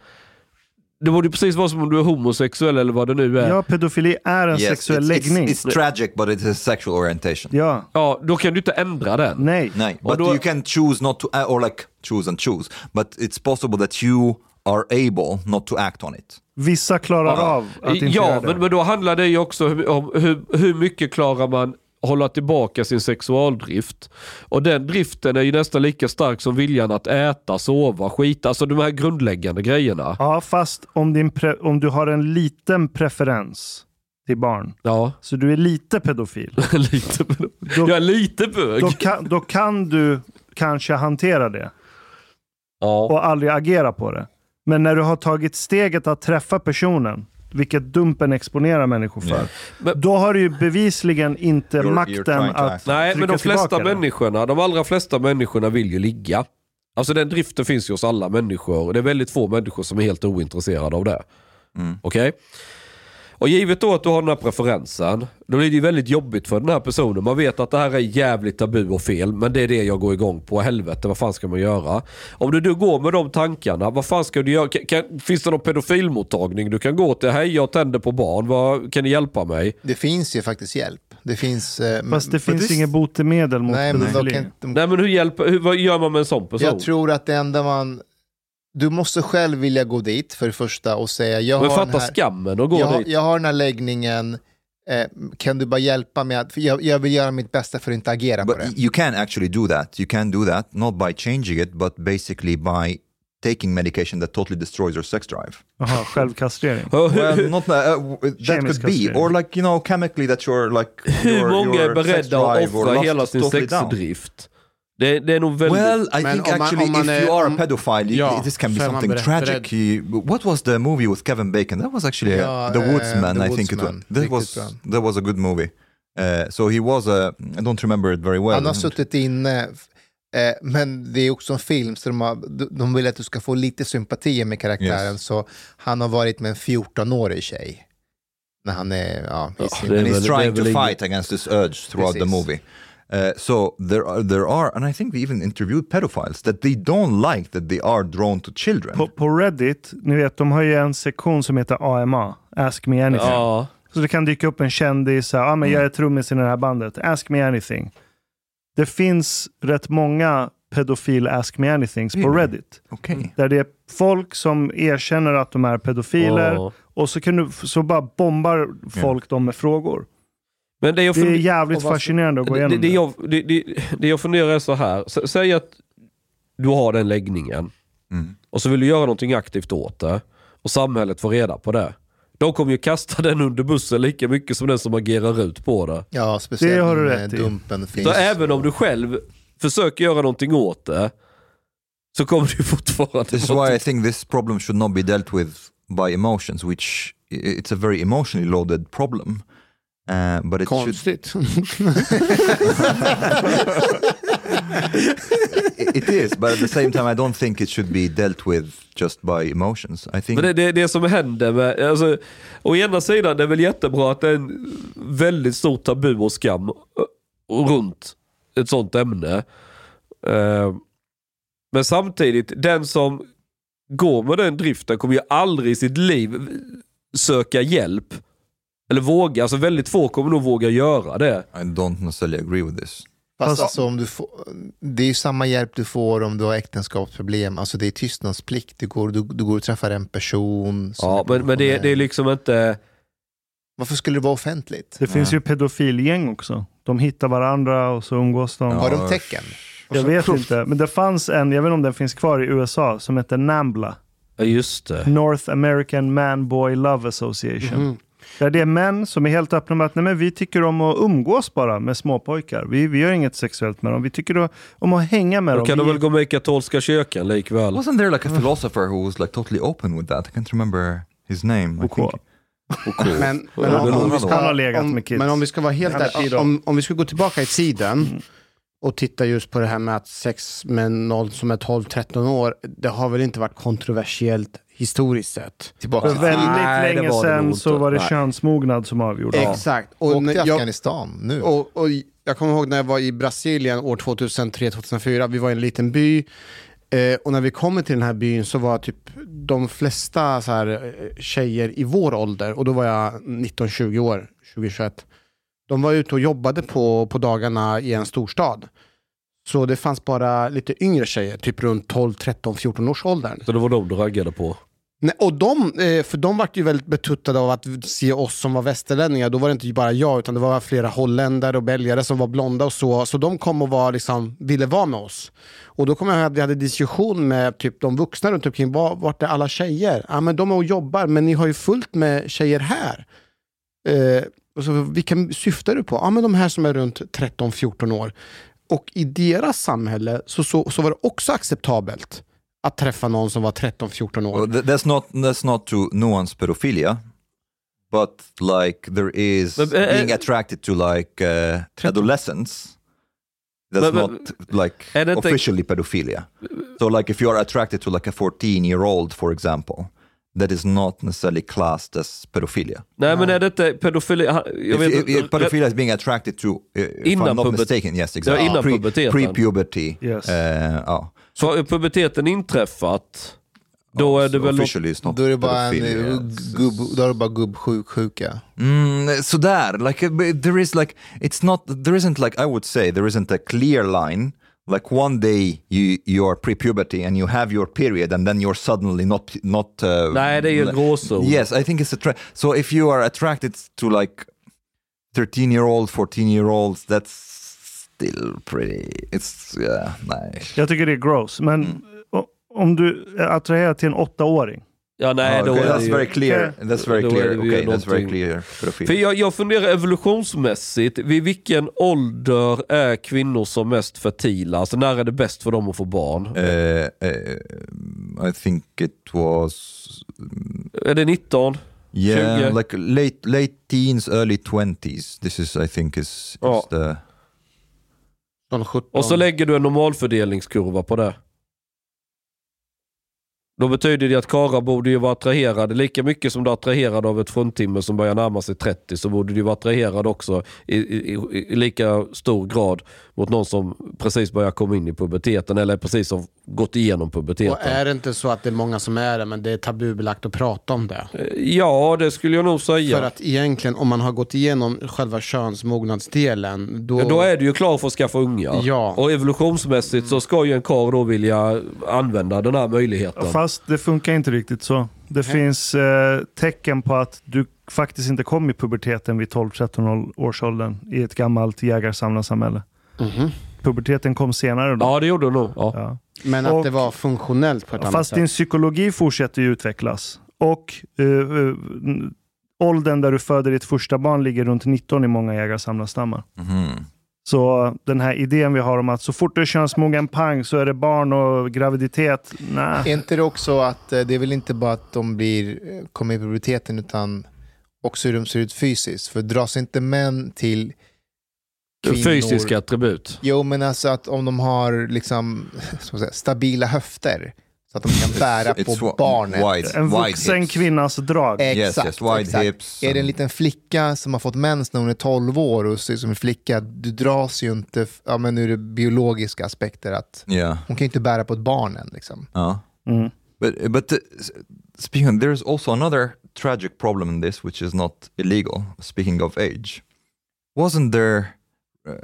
D: Det borde ju precis vara som om du är homosexuell eller vad det nu är.
B: Ja, pedofili är en
C: Yes,
B: sexuell
C: it's, it's,
B: läggning.
C: it's tragic, but it's a sexual orientation.
B: ja,
D: Ja, då kan du inte ändra den.
B: nej.
C: Nej,
D: Och
C: but
D: då-
C: you can choose not to, uh, or like choose and choose, but it's possible that you are able not to act on it.
B: Vissa klarar av att inte
D: ja,
B: göra det.
D: men, men då handlar det ju också om hur, hur mycket klarar man hålla tillbaka sin sexualdrift. Och den driften är ju nästan lika stark som viljan att äta, sova, skita. Alltså de här grundläggande grejerna.
B: Ja, fast om, din pre- om du har en liten preferens till barn,
D: Ja,
B: så du är lite pedofil,
D: lite. Jag är lite bög.
B: då kan, då kan du kanske hantera det
D: Ja.
B: och aldrig agera på det. Men när du har tagit steget att träffa personen, vilket Dumpen exponerar människor för,
D: Men-
B: då har du ju bevisligen inte
C: you're
B: makten
C: trying to
B: att
C: act.
D: Nej, men
B: trycka
D: de flesta
B: tillbaka det.
D: människorna, de allra flesta människorna vill ju ligga. Alltså den driften finns ju hos alla människor. Det är väldigt få människor som är helt ointresserade av det. Okej? Och givet då att du har den här preferensen, då blir det ju väldigt jobbigt för den här personen. Man vet att det här är jävligt tabu och fel, men det är det jag går igång på. Helvete, vad fan ska man göra? Om du, du går med de tankarna, vad fan ska du göra? Kan, kan, finns det någon pedofilmottagning du kan gå till? Hej, jag tänder på barn. Vad, kan ni hjälpa mig?
E: Det finns ju faktiskt hjälp. Det finns... Eh,
B: Fast det finns
E: det-
B: inget botemedel mot
E: Nej, men de
B: pedofili.
E: kan inte...
D: Nej, men hur, hjälper, hur vad gör man med en sån person?
E: Jag tror att det enda man... Du måste själv vilja gå dit för det första och säga jag
D: Men
E: har, den
D: fatta
E: här,
D: skammen att gå
E: jag, har-
D: dit.
E: jag har den här läggningen, eh, kan du bara hjälpa mig? Att, för jag, jag vill göra mitt bästa för att inte agera på
C: But
E: det.
C: you can actually do that. You can do that, not by changing it, but basically by taking medication that totally destroys your sex drive.
B: Jaha, självkastrering.
C: well, not uh, w- that
B: Chemical
C: could be,
B: castration.
C: or like you know, chemically that you're like
D: Hur
C: your,
D: många är
C: your sex
D: beredda att
C: drive or
D: offra
C: lust
D: hela
C: is
D: sin
C: totally down.
D: sexdrift? Det, det är nog väldigt...
C: Well, I
A: Men
C: think
A: om man-
C: actually,
A: om man
C: if
A: är-
C: you are a
A: om-
C: pedophile, you-
A: Ja,
C: this can be
A: så är man
C: something
A: beredd-
C: tragic. What was the movie with Kevin Bacon? That was actually uh,
E: Ja,
C: The
E: eh,
C: Woodsman,
E: The
C: I think
E: Woodsman.
C: it um, was. That
E: Riktigt
C: was
E: bra.
C: that was a good movie. Uh, so he was a. I don't remember it very well.
E: Han har suttit inne, eh, men det är också en film, så de, har, de- de vill att du ska få lite sympati med karaktären.
C: Yes.
E: Så han har varit med en 14-årig tjej. När han är, ja, i sin-
D: det är
C: and
D: väl-
C: he's
D: det är
C: trying
D: väl
C: to
D: ingen-
C: fight against this urge throughout the
E: Precis.
C: movie. Uh, so there are, there are, and I think they even interviewed pedophiles that they don't like that they are drawn to children.
B: På, på Reddit, ni vet, de har ju en sektion som heter AMA, Ask Me Anything.
D: ja. Mm.
B: Så det kan dyka upp en kändis, så här, ah, men jag är trummis i det här bandet, Ask Me Anything. Det finns rätt många pedofil Ask Me Anythings på
C: Really?
B: Reddit.
C: Okay.
B: Där det är folk som erkänner att de är pedofiler
D: Ja.
B: och så, kan du, så bara bombar folk dem med frågor.
D: Men det jag,
B: Det är
D: funderar-
B: jävligt
D: och varför-
B: fascinerande att gå igenom
D: det,
B: det.
D: det, jag, det, det, det jag funderar är så här. S- Säg att du har den läggningen
C: Mm.
D: och så vill du göra någonting aktivt åt det och samhället får reda på det. De kommer ju kasta den under bussen lika mycket som den som agerar ut på det.
E: ja, speciellt
B: Det har du
E: när
B: rätt i.
E: Dumpen finns.
D: Så även om du själv försöker göra någonting åt det så kommer du fortfarande
C: This is
D: vara
C: why I think this problem should not be dealt with by emotions, which i- it's a very emotionally loaded problem. Uh, but it should,
A: Konstigt.
C: i- it is. But at the same time, I don't think it should be dealt with just by emotions. I think
D: Men det, det, det som händer med, alltså, å ena sidan det är väl jättebra att det är en väldigt stor tabu och skam ö, runt ett sånt ämne. Eh, Men samtidigt, den som går med den driften kommer ju aldrig i sitt liv söka hjälp. Eller våga, alltså väldigt få kommer nog våga göra det.
C: I don't necessarily agree with this.
E: Fast
B: Fast-
E: alltså, om du får, det är ju samma hjälp du får om du har äktenskapsproblem. Alltså det är tystnadsplikt. Du går, du, du går och träffar en person. som
D: Ja,
E: är
D: men, men det, det är
E: professionell.
D: liksom inte...
E: Varför skulle det vara offentligt?
B: Det finns ju pedofilgäng också. De hittar varandra och så umgås de.
E: Har
C: Uh,
E: de tecken?
D: Alltså,
B: Jag vet inte, men det fanns en, jag vet inte om den finns kvar i USA, som heter NAMBLA.
D: Ja, just det.
B: North American Man Boy Love Association.
D: Mhm.
B: Där det är män som är helt öppna med att nej, men vi tycker om att umgås bara med småpojkar. Vi, vi gör inget sexuellt med dem. Vi tycker då, om att hänga med
D: Då
B: dem.
D: kan de
B: Vi-
D: väl gå med i katolska kyrkan likväl.
C: Wasn't there like a philosopher who was like totally open with that? I can't remember his name. I
B: OK.
C: think.
A: Men, men,
C: Ja,
A: om,
C: det
A: om,
C: låter
A: vi
B: Han
A: ska,
B: har legat
A: om,
B: med kids.
A: men om vi ska vara helt
B: Han är
A: ärliga,
B: pedo.
A: om, om vi ska gå tillbaka i tiden och titta just på det här med att sex med någon som är 12-13 år, det har väl inte varit kontroversiellt historiskt sett?
E: Tillbaka
B: För
E: till
B: väldigt
D: Nej, det
B: länge
D: var det nog
B: sedan
D: inte.
B: så var det
D: Nej.
B: könsmognad som avgjorde.
A: Exakt.
E: Åk
A: när
E: till
A: jag,
E: Afghanistan nu.
A: och, och jag kommer ihåg när jag var i Brasilien år 2003-2004, vi var i en liten by. Eh, och när vi kommer till den här byn så var typ de flesta så här, eh, tjejer i vår ålder, och då var jag 19-20 år, 2021. De var ute och jobbade på, på dagarna i en storstad. Så det fanns bara lite yngre tjejer, typ runt 12, 13, 14 års åldern.
D: Så det var de du raggade på.
A: Nej, och de, eh, för de vart ju väldigt betuttade av att se oss som var västerlänningar. Då var det inte bara jag, utan det var flera holländare och belgare som var blonda och så. Så de kom och var, liksom, ville vara med oss. Och då kommer jag ihåg att vi hade diskussion med typ, de vuxna runt omkring. Var, vart är alla tjejer? Ja, men de är och jobbar, men ni har ju fullt med tjejer här. Eh, och så, vilka syftar du på? Ja, men de här som är runt 13-14 år. Och i deras samhälle så, så, så var det också acceptabelt att träffa någon som var 13-14 år.
C: Well, th- that's not that's not to nuance pedophilia, but like there is
D: But, uh,
C: being
D: uh,
C: attracted to like uh, adolescents. That's
D: But- but-
C: not like
D: I don't think-
C: officially pedophilia. So like if you are attracted to like a 14 year old, for example, that is not necessarily classed as pedophilia.
D: Nej, men är det inte pedofili... ha- Jag
C: If,
D: vet,
C: if, if
D: inte-
C: pedophilia is being attracted to, uh, if
D: uh, Innan
C: I'm not
D: pubert-
C: mistaken, yes,
D: Det var
C: exactly. Ah,
D: innan
C: pre,
D: puberteten.
C: pre-puberty.
B: Yes.
C: Uh, ja.
D: så har ju puberteten inträffat, då är det
C: So
D: väl... något-
C: officially it's not
E: Då är det bara, en,
C: pedophilia,
E: eh,
C: it's-
E: gubb, då är det bara gubbsjuksjuka.
C: Mm, sådär, like uh, but there is like it's not there isn't like I would say there isn't a clear line. Like one day you you are pre-puberty and you have your period and then you're suddenly not not. Uh,
D: Nej, det er är ju en gråzon.
C: Yes, I think it's a tra- so if you are attracted to like thirteen year old, fourteen year olds, that's still pretty. It's yeah, nice.
B: Jag tycker det är gross, men
D: Mm.
B: o- om du är attraherad till en åttaåring.
D: Ja, nej, då
C: okay,
D: är er det
C: that's
D: ju...
C: very clear. That's very
D: Då är
C: clear.
D: er det ju
C: Okay, that's very
D: någonting-
C: clear. Pedofil.
D: För jag, jag funderar evolutionsmässigt, vid vilken ålder är kvinnor som mest fertila? Alltså när är det bäst för dem att få barn?
C: Uh, uh, I think it was Eh.
D: Är det 19?
C: Yeah,
D: 20.
C: like late late teens, early twenties. This is, I think, is,
D: Ja.
B: Oh.
C: is the.
A: Från 17.
D: Och så lägger du en normalfördelningskurva på det. Då betyder det att karlar borde ju vara attraherade lika mycket som du är attraherad av ett fruntimmer som börjar närma sig 30 så borde du ju vara attraherad också i, i, i- i lika stor grad mot någon som precis börjar komma in i puberteten eller precis har gått igenom puberteten.
A: och är det inte så att det är många som är det, men det är tabubelagt att prata om det?
D: Ja, det skulle jag nog säga.
A: För att egentligen, om man har gått igenom själva könsmognadsdelen, då...
D: Ja, då är du ju klar för att skaffa unga.
A: Ja.
D: Och evolutionsmässigt så ska ju en karl då vilja använda den här möjligheten.
B: Fast det funkar inte riktigt så. Det finns eh, tecken på att du faktiskt inte kom i puberteten vid 12-13 års åldern i ett gammalt jägarsamlarsamhälle.
A: Mhm.
B: Puberteten kom senare då.
D: Ja, det gjorde du nog. Ja.
B: Ja.
A: Men att
B: och-
A: det var funktionellt på ett annat
B: Fast
A: sätt.
B: din psykologi fortsätter ju utvecklas. Och eh, eh, åldern där du föder ditt första barn ligger runt 19 i många jägarsamlarstammar.
C: Mhm.
B: Så den här idén vi har om att så fort du är könsmogen, pang, så är det barn och graviditet. Nej.
E: Är inte det också att eh, det är väl inte bara att de blir, eh, kommer i puberteten utan också hur de ser ut fysiskt? För dras inte män till kvinnor?
D: Fysiska attribut.
E: Jo, men alltså att om de har liksom, ska man säga, stabila höfter så att de kan bära
C: It's
E: på
C: wa-
E: barnet.
C: Wide,
B: En
C: wide
B: vuxen
C: hips.
B: kvinnas drag.
A: Eh.
C: Yes,
E: Exakt.
C: yes, wide
E: exakt.
C: hips.
E: Är det en
C: and-
E: liten flicka som har fått mens när hon är 12 år och ser ut som en flicka, du dras ju inte, f- ja men nu är det biologiska aspekter att
C: Yeah.
E: hon kan ju inte bära på ett barn än liksom.
C: Uh.
B: Mm.
C: But but uh, s- speaking, of, there's also another tragic problem in this, which is not illegal. Speaking of age, wasn't there uh,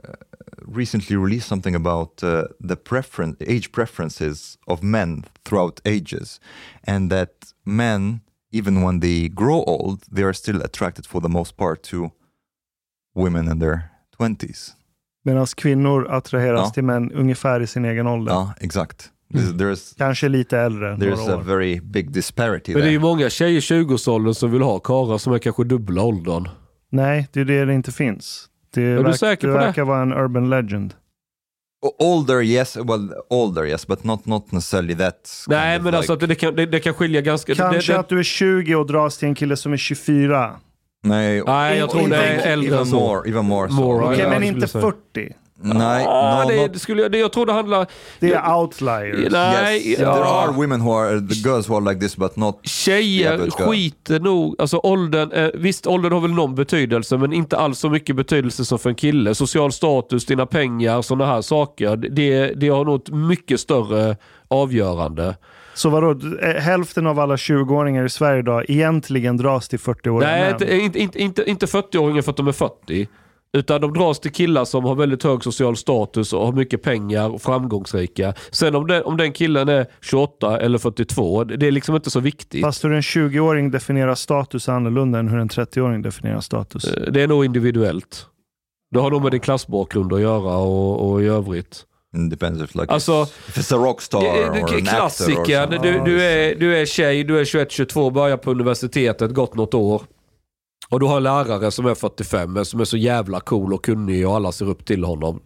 C: recently released something about uh, the preference, age preferences of men throughout ages, and that men, even when they grow old, they are still attracted for the most part to women in their twenties.
B: Medan kvinnor attraheras
C: Ja.
B: till män ungefär i sin egen ålder.
C: Yeah, Ah, exact. There's there's,
B: Kanske lite äldre. än
C: there's
B: några
C: a
B: år.
C: very big disparity
D: Men det är
C: there.
D: ju många tjejer i 20-årsåldern som vill ha karlar som är kanske dubbla åldern.
B: Nej, det är det det inte finns. Det,
D: du
B: verk-
D: säker
B: det
D: på det?
B: verkar vara en urban legend.
C: O- older yes well older yes but not not necessarily that
D: Nej,
C: kind of
D: men
C: like-
D: alltså att det, det, kan, det, det kan skilja ganska...
B: Kanske
D: det, det,
B: att du är 20 och dras till en kille som är 24.
C: nej
D: Nej, jag tror det är
C: even-
D: äldre
C: even
D: än så.
C: more even more so.
D: More,
B: Okej,
D: Ja, jag
B: men
D: skulle
B: inte
D: säga.
B: 40.
C: nej
D: Ah,
C: no,
D: det,
C: not,
D: det skulle jag, det, jag tror det handlar...
B: Det är outliers.
D: Nej,
C: yes
D: ja.
C: there are women who are the girls who are like this but not
D: Tjejer
C: Jävligt gött.
D: skiter nog, alltså åldern, eh, visst åldern har väl någon betydelse men inte alls så mycket betydelse som för en kille. Social status, dina pengar, sådana här saker. Det, det har nog ett mycket större avgörande.
B: Så vadå, d- eh, hälften av alla 20-åringar i Sverige idag egentligen dras till 40-åriga
D: Nej,
B: män?
D: inte, inte, inte, inte 40-åringar för att de är 40. Utan de dras till killar som har väldigt hög social status och har mycket pengar och framgångsrika. Sen om den, om den killen är 28 eller 42, det det är liksom inte så viktigt.
B: Fast hur en 20-åring definierar status är annorlunda än hur en 30-åring definierar status.
D: Eh, Det är nog individuellt. Det har nog med din klassbakgrund att göra och, och i övrigt.
C: It depends if like
D: Alltså,
C: if it's a rockstar
D: Det-
C: or
D: det-
C: an actor or
D: Klassikern. Du,
C: something.
D: du, är, du är tjej, du är 21-22, börjar på universitetet, gått något år. Och du har en lärare som är 45, men som är så jävla cool och kunnig och alla ser upp till honom.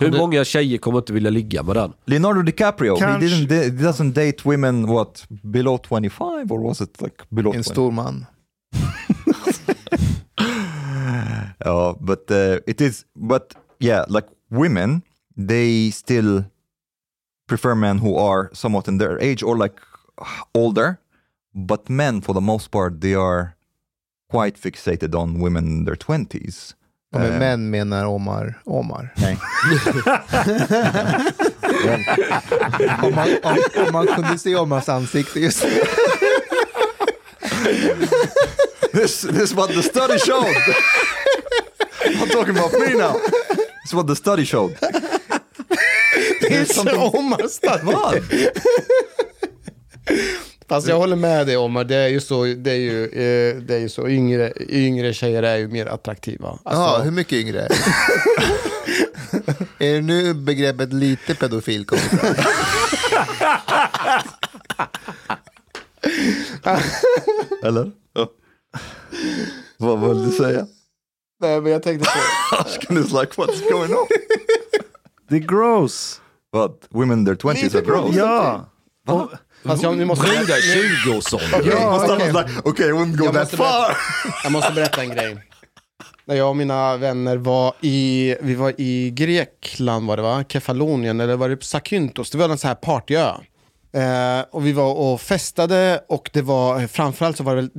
D: Hur många tjejer kommer inte vilja ligga med den?
C: Leonardo DiCaprio,
B: Kanske-
C: he, didn't, da- he doesn't date women what, below 25 or was it like below
E: En
C: 20?
E: stor man.
C: Uh, but uh, it is, but yeah, like women, they still prefer men who are somewhat in their age or like older. But men, for the most part, they are quite fixated on women in their 20s.
E: Och med
C: Eh.
E: män menar Omar. Omar.
C: Nej.
E: Om man, om, om man kunde se Omars ansikte just nu.
C: this, this is what the study showed. I'm talking about me now. This is what the study showed.
E: There's something-
C: Vad?
A: Fast Alltså, jag håller med dig Omar, det är ju så, det är ju, eh, det är ju så. Yngre, yngre tjejer är ju mer attraktiva.
E: Ja,
A: Alltså,
E: hur mycket yngre? är det nu begreppet lite pedofil kommer fram?
C: Eller? Vad vill du säga?
A: nej, men jag tänkte på,
C: Ashkan is like what's going on?
B: Det är gross.
C: But women in their 20s are gross.
B: Ja.
A: fast
D: Alltså,
A: jag, nu måste jag,
D: Brudar 20-årsåldern.
C: Yeah, okay. like, okay, I wouldn't go
A: Jag
C: that
A: måste berätta.
C: far.
A: jag måste berätta en grej. När jag och mina vänner var i, vi var i Grekland var det va? Kefalonien eller var det Sakyntos? Det var en sån här partyö. Eh, och vi var och festade och det var framförallt så var det, väl,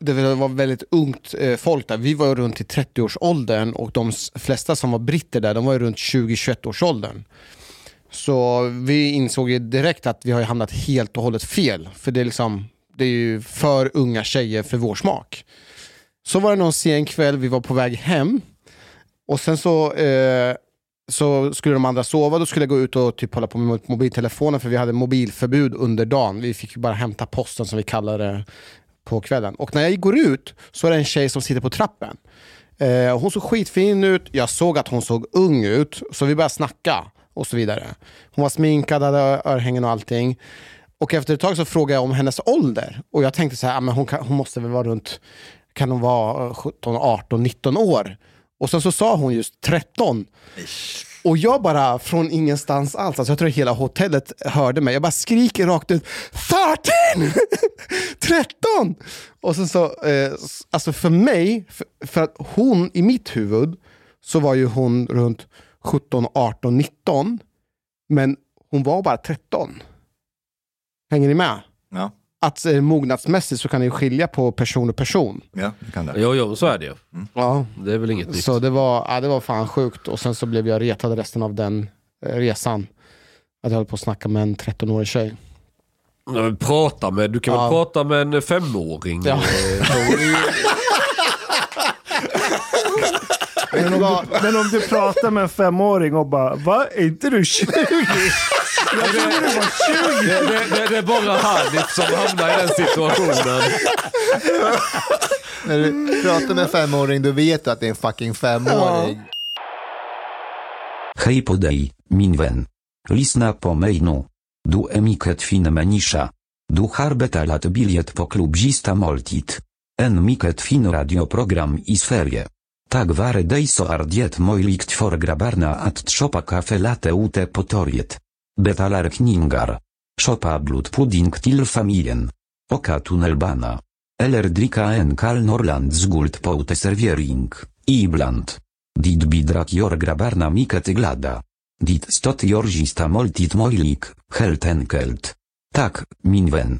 A: det, väl, det var väldigt ungt eh, folk där. Vi var ju runt i 30-årsåldern och de s- flesta som var britter där, de var ju runt 20-21-årsåldern. Så vi insåg ju direkt att vi har ju hamnat helt och hållet fel. För det är, liksom, det är ju för unga tjejer för vår smak. Så var det någon sen kväll, vi var på väg hem. Och sen så, eh, så skulle de andra sova, då skulle jag gå ut och typ hålla på med mobiltelefonen för vi hade mobilförbud under dagen. Vi fick ju bara hämta posten som vi kallar det på kvällen. Och när jag går ut så är det en tjej som sitter på trappen. Eh, hon såg skitfin ut, jag såg att hon såg ung ut, så vi började snacka och så vidare. Hon var sminkad, hade örhängen och allting. Och efter ett tag så frågade jag om hennes ålder. Och jag tänkte så här, ah, men hon, kan, hon måste väl vara runt, kan hon vara eh, 17, 18, 19 år? Och sen så sa hon just 13. Och jag bara, från ingenstans alls, alltså jag tror hela hotellet hörde mig, jag bara skriker rakt ut 13! 13! Och sen så, eh, s- alltså för mig, för, för att hon i mitt huvud så var ju hon runt 17, 18, 19. Men hon var bara 13. Hänger ni med?
C: Ja,
A: Att eh, mognadsmässigt så kan det ju skilja på person och person.
C: ja, du kan det.
D: Jo, jo, så är det ju.
A: Ja.
D: Det är väl inget nytt.
A: Så det var, ja, det var fan sjukt och sen så blev jag retad resten av den eh, resan. Att jag höll på att snacka med en 13-årig tjej.
D: Ja, men Prata med, du kan väl
A: Ja.
D: prata med en femåring?
A: Ja.
B: Men om, du, men om du pratar med en femåring och bara va, är inte du 20?
D: Det, det, det, det är bara Hanif som hamnar i den situationen.
E: När du pratar med en femåring, du vet att det är en fucking femåring.
K: Hej podej, minwen. Lisna po mejnu. Du emiket fin menisza. Du harbeta lat biliet po klubzista moltit. En miket fin radioprogram i sferie. Tak ware dejso ardiet mojlikt for grabarna at chopa kafe late ute potoriet. Betalar kningar. Chopa blut pudding til familien. Oka tunelbana. Elerdrika en kal norland z guld poute serviering. Ibland. Dit bidrak jor grabarna miket glada. Dit stot jorzista moltit mojlik, helt enkelt. Tak, minwen.